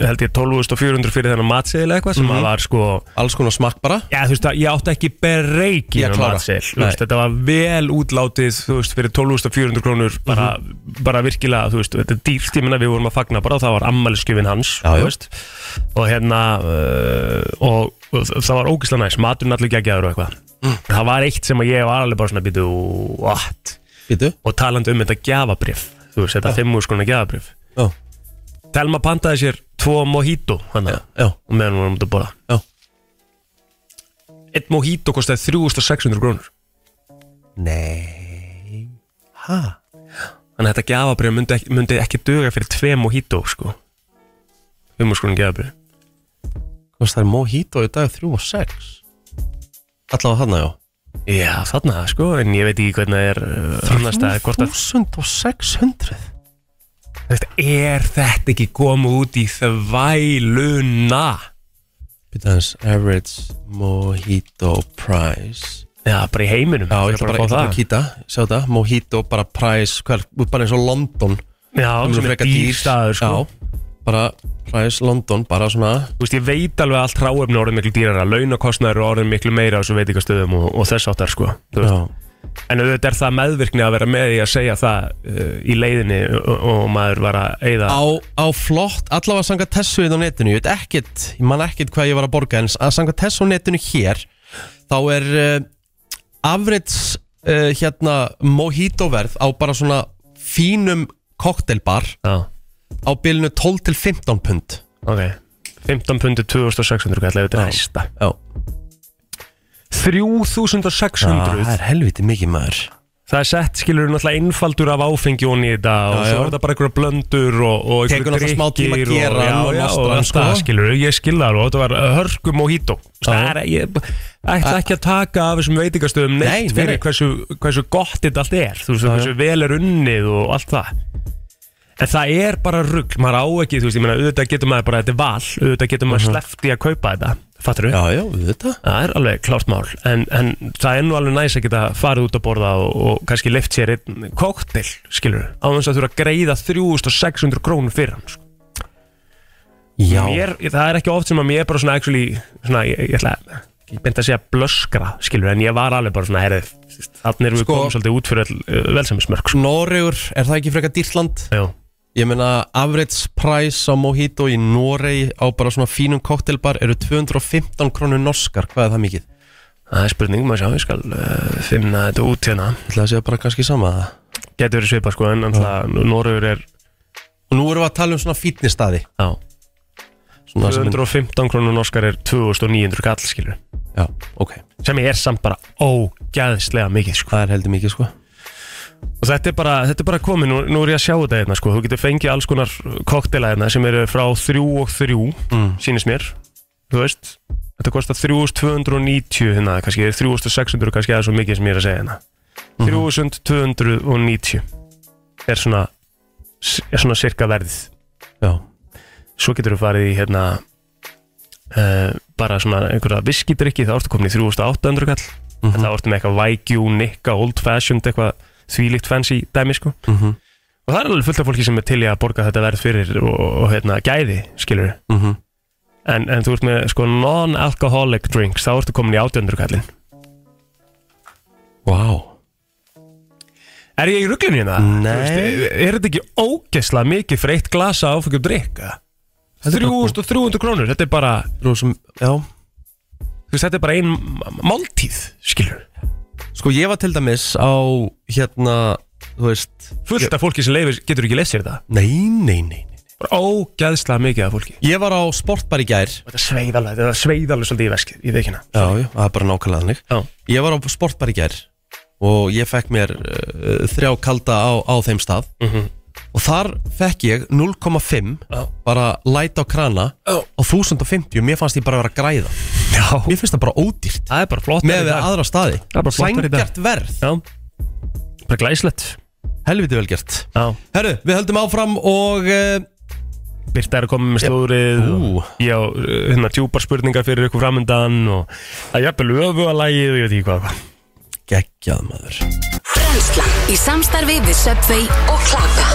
Speaker 4: held ég 12.400 fyrir þennan matseðil eða eitthvað sem að var sko
Speaker 2: Mhm. alls konar smakk bara
Speaker 4: Já, þú veist að ég átti ekki berreiki
Speaker 2: Í að
Speaker 4: með
Speaker 2: klára.
Speaker 4: matseðil, þú
Speaker 2: Nei.
Speaker 4: veist, þetta var vel útlátið, þú veist, fyrir 12.400 krónur bara,
Speaker 2: Mhm.
Speaker 4: bara virkilega, þú veist, þetta er dýrst, ég menna við vorum að fagna bara og það var ammælisgjöfin hans,
Speaker 2: Já, já.
Speaker 4: þú veist og hérna uh, og, og það var ógislega næst, maturinn allir geggjaður og eitthvað
Speaker 2: Mm.
Speaker 4: það var eitt sem að ég var alveg bara svona býtu, what?
Speaker 2: býtu,
Speaker 4: og talandi um þetta gjafabrif þú veist, þetta fimmúrskona gjafabrif
Speaker 2: já,
Speaker 4: Telma pantaði sér tvo mojito hann að
Speaker 2: já,
Speaker 4: og meðan hún var um þetta að borða
Speaker 2: Já.
Speaker 4: Eitt mojito kostaði 3600 krónur
Speaker 2: nei ha,
Speaker 4: Þannig að þetta gjafabrif myndi, ekki- myndi ekki duga fyrir tve mojito sko Fimmúrskonum gjafabrif
Speaker 2: hvað er mojito í dag 3 og 6 allavega hann já
Speaker 4: Já þarna sko en ég veit ekki hvernig það er uh, annars staðar, hvort að
Speaker 2: 3600
Speaker 4: Þetta er þetta ekki komið út í þvæluna
Speaker 2: býtu aðeins, average mojito price
Speaker 4: Já bara í heiminum
Speaker 2: Já, ég ætla bara, ég ætla bara að kýta, sjá þetta, Mojito, bara Price, hver, bara eins og London
Speaker 4: Já
Speaker 2: Hún
Speaker 4: sem er
Speaker 2: frekar
Speaker 4: dýr staður sko
Speaker 2: Já, bara Price, London, bara svona
Speaker 4: Þú veist, ég veit alveg að allt ráefni orðin miklu dýrara, launakostnæður orðin miklu meira á þessu veitingastöðum og, og þess áttar sko. Þú veist.
Speaker 2: Já,
Speaker 4: En auðvitað er það meðvirkni að vera með í að segja það uh, í leiðinni og, og maður var að e- eyða.
Speaker 2: á, á flott, allavega sanga þessu inn á netinu, ég veit ekkert, ég man ekkert hvað ég var að borga en að sanga þessu á netinu hér þá er uh, afrits uh, hérna mojito verð á bara svona fínum koktelbar
Speaker 4: Já,
Speaker 2: á bilinu 12 til 15 pund
Speaker 4: ok. 15 pundi 2600 kallar, þetta er hæsta.
Speaker 2: Já,
Speaker 4: 3600.
Speaker 2: það er helviti mikið maður
Speaker 4: það er sett, skilur, náttúrulega einfaldur af áfengi og nýta og
Speaker 2: Já,
Speaker 4: svo
Speaker 2: já.
Speaker 4: er það bara einhverja blöndur og, og einhverjir
Speaker 2: Tekur náttúrulega smá tíma að
Speaker 4: drykkir
Speaker 2: gera hann
Speaker 4: og,
Speaker 2: og
Speaker 4: já, já,
Speaker 2: nostra
Speaker 4: og
Speaker 2: hann,
Speaker 4: allt það,
Speaker 2: sko.
Speaker 4: skilur, ég skilðar og þetta var uh, hörkum og hító það er, ég ætla ekki að taka af þessum veitingastöðum neitt
Speaker 2: Nei, nei, nei.
Speaker 4: fyrir hversu, hversu gott þetta allt er þú veist, hversu vel er unnið og allt það En það er bara rugg, maður á ekki, þú veist, ég meina, auðvitað getur maður bara, þetta er val, auðvitað getur maður uh í að kaupa þetta, fattur
Speaker 2: Mhm. Já, já, við þetta
Speaker 4: Það er alveg klárt mál en, en það er nú alveg næs að geta farið út að borða og, og kannski leift sér einn koktel, skilur á þess að þurfa að greiða 3600 krónur fyrir hann sko.
Speaker 2: Já,
Speaker 4: mér, Það er ekki oft sem að mér bara svona, actually, svona ég, ég ætla ég beint að segja blöskra, skilur en ég var alveg bara svona, herrið þannig erum
Speaker 2: Sko-
Speaker 4: við sko, komið svolítið út fyrir all, uh, velsæmismörk sko.
Speaker 2: Noregur, er það ekki frekar dýrt land?
Speaker 4: Já,
Speaker 2: Ég meina, average price á mojito í Noregi á bara svona fínum koktelbar eru 215 krónur norskar, hvað er það mikið?
Speaker 4: það er spurning, maður sjá, ég skal uh, finna þetta út hérna
Speaker 2: Ætli Það sé bara kannski sama það.
Speaker 4: Getur verið svipað sko, en náttúrulega Norður er,
Speaker 2: Og nú erum við að tala um svona fítnistaði.
Speaker 4: já
Speaker 2: Svona sem er-
Speaker 4: 215 krónur norskar er 2900 kall, skilur
Speaker 2: Já, ok.
Speaker 4: sem er samt bara ógæðslega mikið sko.
Speaker 2: Það er heldur mikið, sko.
Speaker 4: og þetta er bara, þetta er bara komið, nú, nú er ég að sjá þetta hérna, sko. þú getur fengið alls konar koktela hérna sem eru frá 3 og 3 mm. sýnist mér, þú veist þetta kostar 3290 hérna, kannski 3600
Speaker 2: Mhm.
Speaker 4: kannski eða svo mikið sem ég er að segja hérna 3290 er svona s- svona cirka verðið já svo getur þú farið í hérna uh, bara svona einhverja viskidrykki þá ertu komin í 3800 kall mm -hmm. þá ertu með eitthvað YQ, Nikka, Old Fashioned eitthvað þvílíkt fancy dæmi sko
Speaker 2: Mhm.
Speaker 4: og það er alveg fullt af fólki sem er til í að borga þetta verð fyrir og, og hérna gæði skilur
Speaker 2: Mhm.
Speaker 4: en, en þú ert með sko non-alcoholic drinks þá ertu komin í 800 kallin
Speaker 2: Vá
Speaker 4: Er ég í ruglunni hérna?
Speaker 2: Nei.
Speaker 4: Þú veist, Er þetta ekki ógeðslega mikið fyrir eitt glasa áfengjum drikk? eða? 3.300 krónur, þetta er bara
Speaker 2: Rósum, já
Speaker 4: þú veist, Þetta er bara ein m- máltíð Skilur,
Speaker 2: Sko ég var til dæmis á hérna Þú veist
Speaker 4: fullt af fólki sem leifir Getur ekki lesið þetta
Speaker 2: Nei, nei, nei, nei.
Speaker 4: Bara ógeðslega mikið af fólki
Speaker 2: Ég var á sportbar í gær
Speaker 4: Þetta er sveiðalega, þetta er sveiðalega svolítið í veskið Í veikina
Speaker 2: Já, já, það er bara nákvæmlega þannig
Speaker 4: Já.
Speaker 2: Ég var á sportbar í gær og ég fekk mér uh, þrjá kalda á, á þeim stað
Speaker 4: Mhm.
Speaker 2: og þar fekk ég 0,5
Speaker 4: Já.
Speaker 2: bara læt á krana
Speaker 4: Já.
Speaker 2: á 1050 mér fannst ég bara vera að græða
Speaker 4: Já,
Speaker 2: mér finnst það bara ódýrt
Speaker 4: það er bara flott
Speaker 2: með við aðra staði
Speaker 4: Það er bara flottar í dag.
Speaker 2: Sanngjarnt verð,
Speaker 4: Já, bara glæslegt
Speaker 2: helviti vel gert
Speaker 4: Já,
Speaker 2: Herru, við höldum áfram og uh,
Speaker 4: Birta er að koma með slúrið
Speaker 2: Ú.
Speaker 4: og ég á uh, hérna tjúpar spurningar fyrir ykkur framöndan og það er jafnvel öfu að lægið og ég veit ekki hvað, hvað.
Speaker 2: geggjað maður
Speaker 10: Brennslan í samstarfi við Subway og Klaka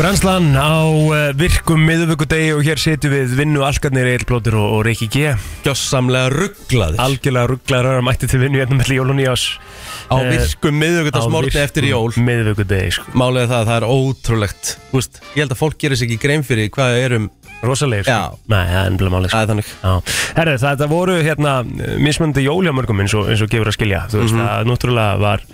Speaker 4: Brænslan á eh, virkum miðvíkudegi og hér setjum við vinnu algarnir Egil Blóttur og, og Rikki G
Speaker 2: Gjössamlega rugglaðir
Speaker 4: algjörlega rugglaður að mætti til vinnu hérna mellir jól og Eh, nýjás
Speaker 2: á
Speaker 4: eh,
Speaker 2: virkum miðugutasmorti eftir jól
Speaker 4: miðvíkudegi sko
Speaker 2: Málið er það að það er ótrúlegt Þú veist, Ég held að fólk gerir sér ekki grein fyrir hvað er um
Speaker 4: rosalegir
Speaker 2: Já.
Speaker 4: sko nei það er ennbla málið sko
Speaker 2: Það er þannig
Speaker 4: Já, herri það, það voru hérna eh, mismunandi jól hjá mörgum eins og, eins og gefur að skilja þú
Speaker 2: Mhm.
Speaker 4: veist það náttúrulega var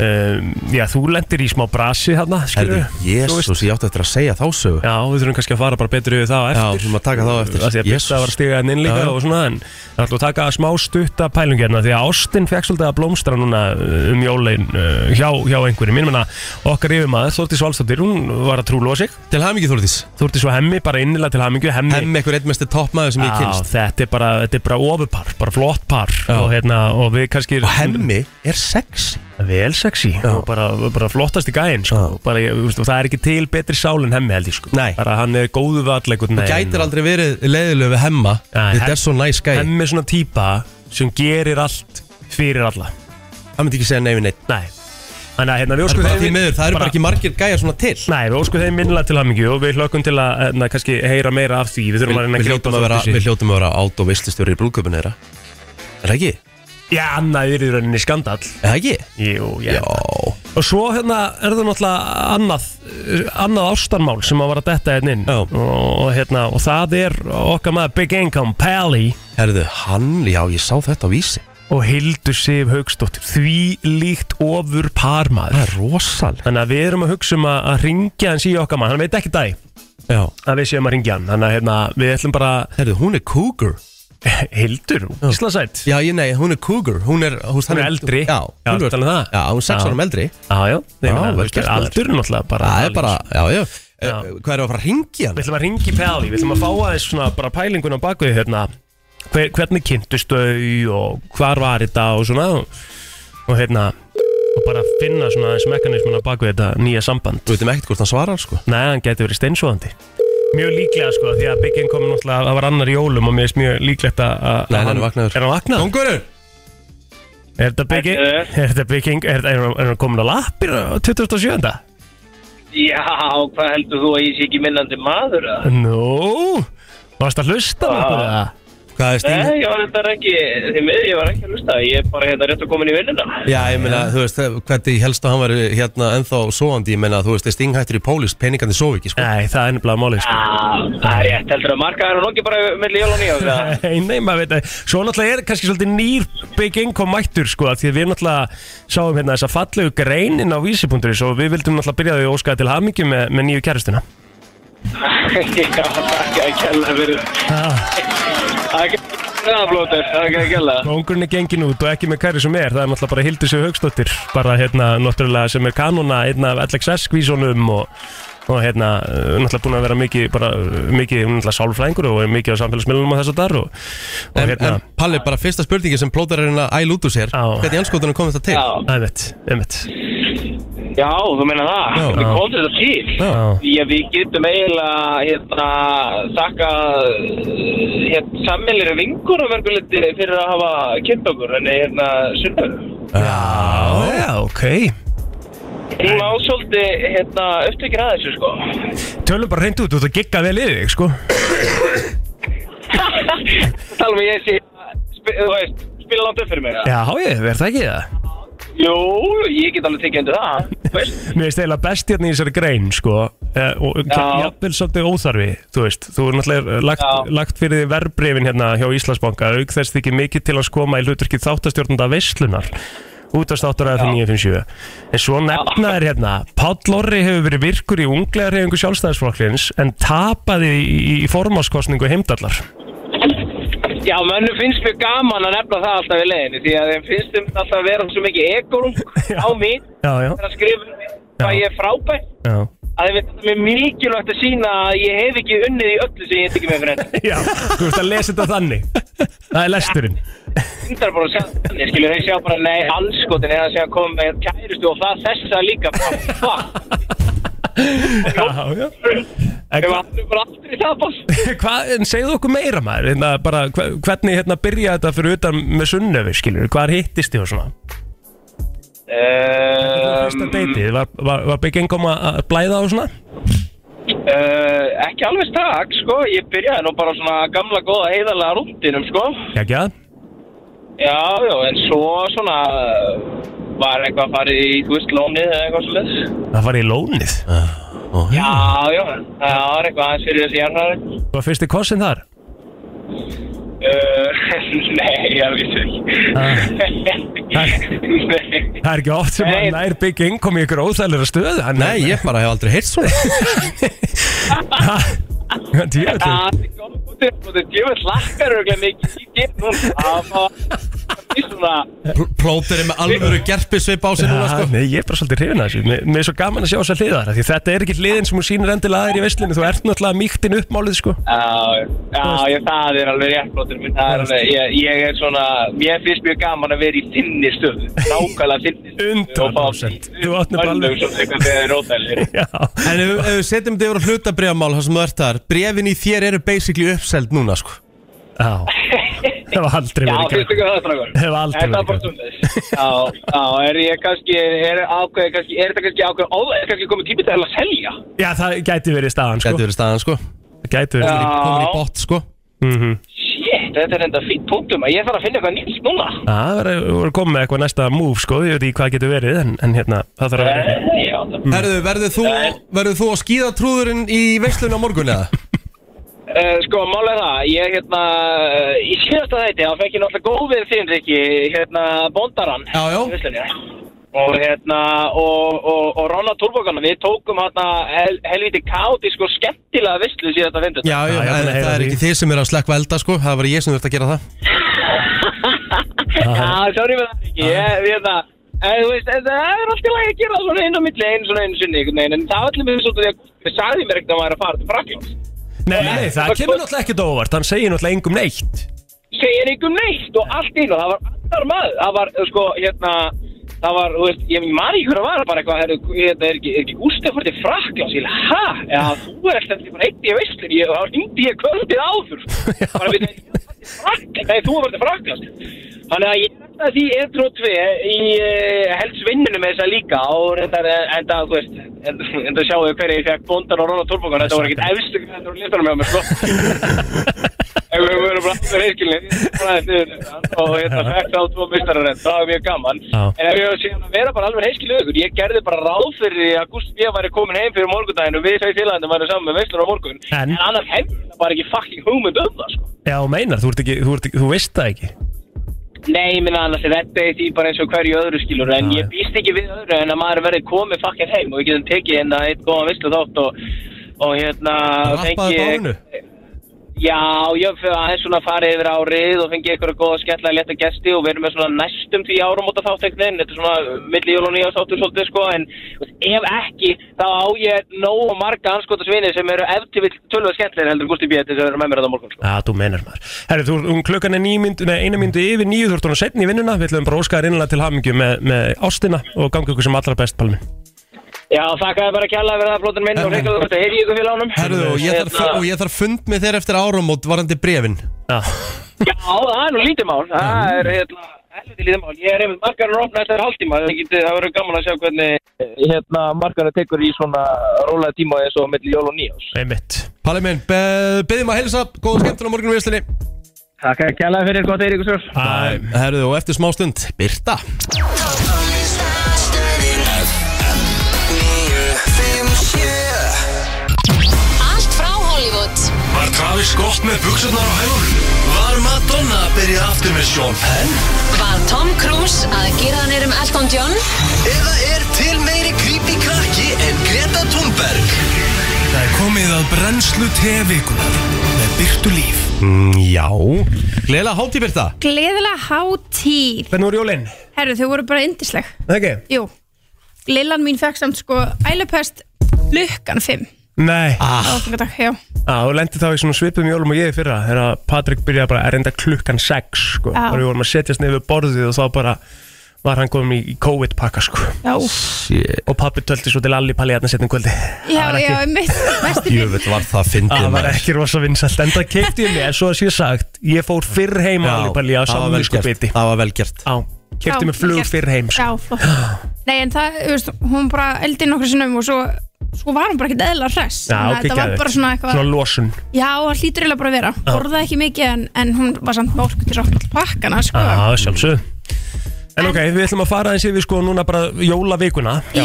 Speaker 4: um, já þú lendir í smá brasi hérna skilur
Speaker 2: Herðu, Jésús, ég átti eftir að segja þá sögu
Speaker 4: já við þurfum kannski að fara bara betur yfir það á
Speaker 2: Já,
Speaker 4: eftir
Speaker 2: þú maður taka þá eftir
Speaker 4: Það sé að Birta var að stiga henni inn líka
Speaker 2: Já, já.
Speaker 4: og svona En það ætlum að taka smá stutta pælingu hérna Því að Ástin fekk svolítið að blómstra núna uh, um jólin uh, hjá, hjá einhverjum Mér menna okkar yfirmaður, Þórtis Valstóttir, hún var að trúlóa sig
Speaker 2: Til hamingi Þórdís
Speaker 4: Þórtis var hemmi, bara innilega til hamingju Hemmi,
Speaker 2: Hemmi einhver einn mestir toppmaður sem ég
Speaker 4: Já,
Speaker 2: kynst
Speaker 4: þetta er bara, þetta er bara ofurpar, bara flott par
Speaker 2: Já.
Speaker 4: og, hérna, og við kannski
Speaker 2: Og Hemmi er sexy
Speaker 4: Vel sexy og bara, bara flottast í gæinn sko. bara, ég, þú veist, og Það er ekki til betri sál en hemmi held ég sko.
Speaker 2: Nei.
Speaker 4: Bara hann er góðu vallegur
Speaker 2: Gætir aldrei verið leiðilegu við Hemma
Speaker 4: Nei,
Speaker 2: Þetta
Speaker 4: Hem-
Speaker 2: er svo næs gæ
Speaker 4: Hemmi er svona típa sem gerir allt fyrir alla
Speaker 2: Það myndi ekki segja nei við neitt
Speaker 4: Nei Þannig að hérna við
Speaker 2: Það
Speaker 4: óskum
Speaker 2: eru bara því miður, það eru bara ekki margir gæjar svona til
Speaker 4: Nei, við óskum þeim minnilega til hamingju og við hlökkum til að hérna, kannski heyra meira af því Við þurfum að reyna að
Speaker 2: Við
Speaker 4: grípa
Speaker 2: hljótum að vera,
Speaker 4: Þórdísi.
Speaker 2: við hljótum að vera átt og veistlistjóri í brúðköpun þeirra Er það ekki?
Speaker 4: Já, annað er í rauninni skandall
Speaker 2: Er það ekki?
Speaker 4: Jú, ég
Speaker 2: Já
Speaker 4: held það. Og svo hérna er það náttúrulega annað, eh, annað ástarmál sem að var að detta hérna inn
Speaker 2: Já.
Speaker 4: og, hérna, og það er okkar maður Big Income Pally
Speaker 2: Herðu, hann, já ég sá þetta á vísi
Speaker 4: og Hildur Sif Haugsdóttir Því líkt ofur parmaður
Speaker 2: Það er rosal
Speaker 4: Þannig að við erum að hugsa um að, að ringja hans í okkar mann, hann veit ekki dag
Speaker 2: Já
Speaker 4: að við séum að ringja hann, þannig að hérna, við ætlum bara
Speaker 2: Herðu, hún er cougar
Speaker 4: Hildur, Íslasætt
Speaker 2: Já, ég nei, hún er cougar Hún er, hún,
Speaker 4: Hún er eldri.
Speaker 2: Já,
Speaker 4: Já,
Speaker 2: hún er
Speaker 4: talað um það.
Speaker 2: Já, hún er sex
Speaker 4: Já.
Speaker 2: árum eldri
Speaker 4: Já, já,
Speaker 2: Já,
Speaker 4: meina,
Speaker 2: vel
Speaker 4: þú veist,
Speaker 2: gert, maður.
Speaker 4: aldur er náttúrulega bara sko.
Speaker 2: Það er bara, já, já, já. Hvað
Speaker 4: Já.
Speaker 2: er að hérna? fara að ringi hann?
Speaker 4: Við ætlum að ringi Pæli, við ætlum að fá aðeins svona bara pælingun á bakvið hérna hver, Hvernig kynntust þau og hvar var þetta og svona Og hérna, og bara finna svona aðeins mekanismin á bakvið þetta nýja samband
Speaker 2: Þú veitum ekkert hvort hann svarar, sko
Speaker 4: Nei, hann geti verið steinsóðandi Mjög líklega sko, því að Big Income náttúrulega, það var annar í jólum og mér finnst mjög líklegt að að-
Speaker 2: Nei, hann
Speaker 4: að
Speaker 2: er vaknaður.
Speaker 4: Er hann vaknaður?
Speaker 2: Kongurinn
Speaker 4: Er þetta bygging, er þetta bygging, er þetta, er hann- er hann komin á lappir á 27.
Speaker 7: Já, hvað heldur þú að ég sé ekki minnandi maður? eða?
Speaker 4: Nú, varst að hlusta á okkur eða?
Speaker 2: Hvað er stíl?
Speaker 7: Nei, ég var þetta ekki, því miður ég var ekki að hlusta, ég er bara hérna rétt að komin í vinnuna.
Speaker 2: Já, ég meina, þú veist, hvernig helst að hann væri hérna ennþá svoandi Ég meina, þú veist, er stinghættur í pólist, peningandi svo ekki, sko
Speaker 4: Nei, það er nefnilega málið sko.
Speaker 7: Já, það er rétt, heldur að marka hann og nokki bara melli jól og nýjá, það?
Speaker 4: Nei, nei, maður veit að Svo náttúrulega er kannski svolítið nýr Big Income mættur sko af Því að við náttúrulega sáum hérna þessa fallegu greinin á vísipunktur Svo við vildum náttúrulega byrja því að óska til hamingju með, með nýju kæristuna
Speaker 7: Já, takk að kella fyrir.
Speaker 4: ah,
Speaker 7: Það er ekki-
Speaker 9: Já, blóter, það er ekki gæla
Speaker 4: Kóngurinn er gengin út og ekki með hverju sem er Það er náttúrulega bara Hildur Sjöf Haugsdóttir Bara hérna, náttúrulega sem er kanona Einn af LXS-skvísunum og, og hérna, eh, náttúrulega búin að vera mikið bara, eh, Mikið, hún er náttúrulega sálfræðingur Og er mikið á samfélagsmiðlunum og þess að dar og, og
Speaker 2: En,
Speaker 4: hérna,
Speaker 2: en Palli, bara fyrsta spurningi sem plótarinn að æl út úr sér
Speaker 4: Á.
Speaker 2: Hvernig anskotunum kom þetta til?
Speaker 9: Já,
Speaker 4: einmitt, einmitt
Speaker 9: já, þú meina það
Speaker 2: Já.
Speaker 9: Við komum þetta til
Speaker 4: Já,
Speaker 9: Já, við getum eiginlega hérna, þakka hérna, sammelir vingur og verkuliti fyrir að hafa kynnt okkur en hérna, sundur
Speaker 4: já, já ok
Speaker 9: Hún á svolítið hérna, upptökir að þessu sko
Speaker 4: Tölum bara reynd út, þú ert að gigga vel yfir þig, sko
Speaker 9: Tala um að ég sé sp þú veist, spila langt upp fyrir mig
Speaker 4: Já, ég, verð það ekki það?
Speaker 9: Jú, ég get alveg tekið undir það þú veist.
Speaker 4: Mér finnst eiginlega best hérna í þessari grein sko, eh, og
Speaker 9: Já.
Speaker 4: jafnvel svolítið óþarfi þú veist, þú er náttúrulega lagt,
Speaker 9: Já.
Speaker 4: lagt fyrir því verbreyfin hérna hjá Íslandsbanka auk þess þykir mikið til að koma í hluturki þáttastjórnunda veislunar útastáttur að það 957 en svo nefna er hérna Páll Orri hefur verið virkur í unglega reyfingu sjálfstæðisflokklins en tapaði í, í, í formáskostningu heimdallar
Speaker 9: Já, mönnum finnst mjög gaman að nefna það alltaf í leiðinni því að þeim finnst þeim alltaf að vera svo mikið ekorung
Speaker 4: Já.
Speaker 9: á mig
Speaker 4: Já, já,
Speaker 9: þegar að skrifa um mig hvað
Speaker 4: Já.
Speaker 9: ég er frábært
Speaker 4: já,
Speaker 9: að við þetta er mikilvægt að sína að ég hef ekki unnið í öllu sem ég tekið með fyrir henni.
Speaker 4: já þú veist að lesa þetta þannig það er lesturinn
Speaker 9: Hundar bara að sjá þannig, skilur þeir sjá bara nei, anskotin er að segja að koma með kærustu og það þessa líka bara, fuck,
Speaker 4: Já, já En
Speaker 9: við
Speaker 4: hvað-
Speaker 9: varum bara aftur í tapast.
Speaker 4: Hvað, en segðu okkur meira maður hérna, bara, hve- hvernig hérna byrja þetta fyrir utan með sunnöfi, skilur, hvað hittist þið og svona? Fyrsta
Speaker 9: Um,
Speaker 4: deitið, var, var, var bygging kom að að blæða og svona?
Speaker 9: uh, ekki alveg strax, sko, ég byrjaði nú bara svona gamla góða heiðarlega rúndinum, sko.
Speaker 4: Já, ekki að?
Speaker 9: Já, já, en svo svona uh, var eitthvað farið í, þú veist, lónið eða eitthvað svolítið.
Speaker 4: Það farið í lónið
Speaker 2: Ah.
Speaker 9: Já, já, það var eitthvað aðeins fyrir þessi jarnarinn.
Speaker 4: Hvað fyrst þið kossin þar?
Speaker 9: Uh, nei, ég vissi ekki
Speaker 4: Ah.
Speaker 9: Nei,
Speaker 4: Það er ekki oft sem að
Speaker 9: Nei.
Speaker 4: nær bygging kom í ykkur óþægilega stöðu hann-
Speaker 2: Nei, ég bara hef aldrei heyrt svona
Speaker 4: Ha? Djöfull.
Speaker 9: Ah. það er sko. góðbútið og þetta djöfum lakkar örgulega mikið í gegnum núna. það var það er svona
Speaker 2: Pl- Plóterinn með alvöru gerpisvip á sig núna
Speaker 4: Já,
Speaker 2: sko
Speaker 4: Nei, ég er bara svolítið hrifin að þessu Mér mér er svo gaman að sjá þess að hliðar Því þetta er ekki hliðin sem hún sýnir endilega aðeir í veslinu Þú ert náttúrulega mýktin uppmálið sko
Speaker 9: Já, já, ég, það er alveg rétt blóttur minn það er alveg, ég, ég er svona mér finnst mjög gaman að vera í þinni stöðu nákvæmlega þinni stöðu
Speaker 4: 100%. Þú átt nefnilega alveg-
Speaker 9: alveg svona eitthvað þegar rótælir
Speaker 4: Já
Speaker 2: En ef ef við setjum þetta yfir á hlutabriðamál þar sem þú ert þar Brefin í þér eru basically uppseld núna sko
Speaker 4: Já, það var aldrei
Speaker 9: Já,
Speaker 4: verið
Speaker 9: finnst ekki það strákur
Speaker 4: Hef aldrei
Speaker 9: verið
Speaker 4: verið
Speaker 9: gert Já, já, er ég kannski, er ákveðið kannski, er þetta kannski ákveðið, ó, er kannski komið tími til að selja
Speaker 4: Já, það gæti verið staðan sko
Speaker 2: Gæti verið staðan sko
Speaker 4: Það gæti verið
Speaker 9: Já.
Speaker 2: Komur í bótt sko
Speaker 4: Mhm.
Speaker 9: Shit, þetta er enda fínt punktum að ég þarf að finna eitthvað nýtt núna
Speaker 4: Það verður verður komið með eitthvað næsta move sko Ég veit ekki hvað getur verið En, en hérna, það þarf að vera
Speaker 9: Eh, Já, það-
Speaker 4: Mm.
Speaker 2: Herðu, verður þú, verður þú að skýða trúðurinn í veislun á morgun eða?
Speaker 9: Eh, sko, málega það, ég hérna, eh, í síðasta þætti, þá fekk ég náttúrulega góð við þín, Riki, hérna, bóndarann
Speaker 2: Já, já.
Speaker 9: í veislunni. Og hérna, og, og, og Ronna Turbókana, við tókum hérna hel, helviti káti, sko, skemmtilega veislu síðasta fyndu.
Speaker 2: Já, já,
Speaker 4: Já, ég er búin að
Speaker 2: en
Speaker 4: heyra
Speaker 2: það er
Speaker 4: því.
Speaker 2: ekki þið sem er að slekka elda sko Það var ég sem þurft að gera það
Speaker 9: Já, sorry með það ekki, ég, við hérna, en þú veist, en það er alltaf læg að gera svona inn á milli einu svona einu sinni, einhvern veginn, en það var allir með þessu út af því að við sagði mér ekkert að maður að fara til Fraklands.
Speaker 4: Nei, nei, það kemur náttúrulega ekkert á óvart Hann segir náttúrulega engum neitt
Speaker 9: segir einhver neitt og allt inn og það var annar maður, það var sko hérna, það var, þú veist, ég maður í hverju var bara eitthvað, heyrðu, hérna er ekki, er ekki Gústaf fyrir til Fraklands, ég leið, hæ, já, þú er eftir bara einn í veistlinn, ég, þá hindi ég kvöldið áður, sko. bara við Fraklands, nei, þú er bara til Fraklands, þannig að ég er eftir því 1 og 2 í uh, heldsvinninu með þessa líka og reyndar, eh, enda, þú veist, enda, enda sjáum við hverju ég fekk bóndan og Rónar Tórbókan, þetta voru ekkit efstu græður á listanum hjá mér, sko. Ef við verðum bara allir heiskilni og hérna fætti á tvo mistarar það var mjög gaman
Speaker 4: Já.
Speaker 9: en ef ég sé að vera bara alveg heiskilni aukur ég gerði bara ráð fyrir því að Gustaf ég væri komin heim fyrir morgundaginn og við sveið félagandi væri saman með veistlur á morgun
Speaker 4: En?
Speaker 9: en, annars hef ég bara ekki fucking hugmynd um það sko.
Speaker 4: Já, þú meinar, þú, ert ekki, þú, ert ekki, þú veist það ekki
Speaker 9: nei, ég minna annars er þetta er því bara eins og hverju öðru skilur en
Speaker 4: Já, já.
Speaker 9: ég býst ekki við öðru en að maður verði komið fucking heim og við getum tekið hérna eitt góðan veistlur þátt og, og hérna
Speaker 2: Rappaðu
Speaker 9: fengið-
Speaker 2: bárinu
Speaker 11: Já, ég hef aðeins svona farið yfir árið og fengið ykkur að góða skemmtilega létta gesti og við erum með svona næstum því árum út af þátteknin, þetta er svona milli jól og nýja sáttu svolítið sko, en þú veist, ef ekki, þá á ég nógu marga anskotasvinni sem eru ef til vill tölva skemmtilega heldur en Gústi Bíði sem eru með mér þetta morgun sko.
Speaker 4: Já, þú menar maður. Herri, þú, um klukkan er níu mynd, nei, eina myndu yfir níu, þú ert hún að setja í vinnuna, við ætlum bara að óska þér innlega til hamingju með, með ástina og gangi ykkur sem allra best, Palmi.
Speaker 11: Já, þakkaði bara kjallaði fyrir það flótin minn og reyngaðu þetta heyri ykkur Hérna- félagum.
Speaker 2: Herðu, og ég þarf,
Speaker 9: Hérna-
Speaker 2: og ég þarf fund með þér eftir áramót varandi brefin
Speaker 4: Já
Speaker 11: Já, það er nú lítið mál, það er hérna, helviti lítið mál, ég er einmitt margarinn opnað eftir hálftíma, það getur, það verður gaman að sjá hvernig hérna margarinn tekur í svona rólega tíma eins og milli jól og nýjás.
Speaker 4: Einmitt
Speaker 2: Palli minn, be, beðum að heilsa Góða skemmtun á morgunum viðslinni
Speaker 11: Takk að kjalla fyrir gott Eiríkus Jórs
Speaker 2: Herðu, og eftir smá stund, Birta
Speaker 10: Allt frá Hollywood
Speaker 1: Var Travis gott með buksurnar á hægum? Var Madonna að byrja aftur með Sean Penn?
Speaker 10: Var Tom Cruise að gera hann erum Elton John?
Speaker 1: Eða er til meiri creepy krakki en Greta Thunberg?
Speaker 12: Það er komið að brennslu tevikunar með byrtu líf.
Speaker 2: mm, Já Gleila hátíð Birta
Speaker 13: Gleðilega hátíð
Speaker 4: Hvernig voru jólinn?
Speaker 13: Herru, þau voru bara yndisleg
Speaker 4: Ekki?
Speaker 13: Jú, lillan mín fekk samt sko ælupest lukkan 5
Speaker 4: Nei.
Speaker 13: ah. Áfangadag, já
Speaker 4: Já, þú lendir þá í svona svipum jólum og ég í fyrra þegar Patrik byrjaði bara að reynda klukkan 6 sko,
Speaker 13: Já.
Speaker 4: og við vorum að setjast niður við borðið og þá bara var hann komin í COVID pakka sko
Speaker 13: Já,
Speaker 2: Shit.
Speaker 4: og pappi töldi svo til allipalli hérna setjum kvöldi
Speaker 13: já,
Speaker 4: Það var
Speaker 13: já,
Speaker 4: ekki-
Speaker 13: mitt Mestu mín
Speaker 2: Jöfnveld var það fyndið
Speaker 4: Það var
Speaker 2: maður.
Speaker 4: ekki rosa vinsalt en það keipti ég mér, svo að sé sagt ég fór fyrr heim
Speaker 2: Já,
Speaker 4: á allipalli á
Speaker 2: það var vel
Speaker 4: samvísku
Speaker 2: gert,
Speaker 4: biti
Speaker 2: Það var vel gert
Speaker 4: Já, keipti
Speaker 13: Já,
Speaker 4: mér flug
Speaker 13: vel gert.
Speaker 4: fyrr heim sko.
Speaker 13: Já, flott Nei, en það, þú veist, hún bara eldi nokkru sinnum og svo Svo var hún bara ekkert eðla hress
Speaker 4: Já,
Speaker 13: Þannig að
Speaker 4: ok,
Speaker 13: Þetta var
Speaker 4: geðveikt.
Speaker 13: bara svona eitthvað
Speaker 4: Svona losun
Speaker 13: Já, það hlýtur eiginlega bara að vera
Speaker 4: Já.
Speaker 13: Borðaði ekki mikið en, en hún var samt málku til rátt pakkana sko.
Speaker 4: Já, sjálfsög En ok, við ætlum að fara eins yfir sko núna bara jólavikuna
Speaker 13: já. í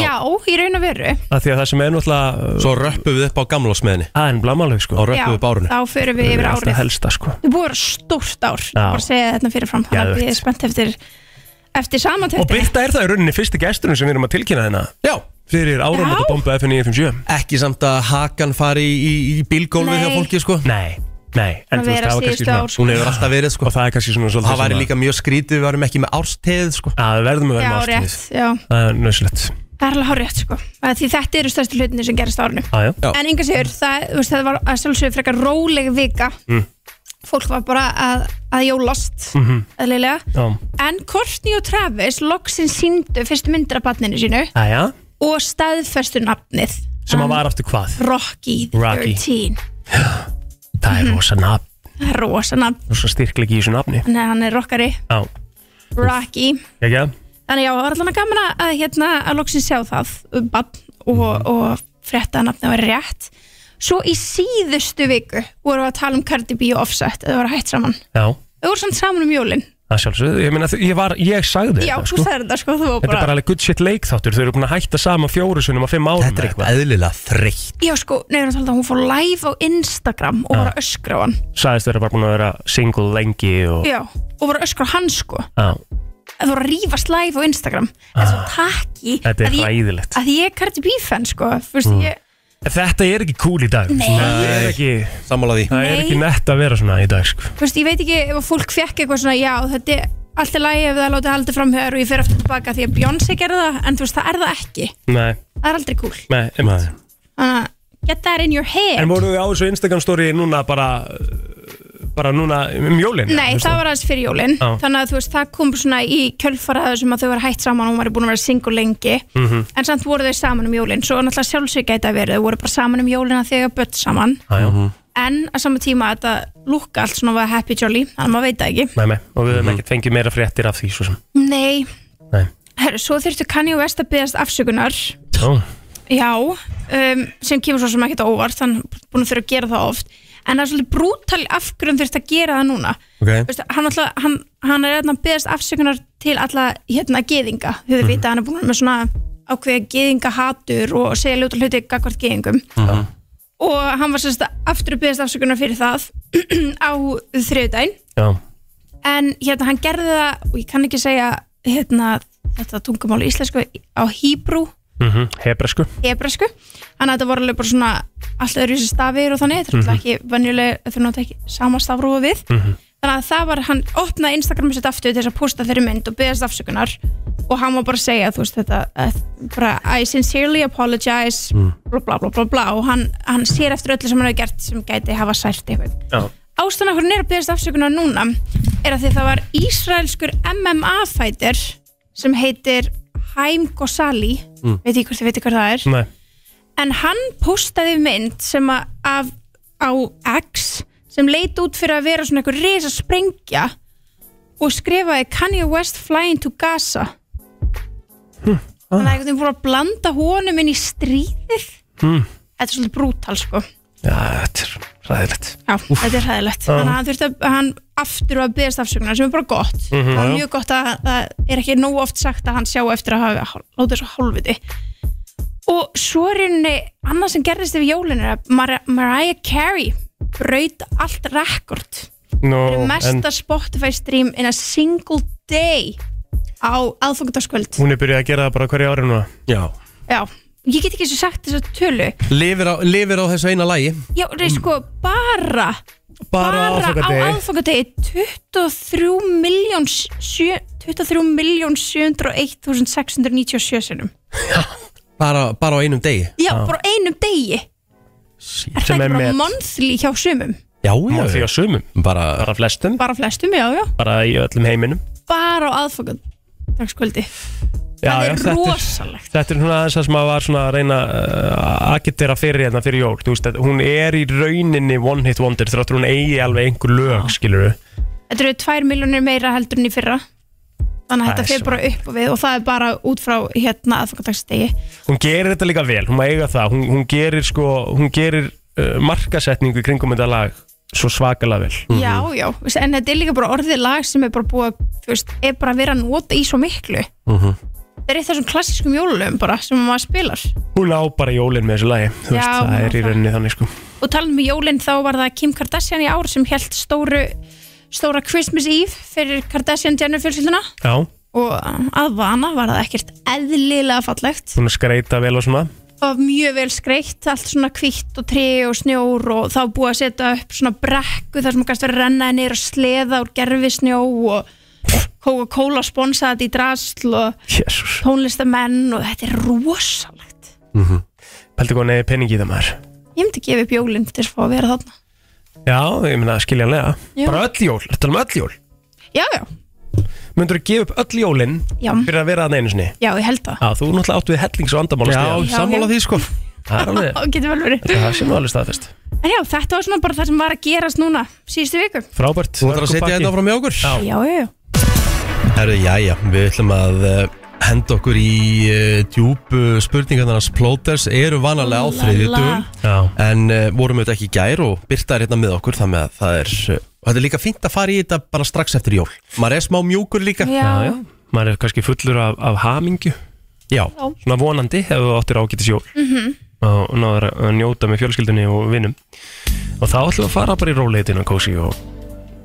Speaker 13: raun og veru
Speaker 4: að því að það sem er náttúrulega uh,
Speaker 2: Svo röppum við upp á gamlásmiðinni
Speaker 4: Það er blámáleg sko
Speaker 2: Og röppum við upp árunni
Speaker 13: Já, þá förum við yfir árið
Speaker 4: Alltaf helsta sko
Speaker 13: Þú búið að vera stórt ár Ég
Speaker 4: Já.
Speaker 13: bara að segja þetta fyrir fram Þannig að
Speaker 4: Geðvegt.
Speaker 13: ég er spennt eftir, eftir
Speaker 4: Og
Speaker 13: samantöktin
Speaker 4: Birta er það í rauninni fyrsti gesturinn sem við erum að tilkynna hérna
Speaker 2: Já
Speaker 4: Fyrir áramóta bombu FN957
Speaker 2: Ekki samt að hakan fari í, í, í bílgólfi hjá
Speaker 13: Nei.
Speaker 2: fólki sko
Speaker 4: Nei, nei En
Speaker 13: Að
Speaker 4: þú veist,
Speaker 13: vera
Speaker 4: það var kannski
Speaker 13: síðustu ár,
Speaker 4: svona
Speaker 13: sko.
Speaker 2: Hún hefur alltaf verið sko
Speaker 4: Og það er kannski svona svolítið
Speaker 2: Það væri
Speaker 4: sem að-
Speaker 2: líka mjög skrítið, við varum ekki með ársteð sko
Speaker 4: Já, við verðum að
Speaker 13: Já,
Speaker 4: vera með
Speaker 13: rétt,
Speaker 4: ástíð
Speaker 13: já
Speaker 4: Það er nöðsilegt
Speaker 13: Það er alveg hárétt sko Að Því þetta eru stærstu hlutinni sem gerist á árinu
Speaker 4: Já, já
Speaker 13: En enga sigur, það, þú veist, það var að sjálfsögur frekar róleg vika
Speaker 4: Mm.
Speaker 13: Fólk var bara að, að jólast mm
Speaker 4: Mhm.
Speaker 13: Eðlilega
Speaker 4: Já,
Speaker 13: En Courtney og Travis loksin síndu fyrstu myndir af barninu sínu
Speaker 4: aðja
Speaker 13: Og staðfestu nafnið
Speaker 4: Sem að var aftur hvað
Speaker 13: Rocky the
Speaker 4: Rocky.
Speaker 13: 13
Speaker 4: Það er rosa nafn
Speaker 13: Það er rosa nafn
Speaker 4: Rosa styrklegi í þessu nafni
Speaker 13: Þannig að hann er rockari
Speaker 4: Já,
Speaker 13: Rocky
Speaker 4: ekki að?
Speaker 13: Þannig já, það var allan að gaman að, hérna, að loksins sjá það um bann
Speaker 4: Mhm.
Speaker 13: og, og frétta að nafnið var rétt. Svo í síðustu viku vorum við að tala um Cardi B og Offset, þau voru hætt saman.
Speaker 4: Já,
Speaker 13: Þau voru samt saman um jólinn.
Speaker 4: það er sjálfsögðu Ég meina, ég var, ég sagði
Speaker 13: Já,
Speaker 4: þetta
Speaker 13: þú sagði þetta sko, þú var
Speaker 4: Þetta
Speaker 13: bara...
Speaker 4: er bara alveg good shit leikþáttur Þau eru búin að hætta saman fjóru sunnum á fimm árum
Speaker 2: Þetta er eitthvað eðlilega þreytt
Speaker 13: Já sko, nefnir að tala um að hún fór live á Instagram
Speaker 4: Ah.
Speaker 13: og var að öskra á hann.
Speaker 4: Sæðist vera bara búin að vera single lengi og...
Speaker 13: Já, og var að öskra á hann sko.
Speaker 4: Já,
Speaker 13: Það voru að rífast live á Instagram. En svo takki
Speaker 4: Ah. Þetta er
Speaker 13: að ég,
Speaker 4: hræðilegt.
Speaker 13: að ég er Cardi B fan sko, fyrst
Speaker 4: Mm.
Speaker 13: ég...
Speaker 4: Þetta er ekki cool í dag
Speaker 13: Nei.
Speaker 4: Það er ekki,
Speaker 2: Sammála því
Speaker 4: það er
Speaker 13: Nei.
Speaker 4: ekki nett að vera svona í dag sko.
Speaker 13: þú veist, ég veit ekki ef að fólk fekk eitthvað svona, já, þetta er allt er lægi ef það látið haldið framhör og ég fer aftur tilbaka því að Beyoncé gerði það, en þú veist, það er það ekki
Speaker 4: Nei,
Speaker 13: það er aldrei cool,
Speaker 4: nei, nei.
Speaker 13: þannig að get that in your head
Speaker 4: En voru þau á þessu Instagram story núna bara bara núna um jólin
Speaker 13: Nei, það var aðeins fyrir jólin
Speaker 4: Já.
Speaker 13: þannig að þú veist, það kom svona í kjölfaraðu sem að þau var hætt saman og hún var búin að vera single lengi
Speaker 4: Mhm.
Speaker 13: en samt voru þau saman um jólin svo náttúrulega sjálfsög gæti að verið, þau voru bara saman um jólin að þegar börn saman
Speaker 4: Æjá,
Speaker 13: en að sama tíma að þetta lúkka allt svona var happy jolly, þannig að maður veit það ekki
Speaker 4: nei, nei, og við höfum ekkert fengið meira fréttir af því svo sem
Speaker 13: Nei,
Speaker 4: Nei,
Speaker 13: herru, svo þurftu Kanye West að byggast afsökunar
Speaker 4: já,
Speaker 13: Já, um, sem kemur svo sem ekkert á óvart hann er búin að þurfa að gera það oft en það er svolítið brútal af hverju hann þurft að gera það núna
Speaker 2: Ok
Speaker 13: Veistu, hann, alltaf, hann, hann er hérna að beðast afsökunar til alla hérna geðinga við mm. vita að hann er búin með svona ákveða geðinga hatur og segja ljóta hluti gagvart geðingum
Speaker 4: Mhm.
Speaker 13: og hann var sérst aftur að beðast afsökunar fyrir það á þriðudaginn
Speaker 4: já,
Speaker 13: en hérna hann gerði það og ég kann ekki segja hérna þetta tungumál í íslensku á hýbrú
Speaker 4: mm -hmm. Hebresku
Speaker 13: hebresku þannig að þetta voru alveg bara svona alltaf eru þessi stafir og þannig, þetta er
Speaker 4: Mhm.
Speaker 13: náttúrulega ekki venjulega þau nota ekki sama stafrófa við
Speaker 1: Mhm.
Speaker 13: þannig að það var, hann opnaði Instagram sitt aftur til þess að posta þeirri mynd og beðast afsökunar og hann var bara að segja, þú veist þetta eh, bara, I sincerely apologize
Speaker 4: Mm.
Speaker 13: bla bla bla bla bla og hann, hann sér eftir öllu sem hann hefur gert sem gæti hafa sært eitthvað
Speaker 4: Já
Speaker 13: ástæðan af hvernig hann er að beðast afsökunar núna er að því það var ísraelskur MMA-fætir sem heitir Haim Ghazali
Speaker 4: Mm.
Speaker 13: veit ég hvort þið veitir hvað það er
Speaker 4: Nei
Speaker 13: en hann postaði mynd sem að af, á X sem leit út fyrir að vera svona einhver risa sprengja og skrifaði Kanye West flying to Gaza þannig að einhvern veginn voru að blanda honum inn í stríðið
Speaker 4: mm.
Speaker 13: þetta er svolítið brútal sko
Speaker 4: Já, þetta er ræðilegt
Speaker 13: Já, þetta er hæðilegt
Speaker 4: Já.
Speaker 13: Þannig að hann þurfti að hann aftur að beðast afsökunar sem er bara gott
Speaker 4: Mhm,
Speaker 13: Það er
Speaker 4: já.
Speaker 13: mjög gott að það er ekki nóg oft sagt að hann sjá eftir að hafa látið þessu hálfviti Og svo er henni annað sem gerðist yfir jólin er að Mar Mariah Carey braut allt rekord
Speaker 4: Nú, en
Speaker 13: Mesta Spotify stream in a single day á aðfungundaskvöld
Speaker 4: hún er byrjuð að gera það bara hverju ári núna
Speaker 2: Já
Speaker 13: Já, ég get ekki eins og sagt þess að tölu
Speaker 2: Lifir á, lifir á þessu eina lagi
Speaker 13: Já, rey,
Speaker 4: Mm.
Speaker 13: sko, bara
Speaker 2: Bara á
Speaker 13: á
Speaker 2: aðfangadegi.
Speaker 13: aðfangadegi 23 miljón 23 miljón 701.697 sinnum
Speaker 2: bara, bara á einum degi
Speaker 13: Já, bara á einum degi Er það ekki bara monthly hjá sumum?
Speaker 2: Já,
Speaker 4: já Því á sumum
Speaker 2: bara,
Speaker 4: bara flestum
Speaker 13: Bara flestum, já, já
Speaker 4: Bara í öllum heiminum
Speaker 13: Bara á aðfangadagskvöldi
Speaker 4: já,
Speaker 13: Það er
Speaker 4: þetta
Speaker 13: rosalegt.
Speaker 4: Þetta er svona þess að maður var svona að reyna uh, að agitera fyrir hérna fyrir jól Þú veist að hún er í rauninni one hit wonder Þráttur hún eigi alveg einhver lög, skilur
Speaker 13: Þetta eru 2 miljónir meira heldur en í fyrra Þannig að
Speaker 4: Það
Speaker 13: þetta
Speaker 4: er
Speaker 13: fyrir bara upp og við og það er bara út frá hérna aðfangardagsdegi
Speaker 4: Hún gerir þetta líka vel, hún má eiga það Hún, hún gerir sko, hún gerir uh, markasetningu í kringum þetta lag Svo svakalega vel
Speaker 13: Já, já, en þetta er líka bara orðið lag sem er bara búið að, þú veist, er bara að vera að nota í svo miklu
Speaker 4: Mhm.
Speaker 13: Það er eitt af þessum klassískum jólulöfum bara sem maður spilar
Speaker 4: Hún á bara jólin með þessu lagi Þú
Speaker 13: Já,
Speaker 4: veist, það
Speaker 13: hún
Speaker 4: er í rauninni þannig sko
Speaker 13: Og talandi um jólinn þá var það Kim Kardashian í ár sem held stóru, stóra Christmas Eve fyrir Kardashian Jenner fjölskylduna
Speaker 4: Já,
Speaker 13: og að vana var það ekkert eðlilega fallegt
Speaker 4: hún er skreita vel og svona
Speaker 13: og mjög vel skreitt, allt svona kvitt og tré og snjór og þá búið að setja upp svona brekku þar sem kannski verið að renna niður og sleða úr gerfi snjó og Coca-Cola sponsaði þetta í drasl og
Speaker 4: Jesus.
Speaker 13: tónlistamenn og þetta er rosalegt.
Speaker 4: mm -hmm. Pældi hvað neði peningi í það maður
Speaker 13: Ég myndi gefa upp jólinn til þess að fá að vera þarna.
Speaker 4: Já, ég meina skiljanlega
Speaker 13: Já.
Speaker 4: Bara öll jól, þetta er um öll jól
Speaker 13: Já, já,
Speaker 4: Möndur að gefa upp öll jólin
Speaker 13: Já.
Speaker 4: fyrir að vera að neinu sinni
Speaker 13: já, ég held það.
Speaker 4: Já, þú náttúrulega áttu við hellings og andamál
Speaker 2: Já, Já, sammála já. því,
Speaker 4: sko Það er alveg,
Speaker 13: Og getur vel verið.
Speaker 4: það sé nú alveg staðfest
Speaker 13: En já, þetta var svona bara það sem var að gerast núna síðustu viku.
Speaker 4: Frábært
Speaker 2: Þú ætlar að setja þetta áfram hjá okkur
Speaker 4: Já,
Speaker 13: Já, já, já.
Speaker 2: Herru, jæja, við ætlum að uh, henda okkur í uh, djúbu spurningarnarnas plóters eru vanalega á
Speaker 13: Úlala.
Speaker 2: þriðju dugum
Speaker 4: Já.
Speaker 2: en uh, vorum auðvitað ekki í gær og byrtaði hérna með okkur þannig að það er uh, og þetta er líka fínt að fara í þetta bara strax eftir jól maður er smá mjúkur líka
Speaker 13: Já. Já, já.
Speaker 4: Maður er kannski fullur af, af hamingju
Speaker 2: Já,
Speaker 4: Svona vonandi ef þú áttir ágætis jól
Speaker 13: Mhm.
Speaker 4: og náður að njóta með fjölskyldunni og vinnum og þá ætlum við að fara bara í róleitin og kósi og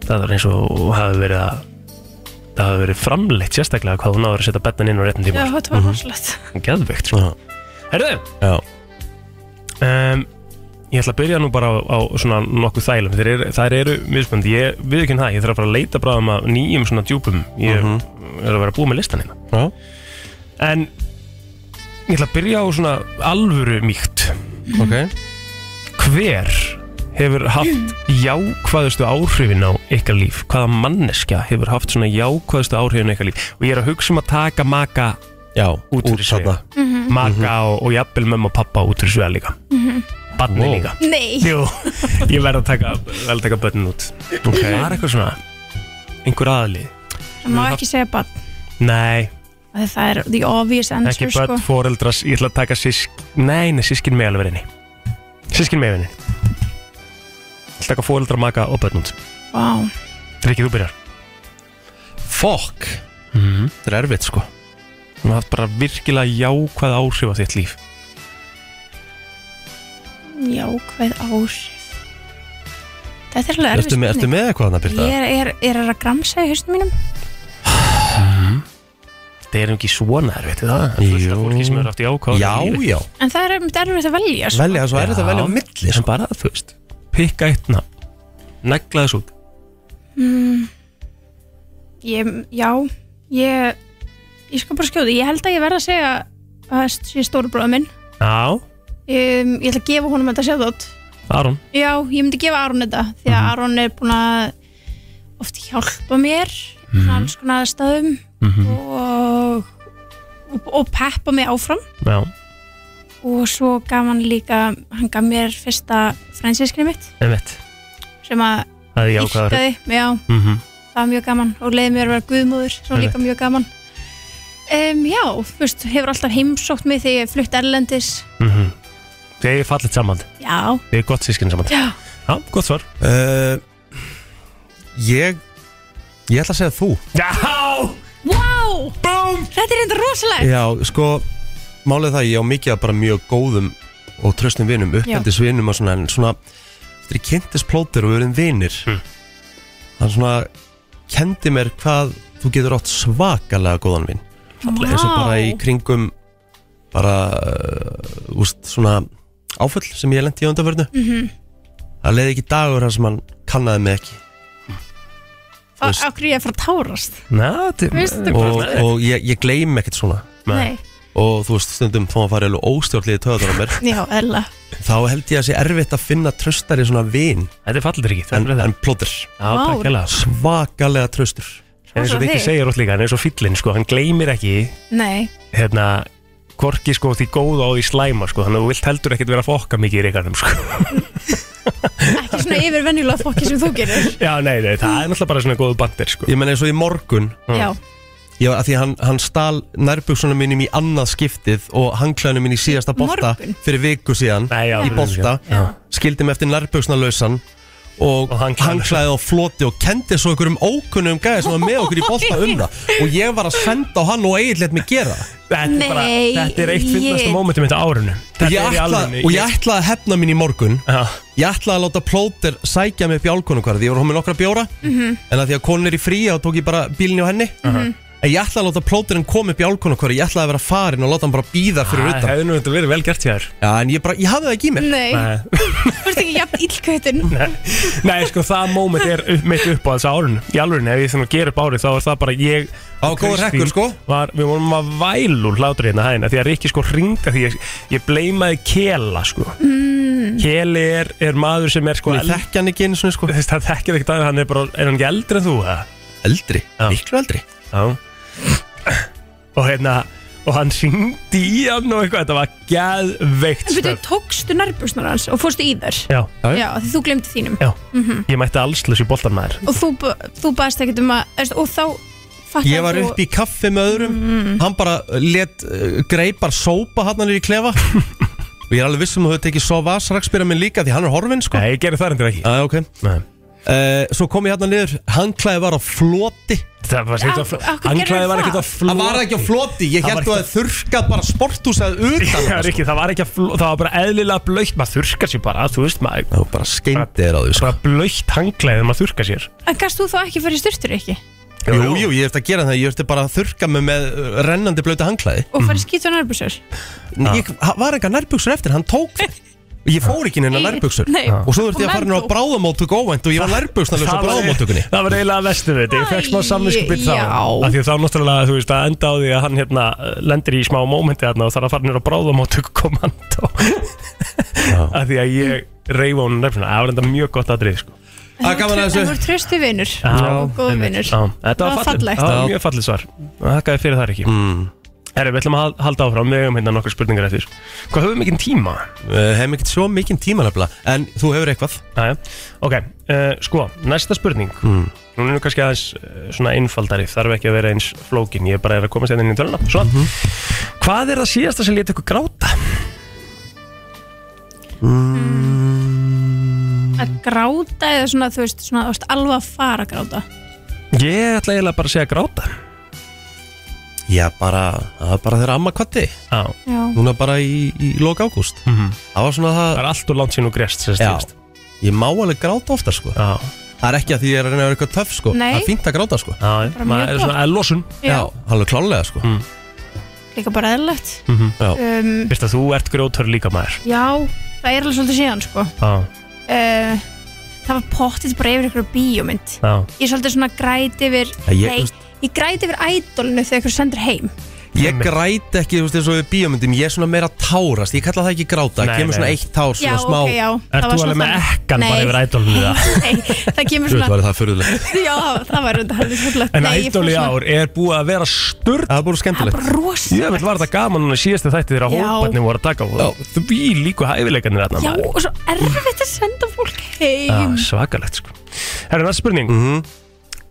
Speaker 4: það er eins og hafi verið að það hafi verið framleitt sérstaklega hvað þú náður að setja betnan inn á réttin tíma Mhm.
Speaker 13: Já, þetta var rosalegt.
Speaker 4: Geðveikt sko. Herðu
Speaker 2: Já
Speaker 4: um, Ég ætla að byrja nú bara á, á svona nokkuð þælum Þeir eru, þær eru mismöndi Ég við ekki það, ég þarf að fara að leita bráðum að nýjum svona djúpum Ég er að vera búið með listan hérna
Speaker 2: Mhm. Já.
Speaker 4: En ég ætla að byrja á svona alvöru mýkt
Speaker 2: Ok
Speaker 4: Hver hefur haft jákvæðustu áhrifin á ykkar líf? Hvaða manneskja hefur haft svona jákvæðustu áhrifin á ykkar líf? Og ég er að hugsa um að taka maka
Speaker 2: Já,
Speaker 4: út fyrir svega
Speaker 13: Mhm.
Speaker 4: Maka og, og jafnvel mömmu og pappa út fyrir svega líka
Speaker 13: Mhm.
Speaker 4: Barni líka
Speaker 13: Nei.
Speaker 4: Jú, ég verð að taka, verð að taka börnin út okay. Var eitthvað svona Einhver aðli
Speaker 13: Það má ekki segja bann.
Speaker 4: Nei,
Speaker 13: Það er the obvious answer,
Speaker 4: ekki börn,
Speaker 13: sko.
Speaker 4: sko. foreldras Ég ætla að taka sísk Nei, nei, sískin með alveg reyni Sískin með henni Ég ætla að taka foreldra, maka og börn út
Speaker 13: Vá.
Speaker 4: Rikki, þú byrjar Mhm.
Speaker 2: Fokk Þetta er erfitt sko
Speaker 4: Hún hafði bara virkilega jákvæð áhrif á þitt líf
Speaker 13: Jákvæð áhrif Þetta er alveg erfið
Speaker 2: Ertu með- ertu með eitthvað þarna, Birta?
Speaker 13: Ég er, er, er að gramsa í haustum mínum
Speaker 4: þetta er nú ekki svona erfitt er það er fullt af fólki sem er aftur jákvæð
Speaker 2: Já, já.
Speaker 13: En það er einmitt erfitt að velja sko.
Speaker 2: Velja, svo er þetta að velja á milli sko.
Speaker 4: En bara, þú veist, pikka eitt nafn Negla þessu út
Speaker 13: mm, ég, Já Ég Ég skal bara skjóða, ég held að ég verð að segja að það sé stóri bróða minn
Speaker 4: Já,
Speaker 13: um, Ég ætla að gefa honum þetta sjáðótt
Speaker 4: Aron
Speaker 13: Já, ég myndi gefa Aron þetta því að
Speaker 4: Mhm.
Speaker 13: Aron er búin að oft hjálpa mér mm
Speaker 4: Mhm.
Speaker 13: alls konar staðum
Speaker 4: Mhm.
Speaker 13: og, og, og peppa mig áfram
Speaker 4: Já,
Speaker 13: og svo gaf hann líka hann gaf mér fyrsta fransískrið mitt
Speaker 4: einmitt
Speaker 13: sem að
Speaker 4: Það er jákvæður
Speaker 13: dýrkaði, já,
Speaker 4: Mhm.
Speaker 13: það var mjög gaman og leiði mér að vera guðmóður, svo líka mjög gaman um, Já, þú veist, hefur alltaf heimsótt mig þegar ég flutt erlendis
Speaker 4: Mhm. Þið er fallit saman
Speaker 13: Já,
Speaker 4: Þið er gott sískinn saman
Speaker 13: Já.
Speaker 4: Já, gott svar
Speaker 2: uh, Ég Ég ætla að segja þú
Speaker 4: Já
Speaker 13: wow,
Speaker 4: Boom.
Speaker 13: þetta er enda rosalegt
Speaker 2: Já, sko, málið er það, ég á mikið að bara mjög góðum og tröstum vinum, uppeldisvinum og svona, en svona, eftir ég kynntist plóter og við erum vinir, hann svona kendi mér hvað þú getur átt svakalega góðan vin.
Speaker 1: Vá.
Speaker 2: Eins og bara í kringum, bara, uh, úst, svona áföll sem ég lendi í undanförnu.
Speaker 13: Mhm.
Speaker 2: Það leiði ekki dagur þar sem hann kannaði mig ekki.
Speaker 13: Á á hverju ég er að fara að tárast
Speaker 4: Næ,
Speaker 13: Veistu
Speaker 2: og,
Speaker 13: bara?
Speaker 2: og ég, ég gleym ekkert svona.
Speaker 13: Nei.
Speaker 2: Og þú veist, stundum þá að fara alveg óstjórnlið í töðunar á mér.
Speaker 13: Já, eðla
Speaker 2: þá held ég að sé erfitt að finna tröstari svona vin
Speaker 4: Þetta er fallrikið
Speaker 2: En, en plóter
Speaker 13: Vá. takk hérlega.
Speaker 2: Svakalega tröstur
Speaker 4: En eins
Speaker 13: Rosa
Speaker 4: og þið ekki
Speaker 13: þig.
Speaker 4: segir ótt líka, hann er svo fyllinn sko, hann gleymir ekki
Speaker 13: Nei,
Speaker 4: hérna hvorki sko því góða og því slæma sko, þannig að þú vilt heldur ekkert vera að fokka mikið í reikanum sko.
Speaker 13: ekki svona yfir venjulega fokki sem þú gerir
Speaker 4: Já, nei, nei, það er náttúrulega bara svona góðu bandir sko.
Speaker 2: Ég menn eins og í morgun
Speaker 13: Já,
Speaker 2: Ég var að því að hann, hann stal nærbuksunum mínum í annað skiptið og hangklæðunum mín í síðasta bolta
Speaker 13: Morgun?
Speaker 2: fyrir viku síðan Nei, já, í
Speaker 4: fyrir viku
Speaker 2: bolta, skildi mig eftir nærbuksunalausan og, og hangklæði á floti og kendi svo einhverjum ókunnum gæði sem var með okkur í bolta um það og ég var að senda á hann og eigin let mig gera
Speaker 4: Þetta
Speaker 13: er bara- Nei,
Speaker 4: þetta er eitt fyndnasta ég- momentum þetta árinu Þetta
Speaker 2: ég
Speaker 4: er í
Speaker 2: ætla,
Speaker 4: alvörunni,
Speaker 2: og ég
Speaker 4: ég-
Speaker 2: ætlaði að hefna mín í morgun
Speaker 4: Já.
Speaker 2: ég ætlaði að láta plóter sækja mig upp í álkonungvarð, ég voru hún með nokkra bjóra
Speaker 13: Mhm.
Speaker 2: en að því að konun er í frí þá tók ég bara bílinni á henni
Speaker 4: Mhm.
Speaker 2: en ég ætlaði að láta plóterinn koma upp í álkonungvarð ég ætlaði að vera farin og láta hann bara býða fyrir
Speaker 4: Það
Speaker 2: utan
Speaker 4: hefði nú þetta verið vel gert hjá þér
Speaker 2: Já, en ég, bara, ég hafði það ekki í mér
Speaker 13: Nei. Nei. þú ert ekki jafn illkvötin
Speaker 4: Nei, nei, sko, það moment er upp, mitt upp á þessu árinu Í alvörinu, ef ég þannig að gera upp árið þá er það bara ég
Speaker 2: Á, góður hrekkur, sko.
Speaker 4: var, Við vorum að vælu hlátur hérna hæðina Því að Rikki sko ringda því ég, ég bleimaði Kela, sko
Speaker 13: mm.
Speaker 4: Keli er, er maður sem er sko
Speaker 2: Ég þekki hann ekki einu svona sko
Speaker 4: Þess, Það þekkir ekkert að hann er bara Er hann ekki eldri en þú? eða?
Speaker 2: Eldri?
Speaker 4: Já.
Speaker 2: Miklu eldri
Speaker 4: Já Og hérna Og hann syngdi í hann og eitthvað Þetta var geðveikt
Speaker 13: En veitu,
Speaker 4: stöf
Speaker 13: tókstu nærbúsnar hans og fórstu í þær
Speaker 4: Já,
Speaker 13: Já, því þú glemdi þínum
Speaker 4: Já.
Speaker 13: Mhm.
Speaker 4: Ég mætti allslaus í boltan maður
Speaker 13: Og þú, ba- þú baðst ekkert um að veist, Og þá fattar
Speaker 2: ég var
Speaker 13: þú- Mm.
Speaker 2: upp í kaffi með öðrum hann bara let uh, greipar sópa hann hann í klefa og ég er alveg viss um að þú hefur tekið svo vasraksbyrja minn líka því hann er horfinn sko
Speaker 4: Nei, ég gerir það endur ekki
Speaker 2: ah, okay.
Speaker 4: Nei.
Speaker 2: Uh, svo kom ég hann niður hangklæði var á floti
Speaker 4: Það var
Speaker 13: ekkert á fl- Af- af hverju handklæðið gerðirðu var ekkert á það? floti.
Speaker 2: Það var ekki á floti, ég
Speaker 4: Það var
Speaker 2: held þú
Speaker 4: ekki-
Speaker 2: að þurrkað bara sporthúsað utan sko.
Speaker 4: Já, Rikki, það var ekki að fló, það var bara eðlilega blöytt maður þurrkar sér bara, þú veist maður
Speaker 2: það var bara skeindir á því sko.
Speaker 4: bara blöytt hanglaðið maður þurrkar um sér
Speaker 13: En gast þú þá ekki fyrir styrtur ekki?
Speaker 2: Jú, jú, ég eftir að gera það, ég eftir bara að þurrka mig með uh, rennandi blötu hangklæði
Speaker 13: Og farið skýt á nærbúsnar?
Speaker 2: Nei, Ég
Speaker 4: Ah.
Speaker 2: ha- var enga nærbuksur eftir, hann tók það Ég fór ekki neina
Speaker 13: Nei.
Speaker 2: nærbuksur
Speaker 13: Nei.
Speaker 2: Og svo þurfti ég
Speaker 13: Og
Speaker 2: að fara inn á
Speaker 13: menn þú?
Speaker 2: bráðamóttöku óvænt Og ég var nærbuksnalösa á
Speaker 4: Ah. Það var-
Speaker 2: bráðamóttökunni
Speaker 4: Það var eiginlega vestu við þetta, ég fekk smá samvinskupið þá
Speaker 13: já.
Speaker 4: Af Því að þá náttúrulega, þú veist, að enda á því að hann hérna lendir í smá mómenti þarna og þarf að fara nýra bráðamóttöku komando Af Því að ég reyfa hún nefnir, það var enda mjög gott aðrið, sko
Speaker 2: Það gaman að þessu.
Speaker 13: En þú er trösti vinnur Og góð
Speaker 4: einmitt.
Speaker 13: vinnur
Speaker 4: Já, Þetta var fallegt Það var mjög fallegt svar Þakkaði fyrir það ekki
Speaker 2: mm.
Speaker 4: Herri, við ætlum að hal- halda áfram Við hefum hérna nokkur spurningar eftir Hvað höfum við mikinn tíma?
Speaker 2: Uh, hefum ekkert svo mikinn tíma nefnilega En þú hefur eitthvað
Speaker 4: Aðja, ok uh, Sko, næsta spurning mm. Nú er nú kannski aðeins uh, svona einfaldari Þarf ekki að vera eins flókin Ég bara er að komast hérna inn í töluna Svona
Speaker 2: Mhm.
Speaker 4: Hvað er það síðasta sem leti ykkur gráta?
Speaker 2: Mm.
Speaker 13: Að gráta eða svona, þú veist, svona, þú veist alveg að fara að gráta
Speaker 4: Ég ætla eiginlega bara að segja gráta
Speaker 2: Já, bara, það var bara þeirra amma kvatti
Speaker 4: Já.
Speaker 13: Já.
Speaker 2: Núna bara í, í lok ágúst
Speaker 4: Mhm.
Speaker 2: Það var svona það
Speaker 4: Það er allt og langt sín og grest sem
Speaker 2: Já, ég má alveg gráta ofta sko
Speaker 4: Já
Speaker 2: Það er ekki að því ég er að reyna að vera eitthvað töff sko
Speaker 13: Nei.
Speaker 2: Það er fínt að gráta sko Já,
Speaker 13: Bara maður mjög er gott. svona,
Speaker 2: er losun
Speaker 13: Já.
Speaker 2: Já, alveg klálega sko mm.
Speaker 13: líka bara eðlilegt Um,
Speaker 4: Fyrst Mhm. að þú ert grjótör líka maður
Speaker 13: Já, það er alveg svolítið síðan sko.
Speaker 4: Já,
Speaker 13: uh, Það var pottið bara yfir ykkur bíómynd
Speaker 4: já
Speaker 13: Ég er svolítið svona græti yfir
Speaker 2: Ja, ég-
Speaker 13: Nei, ég græti yfir ædolinu þegar ykkur sendur heim
Speaker 2: Ég græti ekki, þú veist, eins og við bíómyndum Ég er svona meira tárast, ég kalla það ekki gráta
Speaker 4: Nei,
Speaker 2: Það kemur
Speaker 4: nei.
Speaker 2: svona eitt tár, svona
Speaker 13: Já,
Speaker 2: smá
Speaker 13: ok, já,
Speaker 2: Ert
Speaker 13: það var
Speaker 2: þú
Speaker 13: svona
Speaker 2: alveg með
Speaker 13: þannig.
Speaker 2: ekkan bara
Speaker 13: Nei.
Speaker 2: yfir ædolinu það?
Speaker 13: Nei, það
Speaker 2: Þú
Speaker 13: kemur svona
Speaker 2: veist, var það förðulegt
Speaker 13: Já, það var þetta heldur svolítið
Speaker 4: En ædol í ár er búið að vera sturt
Speaker 2: Það er búið skemmtilegt
Speaker 13: Það er bara rosalegt.
Speaker 4: Ég veit var þetta gaman núna síðasta þætti þegar
Speaker 13: Já.
Speaker 4: hóparnir voru að taka á Því líku hæfileikarnir þarna
Speaker 13: Já,
Speaker 4: maður.
Speaker 13: og svo erfitt að senda fólk heim
Speaker 4: Já, Svakalegt sko Herra, næsta spurning
Speaker 2: Mhm.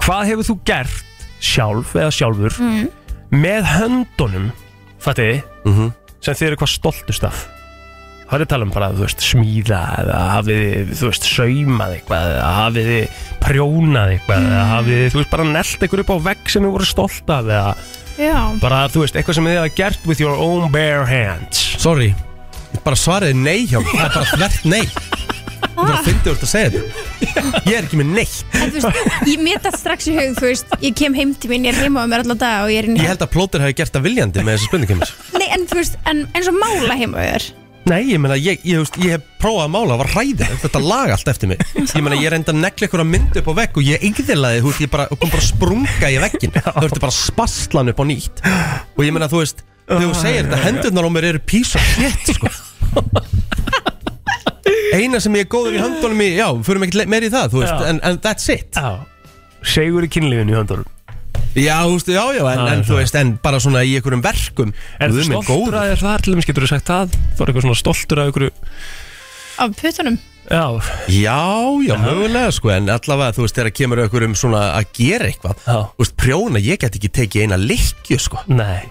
Speaker 4: Hvað hefur þú gert sjálf eða sjálfur
Speaker 2: Mhm.
Speaker 13: Mm.
Speaker 4: með höndunum fattiði,
Speaker 2: Mhm.
Speaker 4: sem þið eru hvað stoltust af Það er tala um bara, þú veist, smíða eða hafið, þið, þú veist, saumað eitthvað eða hafið þið prjónað eitthvað eða
Speaker 2: Mhm.
Speaker 4: hafið, þið, þú veist, bara nelt eitthvað upp á vegg sem þið voru stolt af eða
Speaker 2: Ah,
Speaker 13: Já,
Speaker 4: bara, þú veist, eitthvað sem þið hafa gert with your own bare hands
Speaker 2: Sorry, bara svarið er nei hjá mér Það er bara þvert nei Ég
Speaker 13: Ah.
Speaker 2: bara fyndi úr að segja þetta Ég er ekki með neitt
Speaker 13: en þú veist, ég meta strax í hug, þú veist, ég kem heim til mín, ég er heima á mér allan dag og ég er inn í
Speaker 2: Ég held að plóter hafi gert það viljandi með þessi spurningi mér
Speaker 13: Nei, en þú veist, en, en svo mála heima á þér
Speaker 2: Nei, ég meina, ég, ég, ég, ég hef prófað að mála, það var ræðið, þetta lag allt eftir mig Ég meina, ég reyndi að negla ykkur að mynda upp á vegg og ég yggðilaði, þú veist, ég bara, kom bara að sprunga í veggin Það ertu bara spastlan upp á nýtt Og ég meina, þú veist, þegar þú segir þetta, hendurnar á mér eru pís og hétt, sko Eina sem ég er góður í höndunum í, já, förum ekki meir í það, þú veist,
Speaker 4: Já.
Speaker 2: en, en that's it
Speaker 4: Já, segur í kynlífinu í höndunum
Speaker 2: Já, þú veist, já, já, en,
Speaker 4: Já,
Speaker 2: en
Speaker 4: já.
Speaker 2: þú veist, en bara svona í einhverjum verkum
Speaker 4: Er
Speaker 2: Guð
Speaker 4: þú
Speaker 2: minn góður.
Speaker 4: stoltur að þér þar, til dæmis getur þú sagt það Þú er eitthvað svona stoltur að ykkur
Speaker 13: Af putunum
Speaker 4: Já,
Speaker 2: Já, já, mögulega sko En allavega, þú veist, þegar kemur okkur um svona að gera eitthvað Þú veist, prjóna, ég get ekki tekið eina likju sko
Speaker 4: Nei,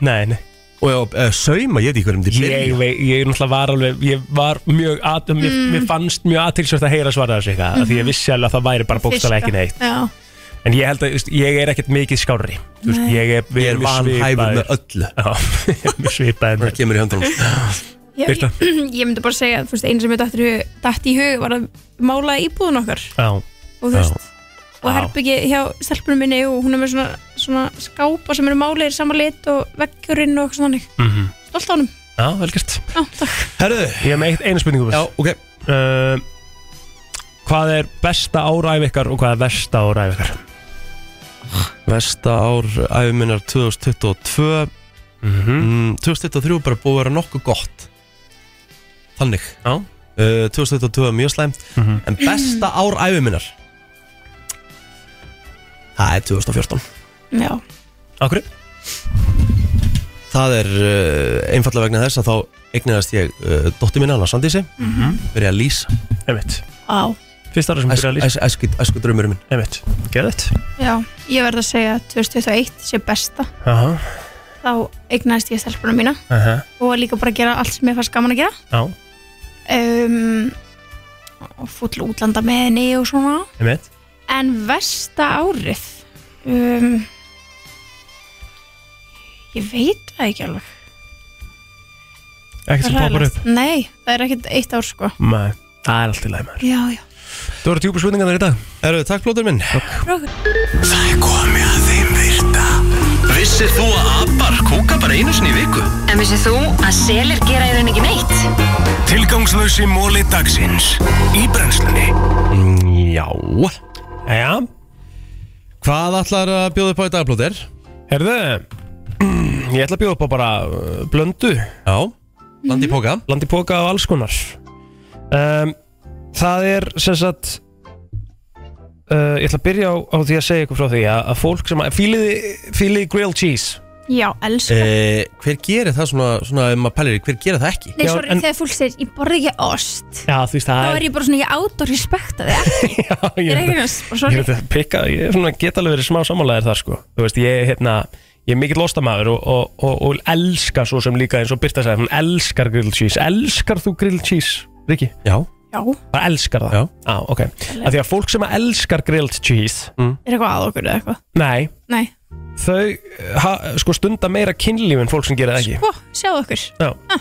Speaker 4: nei, nei
Speaker 2: Og uh, sauma, ég veit ekki hverjum þið
Speaker 4: Ég, vei- ég náttúrulega var alveg Ég var mjög, at, mér,
Speaker 13: Mm. Mhm.
Speaker 4: mér fannst mjög aðtilsvært að heyra svara þessu eitthvað af Því ég vissi alveg að það væri bara bókstala ekki neitt
Speaker 13: Já,
Speaker 4: En ég held að, þú veist, ég er ekkert mikið skárri Þú veist,
Speaker 13: Nei.
Speaker 4: ég er,
Speaker 2: Ég er vanhæfur með öllu
Speaker 4: Já, ég er mjög svipaðið Það
Speaker 2: kemur í höndunum
Speaker 13: Já, ég,
Speaker 4: Birta?
Speaker 13: ég myndi bara segja að þú veist, einu sem ég dætt í, hug- datt í hug var að mála íbúðun okkar
Speaker 4: Já
Speaker 13: og þú
Speaker 4: Já.
Speaker 13: veist, og herbyggi hjá stelpunum minni og hún er með svona, svona skápa sem eru málir saman lit og veggjurinn og eitthvað svona þannig.
Speaker 4: Mhm.
Speaker 13: stolt á honum
Speaker 4: Já, velkvært
Speaker 13: Já, takk.
Speaker 2: Herðu
Speaker 4: Ég hef með eitt, einu spurningu Já,
Speaker 2: ok
Speaker 4: uh, Hvað er besta áræf ykkar og hvað er versta áræf ykkar?
Speaker 2: Vesta ár æfuminnar 2022
Speaker 4: mm
Speaker 2: 2023 bara búið að vera nokkuð gott Þannig
Speaker 4: Já
Speaker 2: Uh, 2022 mjög slæmt
Speaker 4: Mhm.
Speaker 2: En besta ár æfuminnar Það er 2014
Speaker 13: Já,
Speaker 4: Akkur?
Speaker 2: Það er uh, einfallega vegna þess að þá eignaðast ég uh, dóttir minna hana Sandísi
Speaker 4: Mhm.
Speaker 2: byrja að lýsa
Speaker 4: Einmitt
Speaker 13: á,
Speaker 4: Fyrst ára sem byrja að lýsa
Speaker 2: Æsku, æsku draumurinn minn
Speaker 4: Einmitt, gerðið
Speaker 13: já, ég verð að segja að 2021 sé besta
Speaker 4: Aha,
Speaker 13: þá eignaðist ég stelpunum mína
Speaker 4: aha,
Speaker 13: og líka bara að gera allt sem ég fannst gaman að gera
Speaker 4: já,
Speaker 13: um, og fúll útlanda með henni og svona
Speaker 4: einmitt
Speaker 13: En versta árið um, Ég veit það ekki alveg Það
Speaker 4: Ekkert sem
Speaker 13: er
Speaker 4: poppar
Speaker 13: hræðilegt.
Speaker 4: upp
Speaker 13: Nei, það er ekkert eitt ár sko
Speaker 4: Nei, það er allt í læg maður
Speaker 13: Já, já
Speaker 4: Þú eru djúpa spurningar þar í dag
Speaker 2: Eru, takk blóður minn
Speaker 1: Það er komið að þeim virta Vissir þú að abar kúka bara einu sinni í viku?
Speaker 10: En vissið þú að selir gera í rauninni ekki neitt?
Speaker 12: Tilgangslösi móli dagsins Í brennslunni
Speaker 2: Mm, Já
Speaker 4: Já
Speaker 2: Hvað ætlar að bjóða upp á í dag blóður?
Speaker 4: Herðu, ég ætla að bjóða upp á bara uh, blöndu
Speaker 2: Já, landi í póka
Speaker 4: Landi póka og alls konar um, Það er sem sagt uh, Ég ætla að byrja á, á því að segja ykkur frá því að, að fólk sem að fíliði, fíliði grilled cheese
Speaker 13: Já, elska
Speaker 2: eh, Hver gerir það svona, svona um að pælir, hver gerir það ekki?
Speaker 13: Nei, sorry,
Speaker 4: en-
Speaker 13: þegar fólk segir ég borði ekki ost
Speaker 4: Já, þú veist,
Speaker 13: Þá
Speaker 4: það
Speaker 13: er ég bara svona, ég át og respekta þig
Speaker 4: ég,
Speaker 13: Ég er ekki
Speaker 4: ég,
Speaker 13: næst, bara sorry
Speaker 4: ég, ég, pikka, ég er svona get alveg verið smá sammálaðir þar sko Þú veist, ég, hérna, ég er mikill lostamæður og, og, og, og elska svo sem líka eins og Birta sagði, hún elskar grilled cheese Elskar þú grilled cheese, Riki?
Speaker 2: Já
Speaker 13: Já,
Speaker 4: Bara elskar það? Já ah, ok Af því að fólk sem elskar grilled cheese
Speaker 2: Mm.
Speaker 13: er eitthvað að okkur eða eitthvað
Speaker 4: Nei,
Speaker 13: Nei,
Speaker 4: þau ha, sko stunda meira kynlíf en fólk sem gera það ekki
Speaker 13: sko, sjáðu okkur
Speaker 4: Já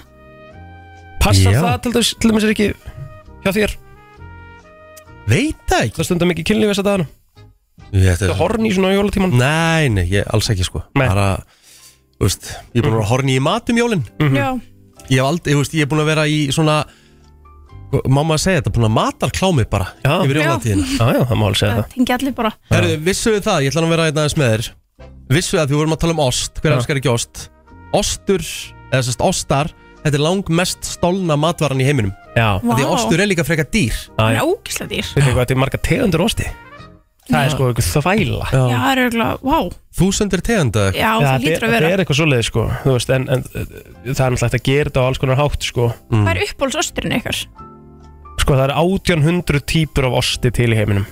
Speaker 4: Passar
Speaker 2: Já.
Speaker 4: það til dæmis, til dæmis er ekki hjá þér?
Speaker 2: Veit það ekki
Speaker 4: Það stundar mikið kynlíf þess að dagana
Speaker 2: Þetta
Speaker 4: Ertu horny svona á jólatíman?
Speaker 2: Nei, nei, ég, alls ekki sko nei. Bara, þú veist, ég er búin að
Speaker 4: Mhm.
Speaker 2: vera horni í matum jólin
Speaker 13: Mhm. Já.
Speaker 2: Ég hef aldrei, þú veist, ég er búin að vera í svona Mamma segja þetta, búin að matarklá mig bara já. Yfir
Speaker 13: Já.
Speaker 2: jólatíðina Já, já, það má alveg segja það
Speaker 13: Tengi allir bara
Speaker 2: Herru, vissu við það, ég ætla nú að vera einn aðeins með þér Vissu við að því við vorum að tala um ost Hver
Speaker 4: Já.
Speaker 2: elskar ekki ost? Ostur, eða sérst ostar Þetta er langmest stolna matvaran í heiminum Já Því
Speaker 13: Vá.
Speaker 2: ostur er líka freka dýr
Speaker 13: Það er ógislega dýr
Speaker 4: Veitir hvað þetta er marga tegundur osti Það
Speaker 2: Já.
Speaker 4: er sko eitthvað þvæla
Speaker 13: Já, það er auðvitað, vá
Speaker 2: Þúsundir tegunda
Speaker 13: Já, það
Speaker 4: þetta
Speaker 13: hlýtur að
Speaker 4: er-
Speaker 13: vera.
Speaker 4: Þetta er eitthvað svoleiðis sko þú veist, en, en uh, það er náttúrulega hægt að gera þetta á alls konar hátt sko
Speaker 2: Mm.
Speaker 13: Hvað er uppbólsosturinn ykkar?
Speaker 4: Sko það er 1800 típur af osti til í heiminum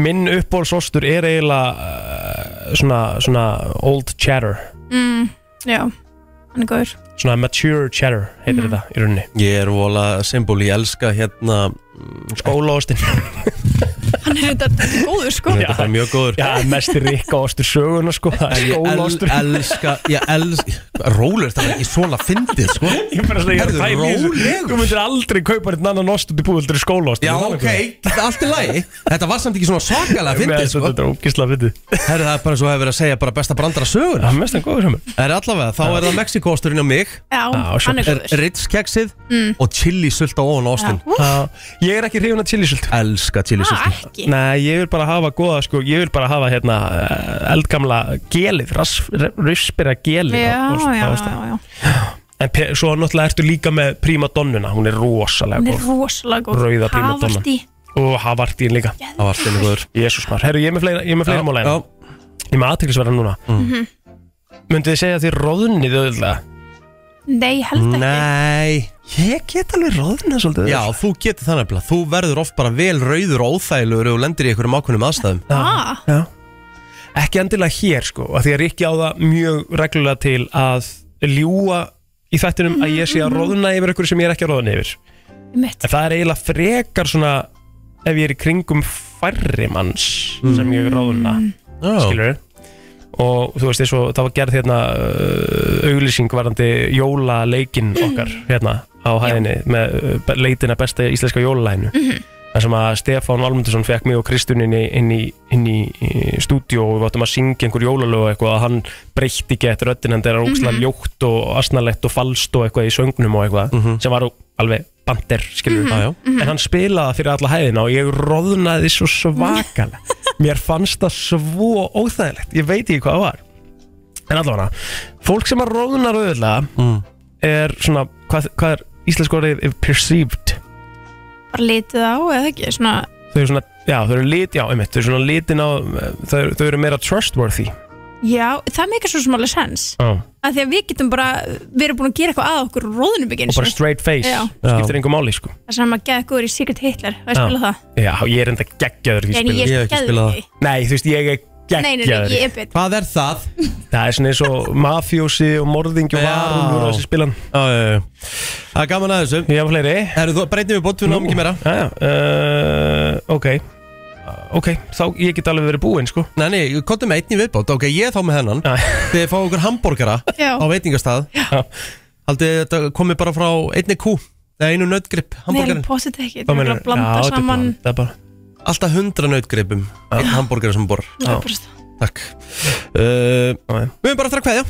Speaker 4: Minn uppbólsostur er eiginlega uh, svona, svona old cheddar
Speaker 13: Mm, já, hann er góður
Speaker 4: Svona mature cheddar heitir
Speaker 13: Mhm.
Speaker 4: þetta í rauninni
Speaker 2: Ég er vola symbol, ég elska hérna
Speaker 4: Skólaostin
Speaker 13: Hann er auðvitað góður sko
Speaker 2: Þetta er bara mjög góður
Speaker 4: Já, mest rikka ostur söguna sko það er
Speaker 2: Ég el,
Speaker 4: Skólaostur
Speaker 2: elska, ég elska Rólur, það er ekki svona fyndið sko
Speaker 4: Ég er bara að segja, ég er
Speaker 2: Herðu,
Speaker 4: að pæla í þessu.
Speaker 2: rólegur.
Speaker 4: Þú myndir aldrei kaupa þetta annan ost út í búið Þetta er skólaost
Speaker 2: Já, ok, þetta er allt í lagi Þetta var samt ekki svona svakalega fyndið
Speaker 4: Nei,
Speaker 2: sko
Speaker 4: þetta er ógislega fyndið
Speaker 2: Herðu, það er bara svo hefur verið að segja bara besta brandara sögur
Speaker 4: Það er mest en góður sem
Speaker 2: Það er allavega, þá er það Mexikósturinn á mig
Speaker 13: Já, hann er góður
Speaker 2: Ritz-keksið
Speaker 13: Mm.
Speaker 2: og chili-sult á ofan ostin
Speaker 13: Já.
Speaker 4: Ég er ekki hrifin að chilisult
Speaker 2: Elska chilisult
Speaker 13: ekki
Speaker 4: Nei, ég vil bara hafa góða sko Ég vil bara hafa hérna eh, eldgamla gelið Raspera gelið
Speaker 13: Já,
Speaker 4: á-
Speaker 13: já,
Speaker 4: á- á- á-
Speaker 13: já,
Speaker 4: á-
Speaker 13: já
Speaker 4: En pe- svo náttúrulega ertu líka með prímadonnuna Hún er rosalega
Speaker 13: Hann er
Speaker 4: góð
Speaker 13: rosalega góð
Speaker 4: Rauða prímadonna
Speaker 13: Havarti
Speaker 4: Og havartín líka
Speaker 2: Havartín er góður
Speaker 4: Jésús maður Herru, ég er með fleira, ég er með fleira málæðina Ég er með aðteklisverða núna
Speaker 13: Mhm.
Speaker 4: Myndið þið segja að þið roðnið auðvitað?
Speaker 13: Nei,
Speaker 4: Mm.
Speaker 13: held ekki
Speaker 2: Nei
Speaker 4: Ég get alveg roðnað svolítið
Speaker 2: Já, þú getur það nefnilega Þú verður oft bara vel rauður og óþægilegur og lendir í einhverjum ákveðnum aðstæðum
Speaker 13: Ah,
Speaker 4: Já. Ekki endilega hér sko af Því að Rikki á það mjög reglulega til að ljúa í þættinum að ég sé að roðna yfir ykkur sem ég er ekki að roðna yfir
Speaker 13: Mitt.
Speaker 4: En það er eiginlega frekar svona ef ég er í kringum færri manns Mm. sem ég roðna
Speaker 2: oh.
Speaker 4: skilur og þú veist eins og það var gerð hérna uh, auglýsing varandi jólaleikin okkar hérna á hæðinni með uh, be- leitina besta íslenska jólalæginu þar sem að Stefán Valmundsson fekk mig og Kristun inn í, inn í, inn í, í stúdíó og við áttum að syngja einhver jólalög og eitthvað að hann breytti ekki eftir röddin en það er ógslag
Speaker 13: Mhm.
Speaker 4: ljótt og asnalett og falskt og eitthvað í söngnum og eitthvað sem var alveg bandir skilur
Speaker 13: Mhm.
Speaker 4: mm
Speaker 13: Já, já. Mhm.
Speaker 4: en hann spilaði það fyrir alla hæðina og ég roðnaði svo svakalega mér fannst það svo óþægilegt ég veit ekki hvað það var en allavega, fólk sem að roðnar auðvitað
Speaker 13: Mm.
Speaker 4: er svona hvað, hvað er íslensk orðið er perceived
Speaker 13: Bara litið á eða ekki Svona,
Speaker 4: þau eru svona, já, þau eru lit, já, einmitt, þau eru svona litin á, þau, eru- þau eru meira trustworthy.
Speaker 13: já, það meikar svo smálega sens
Speaker 4: Já.
Speaker 13: að Því að við getum bara Við erum búin að gera eitthvað að okkur og Róðunum ekki
Speaker 4: Og
Speaker 13: einu
Speaker 4: bara
Speaker 13: sinni.
Speaker 4: straight face,
Speaker 13: sko. Já.
Speaker 4: skiptir einhver máli, sko.
Speaker 13: Það sem að geða góður í Secret Hitler Það er spilað það
Speaker 4: Já, ég er enda geggjaður í
Speaker 13: Nei, nei, ég
Speaker 4: spilað.
Speaker 13: er Ég hef ekki spilað það.
Speaker 4: Nei, þú veist, ég er
Speaker 13: Nei, nei, nei,
Speaker 4: geggjaður
Speaker 13: ég
Speaker 4: í.
Speaker 13: er betur
Speaker 2: Hvað er það?
Speaker 4: Það er svona eins og mafjósi og morðingi og varulur og þessi spilan.
Speaker 2: Já, já, já.
Speaker 13: Mm.
Speaker 2: Það er gaman að þessu
Speaker 4: Ég hafa fleiri.
Speaker 2: Herru, þú breytið við bótt, við náum ekki meira
Speaker 4: Já, já, uh, ok. Ok, þá ég get alveg verið búinn, sko.
Speaker 2: Nei, nei, kontum með einn í viðbót Ok, ég er þá með hennan Þið fáið okkur hambúrgara
Speaker 13: Já.
Speaker 2: á veitingastað Haldið þið þetta komið bara frá einni kú eða einu nötgrip,
Speaker 13: Nei, ég
Speaker 2: hambúrgarin
Speaker 13: potið ekki Það er bara að blanda saman
Speaker 4: Það er bara
Speaker 2: Alltaf hundra nötgripum einn hambúrgara sem bor
Speaker 13: Já, bara st-
Speaker 2: Takk uh, Við erum bara eftir að kveðja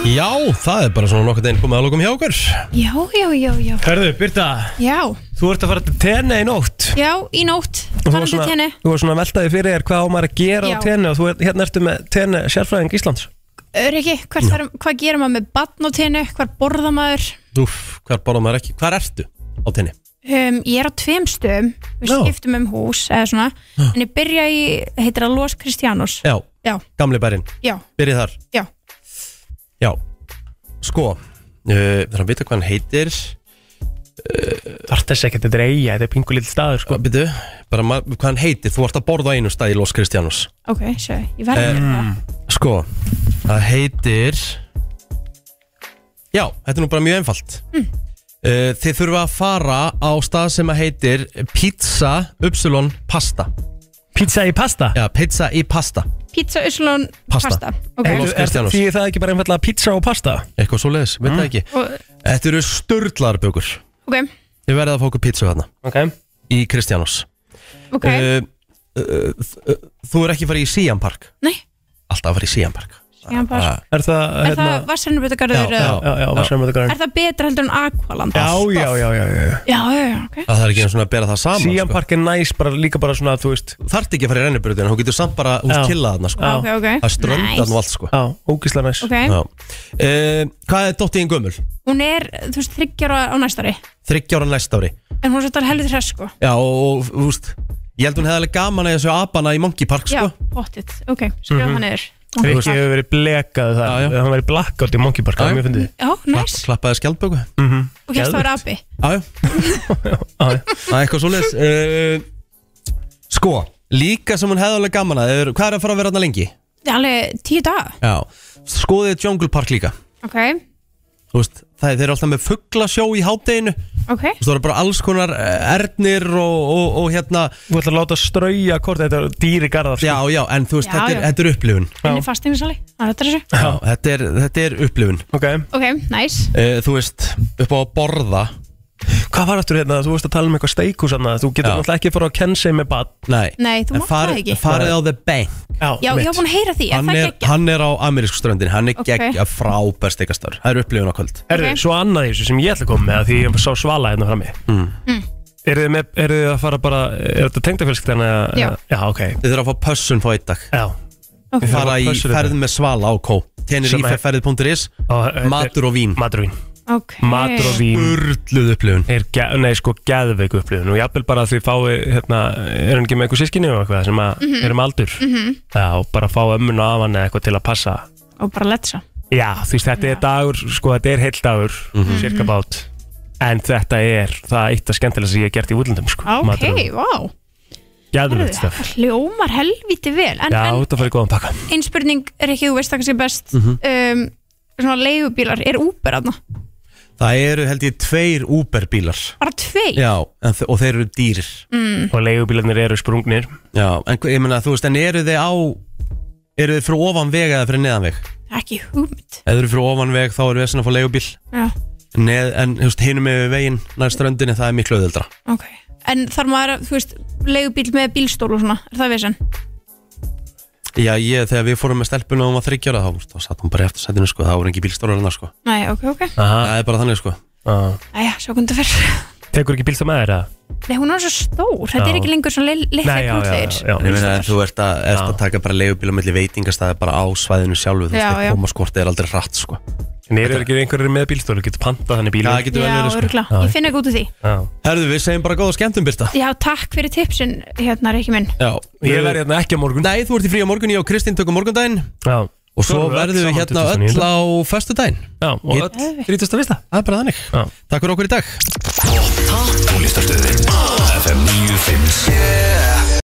Speaker 4: Mm.
Speaker 2: Já, það er bara svona nokkuð einn komið að lókum hjá okkur
Speaker 13: Já, já, já, já
Speaker 4: Hörðu, Birta,
Speaker 13: Já,
Speaker 4: þú ert að fara til tenni í nótt.
Speaker 13: já, í nótt
Speaker 4: Og
Speaker 13: Farandi
Speaker 4: þú var
Speaker 13: til
Speaker 4: svona,
Speaker 13: henni
Speaker 4: þú var svona veltaði fyrir þér hvað á maður að gera
Speaker 13: Já.
Speaker 4: á tenni og þú er, hérna ertu með tenni sérfræðing Íslands
Speaker 13: Öryggi, hvert þarf- hvað gerir maður með batn á tenni, hvað borða maður
Speaker 2: Úf, hvar borðum maður ekki? Hvar ertu á tenni?
Speaker 13: um, Ég er á tveim stöðum, við
Speaker 2: Já.
Speaker 13: skiptum um hús eða svona, en ég byrja í heitir það Los Cristianos
Speaker 2: Já,
Speaker 13: Já,
Speaker 2: gamli bærin,
Speaker 13: já,
Speaker 2: byrjið þar
Speaker 13: já,
Speaker 2: Já, sko uh, Þarf að vita hvað hann heitir Uh,
Speaker 4: Þarf þess ekki að þetta er eiga, þetta er pingu lítið staður sko.
Speaker 2: Býtu, uh, bara ma- hvað hann heitir Þú ert að borða á einu stað í Los Cristianos
Speaker 13: ok, sjö Ég hérna. verði
Speaker 2: Eh,
Speaker 13: að gera það
Speaker 2: Sko, það heitir Já, þetta er nú bara mjög einfalt mm. Þið þurfa að fara á stað sem að heitir Pizza Upsilon Pasta
Speaker 4: Pizza í pasta?
Speaker 2: Já, pizza í pasta
Speaker 13: Pizza, uslun,
Speaker 2: Pasta.
Speaker 13: pasta, ok
Speaker 2: Los Cristianos.
Speaker 4: Því það ekki bara einfallega pizza og pasta
Speaker 2: Eitthvað svo leiðis, veit það
Speaker 4: Mm.
Speaker 2: ekki
Speaker 13: Og,
Speaker 2: Þetta eru störðlarbökur
Speaker 13: Ok,
Speaker 2: Þið verðið að fá okkur pizza þarna
Speaker 4: okay.
Speaker 2: Í Kristjános
Speaker 13: Ok.
Speaker 2: uh, uh, uh, Þú er ekki farið í Sian Park
Speaker 13: Nei.
Speaker 2: Alltaf farið í Sian Park Ah.
Speaker 13: Sian Park.
Speaker 4: Er það, hérna-
Speaker 13: Er það vassarnubutagarður?
Speaker 2: hérna- já, já,
Speaker 13: Er það betra heldur en Aqualand?
Speaker 4: já, já, já, já.
Speaker 13: Já, já, já, ok.
Speaker 2: Það er ekki einu svona að bera það saman sko.
Speaker 4: Sian Park er næs bara, líka bara svona þú veist
Speaker 2: Þarft ekki að fara í rennibrautina, hún getur samt bara hún
Speaker 4: Já.
Speaker 2: killa þarna sko
Speaker 13: Já. Ok, ok.
Speaker 2: Það strönda
Speaker 13: Nice.
Speaker 2: þarna og allt sko Eh,
Speaker 4: Já, ógislega næs
Speaker 13: Ok.
Speaker 2: Hvað er dóttiðin gömul?
Speaker 13: Hún er, þú veist, þryggjar á næstari.
Speaker 2: Þryggja ára næsta ári
Speaker 13: En hún er svolítið heldur hress, sko.
Speaker 2: Já og, og úst, ég held hún hefði alveg gaman að þessu apana í Monkey Park
Speaker 13: Já,
Speaker 2: sko
Speaker 13: pottitt. Ok, skrifa
Speaker 2: Mhm.
Speaker 13: það niður.
Speaker 4: Rikki hefur verið blekað það já, já. Hann verið blackout í Monkey Park Það er mjög fyndið Mhm.
Speaker 13: Já, næs.
Speaker 2: Klappaði skjaldböku
Speaker 13: Og hérst það var abi.
Speaker 2: Jájá Það er eitthvað svoleiðis uh, Sko, líka sem hún hefði alveg gaman að er, Hvað er að fara að vera þarna lengi?
Speaker 13: Það er alveg tíu daga.
Speaker 2: Já, skoðið Jungle Park líka
Speaker 13: Ok,
Speaker 2: Þú veist, það, þeir eru alltaf með fugglasjó í hátteginu Þú
Speaker 13: ok.
Speaker 2: veist, það eru bara alls konar eh, ernir og, og, og hérna
Speaker 4: Þú ætlar að láta strauja hvort þetta er dýri garðar sko.
Speaker 2: Já, já, en þú veist,
Speaker 13: Já,
Speaker 2: þetta, er,
Speaker 13: já.
Speaker 2: þetta er upplifun
Speaker 13: Henni fasteignasali. Það er þetta þessu.
Speaker 2: Já, þetta er, þetta er upplifun
Speaker 4: okay.
Speaker 13: Ok, næs.
Speaker 2: Eh, Þú veist, upp á að borða
Speaker 4: Hvað var aftur hérna? Þú veist að tala um eitthvað steikus hérna. Þú getur
Speaker 2: Já.
Speaker 4: náttúrulega ekki að fara á Kensei með bad
Speaker 2: Nei,
Speaker 13: Nei, þú
Speaker 2: En
Speaker 13: mátt
Speaker 2: fari-
Speaker 13: það ekki.
Speaker 2: Farið á The Bank
Speaker 13: Já, ég var búin að heyra því. Er
Speaker 2: hann
Speaker 13: það
Speaker 2: er,
Speaker 13: geggja?
Speaker 2: hann er á amerísku ströndin Hann er
Speaker 13: Ok.
Speaker 2: okay. geggja frábær steikastar Það er upplifun á kvöld
Speaker 4: Herðu, svo annað í þessu sem ég ætla að koma með af Því ég sá svala hérna frammi
Speaker 2: mm.
Speaker 4: Eru þið, með, eru þið að fara bara, er þetta tengdafjölskyld hérna?
Speaker 13: Já.
Speaker 4: Já, ok.
Speaker 2: Þið þurfa að fá pössun fá eitt dag
Speaker 4: Já
Speaker 13: Ok.
Speaker 2: Við fara í ferð með svala á kó
Speaker 4: Sem eh, er-
Speaker 2: Tenerife.ferðið.is Matur og vín
Speaker 4: Matur og vín
Speaker 13: Ok.
Speaker 4: Matur og vín
Speaker 2: Urluð upplifun
Speaker 4: er ge Nei, sko, geðveik upplifun Og jafnvel bara að þið fái, hérna, er hann ekki með eitthvað sískinni og eitthvað sem að mm
Speaker 13: Mhm.
Speaker 4: erum aldur
Speaker 13: Mhm.
Speaker 4: Já, og bara fá ömmun og afan eða eitthvað til að passa
Speaker 13: Og bara letsa.
Speaker 4: Já, þú veist, þetta er dagur, sko, þetta er heill dagur mm
Speaker 13: Mhm.
Speaker 4: Cirka bát En þetta er, það er eitt af skemmtilega sem ég hef gert í útlöndum, sko
Speaker 13: Ok,
Speaker 4: Matur og vín.
Speaker 13: vá. Herðu,
Speaker 4: Geðveikt stöf
Speaker 13: Hljómar helviti vel. En,
Speaker 4: Já,
Speaker 13: en
Speaker 4: þetta fyrir góðan pakka
Speaker 13: einn spurning er ekki, þú veist það kannski best.
Speaker 2: Mhm.
Speaker 13: um, svona leigubílar, er Uber aðna?
Speaker 2: Það eru held ég tveir Uber bílar
Speaker 13: Bara tvei?
Speaker 2: Já, en, þe- og þeir eru dýrir
Speaker 13: Mm.
Speaker 4: Og leigubílarnir eru sprungnir
Speaker 2: Já, en hva- ég meina, þú veist, en eru þið á Eru þið fyrir ofan veg eða fyrir neðan veg?
Speaker 13: Það er ekki hugmynd.
Speaker 2: Ef þið eru fyrir ofan veg þá eru við að fá leigubíl
Speaker 13: Já,
Speaker 2: Neð, En þú veist, hinum yfir veginn nær ströndinni það er miklu auðvöldra
Speaker 13: ok. En þarf maður að, þú veist, leigubíl með bílstól og svona, er það vesen?
Speaker 2: Já, ég, þegar við fórum með stelpuna um og hún var þryggjara þá, þá satt hún bara eftir sætinu, sko, það voru ekki bílstórar hennar, sko
Speaker 13: Nei, ok, ok.
Speaker 2: Það er bara þannig, sko
Speaker 13: Æja, svo kundi fyrr.
Speaker 4: Ah. Tekur ekki bílstað með þér eða?
Speaker 13: Nei, hún er svo stór, þetta
Speaker 2: Já.
Speaker 13: er ekki lengur svona litla knútlegir.
Speaker 2: En ég meina, en þú ert að, ert að taka bara leigubíl á milli veitingastæði bara á svæðinu sjálfu, þú
Speaker 13: Já,
Speaker 2: veist,
Speaker 13: já.
Speaker 2: það koma skortið er aldrei hratt, sko
Speaker 4: En eru ekki einhverjir með bílstólu, getur pantað þannig bíl
Speaker 2: Já, það getur vel
Speaker 13: Já,
Speaker 2: verið,
Speaker 13: örgla.
Speaker 2: sko
Speaker 13: Ég finn ekki út úr því.
Speaker 2: Herðu, við segjum bara góða skemmtum, Birta
Speaker 13: Já, takk fyrir tipsin, hérna, Rikki minn.
Speaker 2: Já
Speaker 4: Ég verð hérna ekki á morgun
Speaker 2: Nei, þú ert í frí á morgun, ég og Kristín tökum morgundaginn
Speaker 4: Já
Speaker 2: Og svo verðum við hérna öll á föstudaginn
Speaker 4: Já, og
Speaker 2: Ég-
Speaker 4: öll 30. veisla
Speaker 2: Það er bara þannig
Speaker 4: Já.
Speaker 2: Takk fyrir okkur í dag
Speaker 1: Tónlistarstöðin FM 957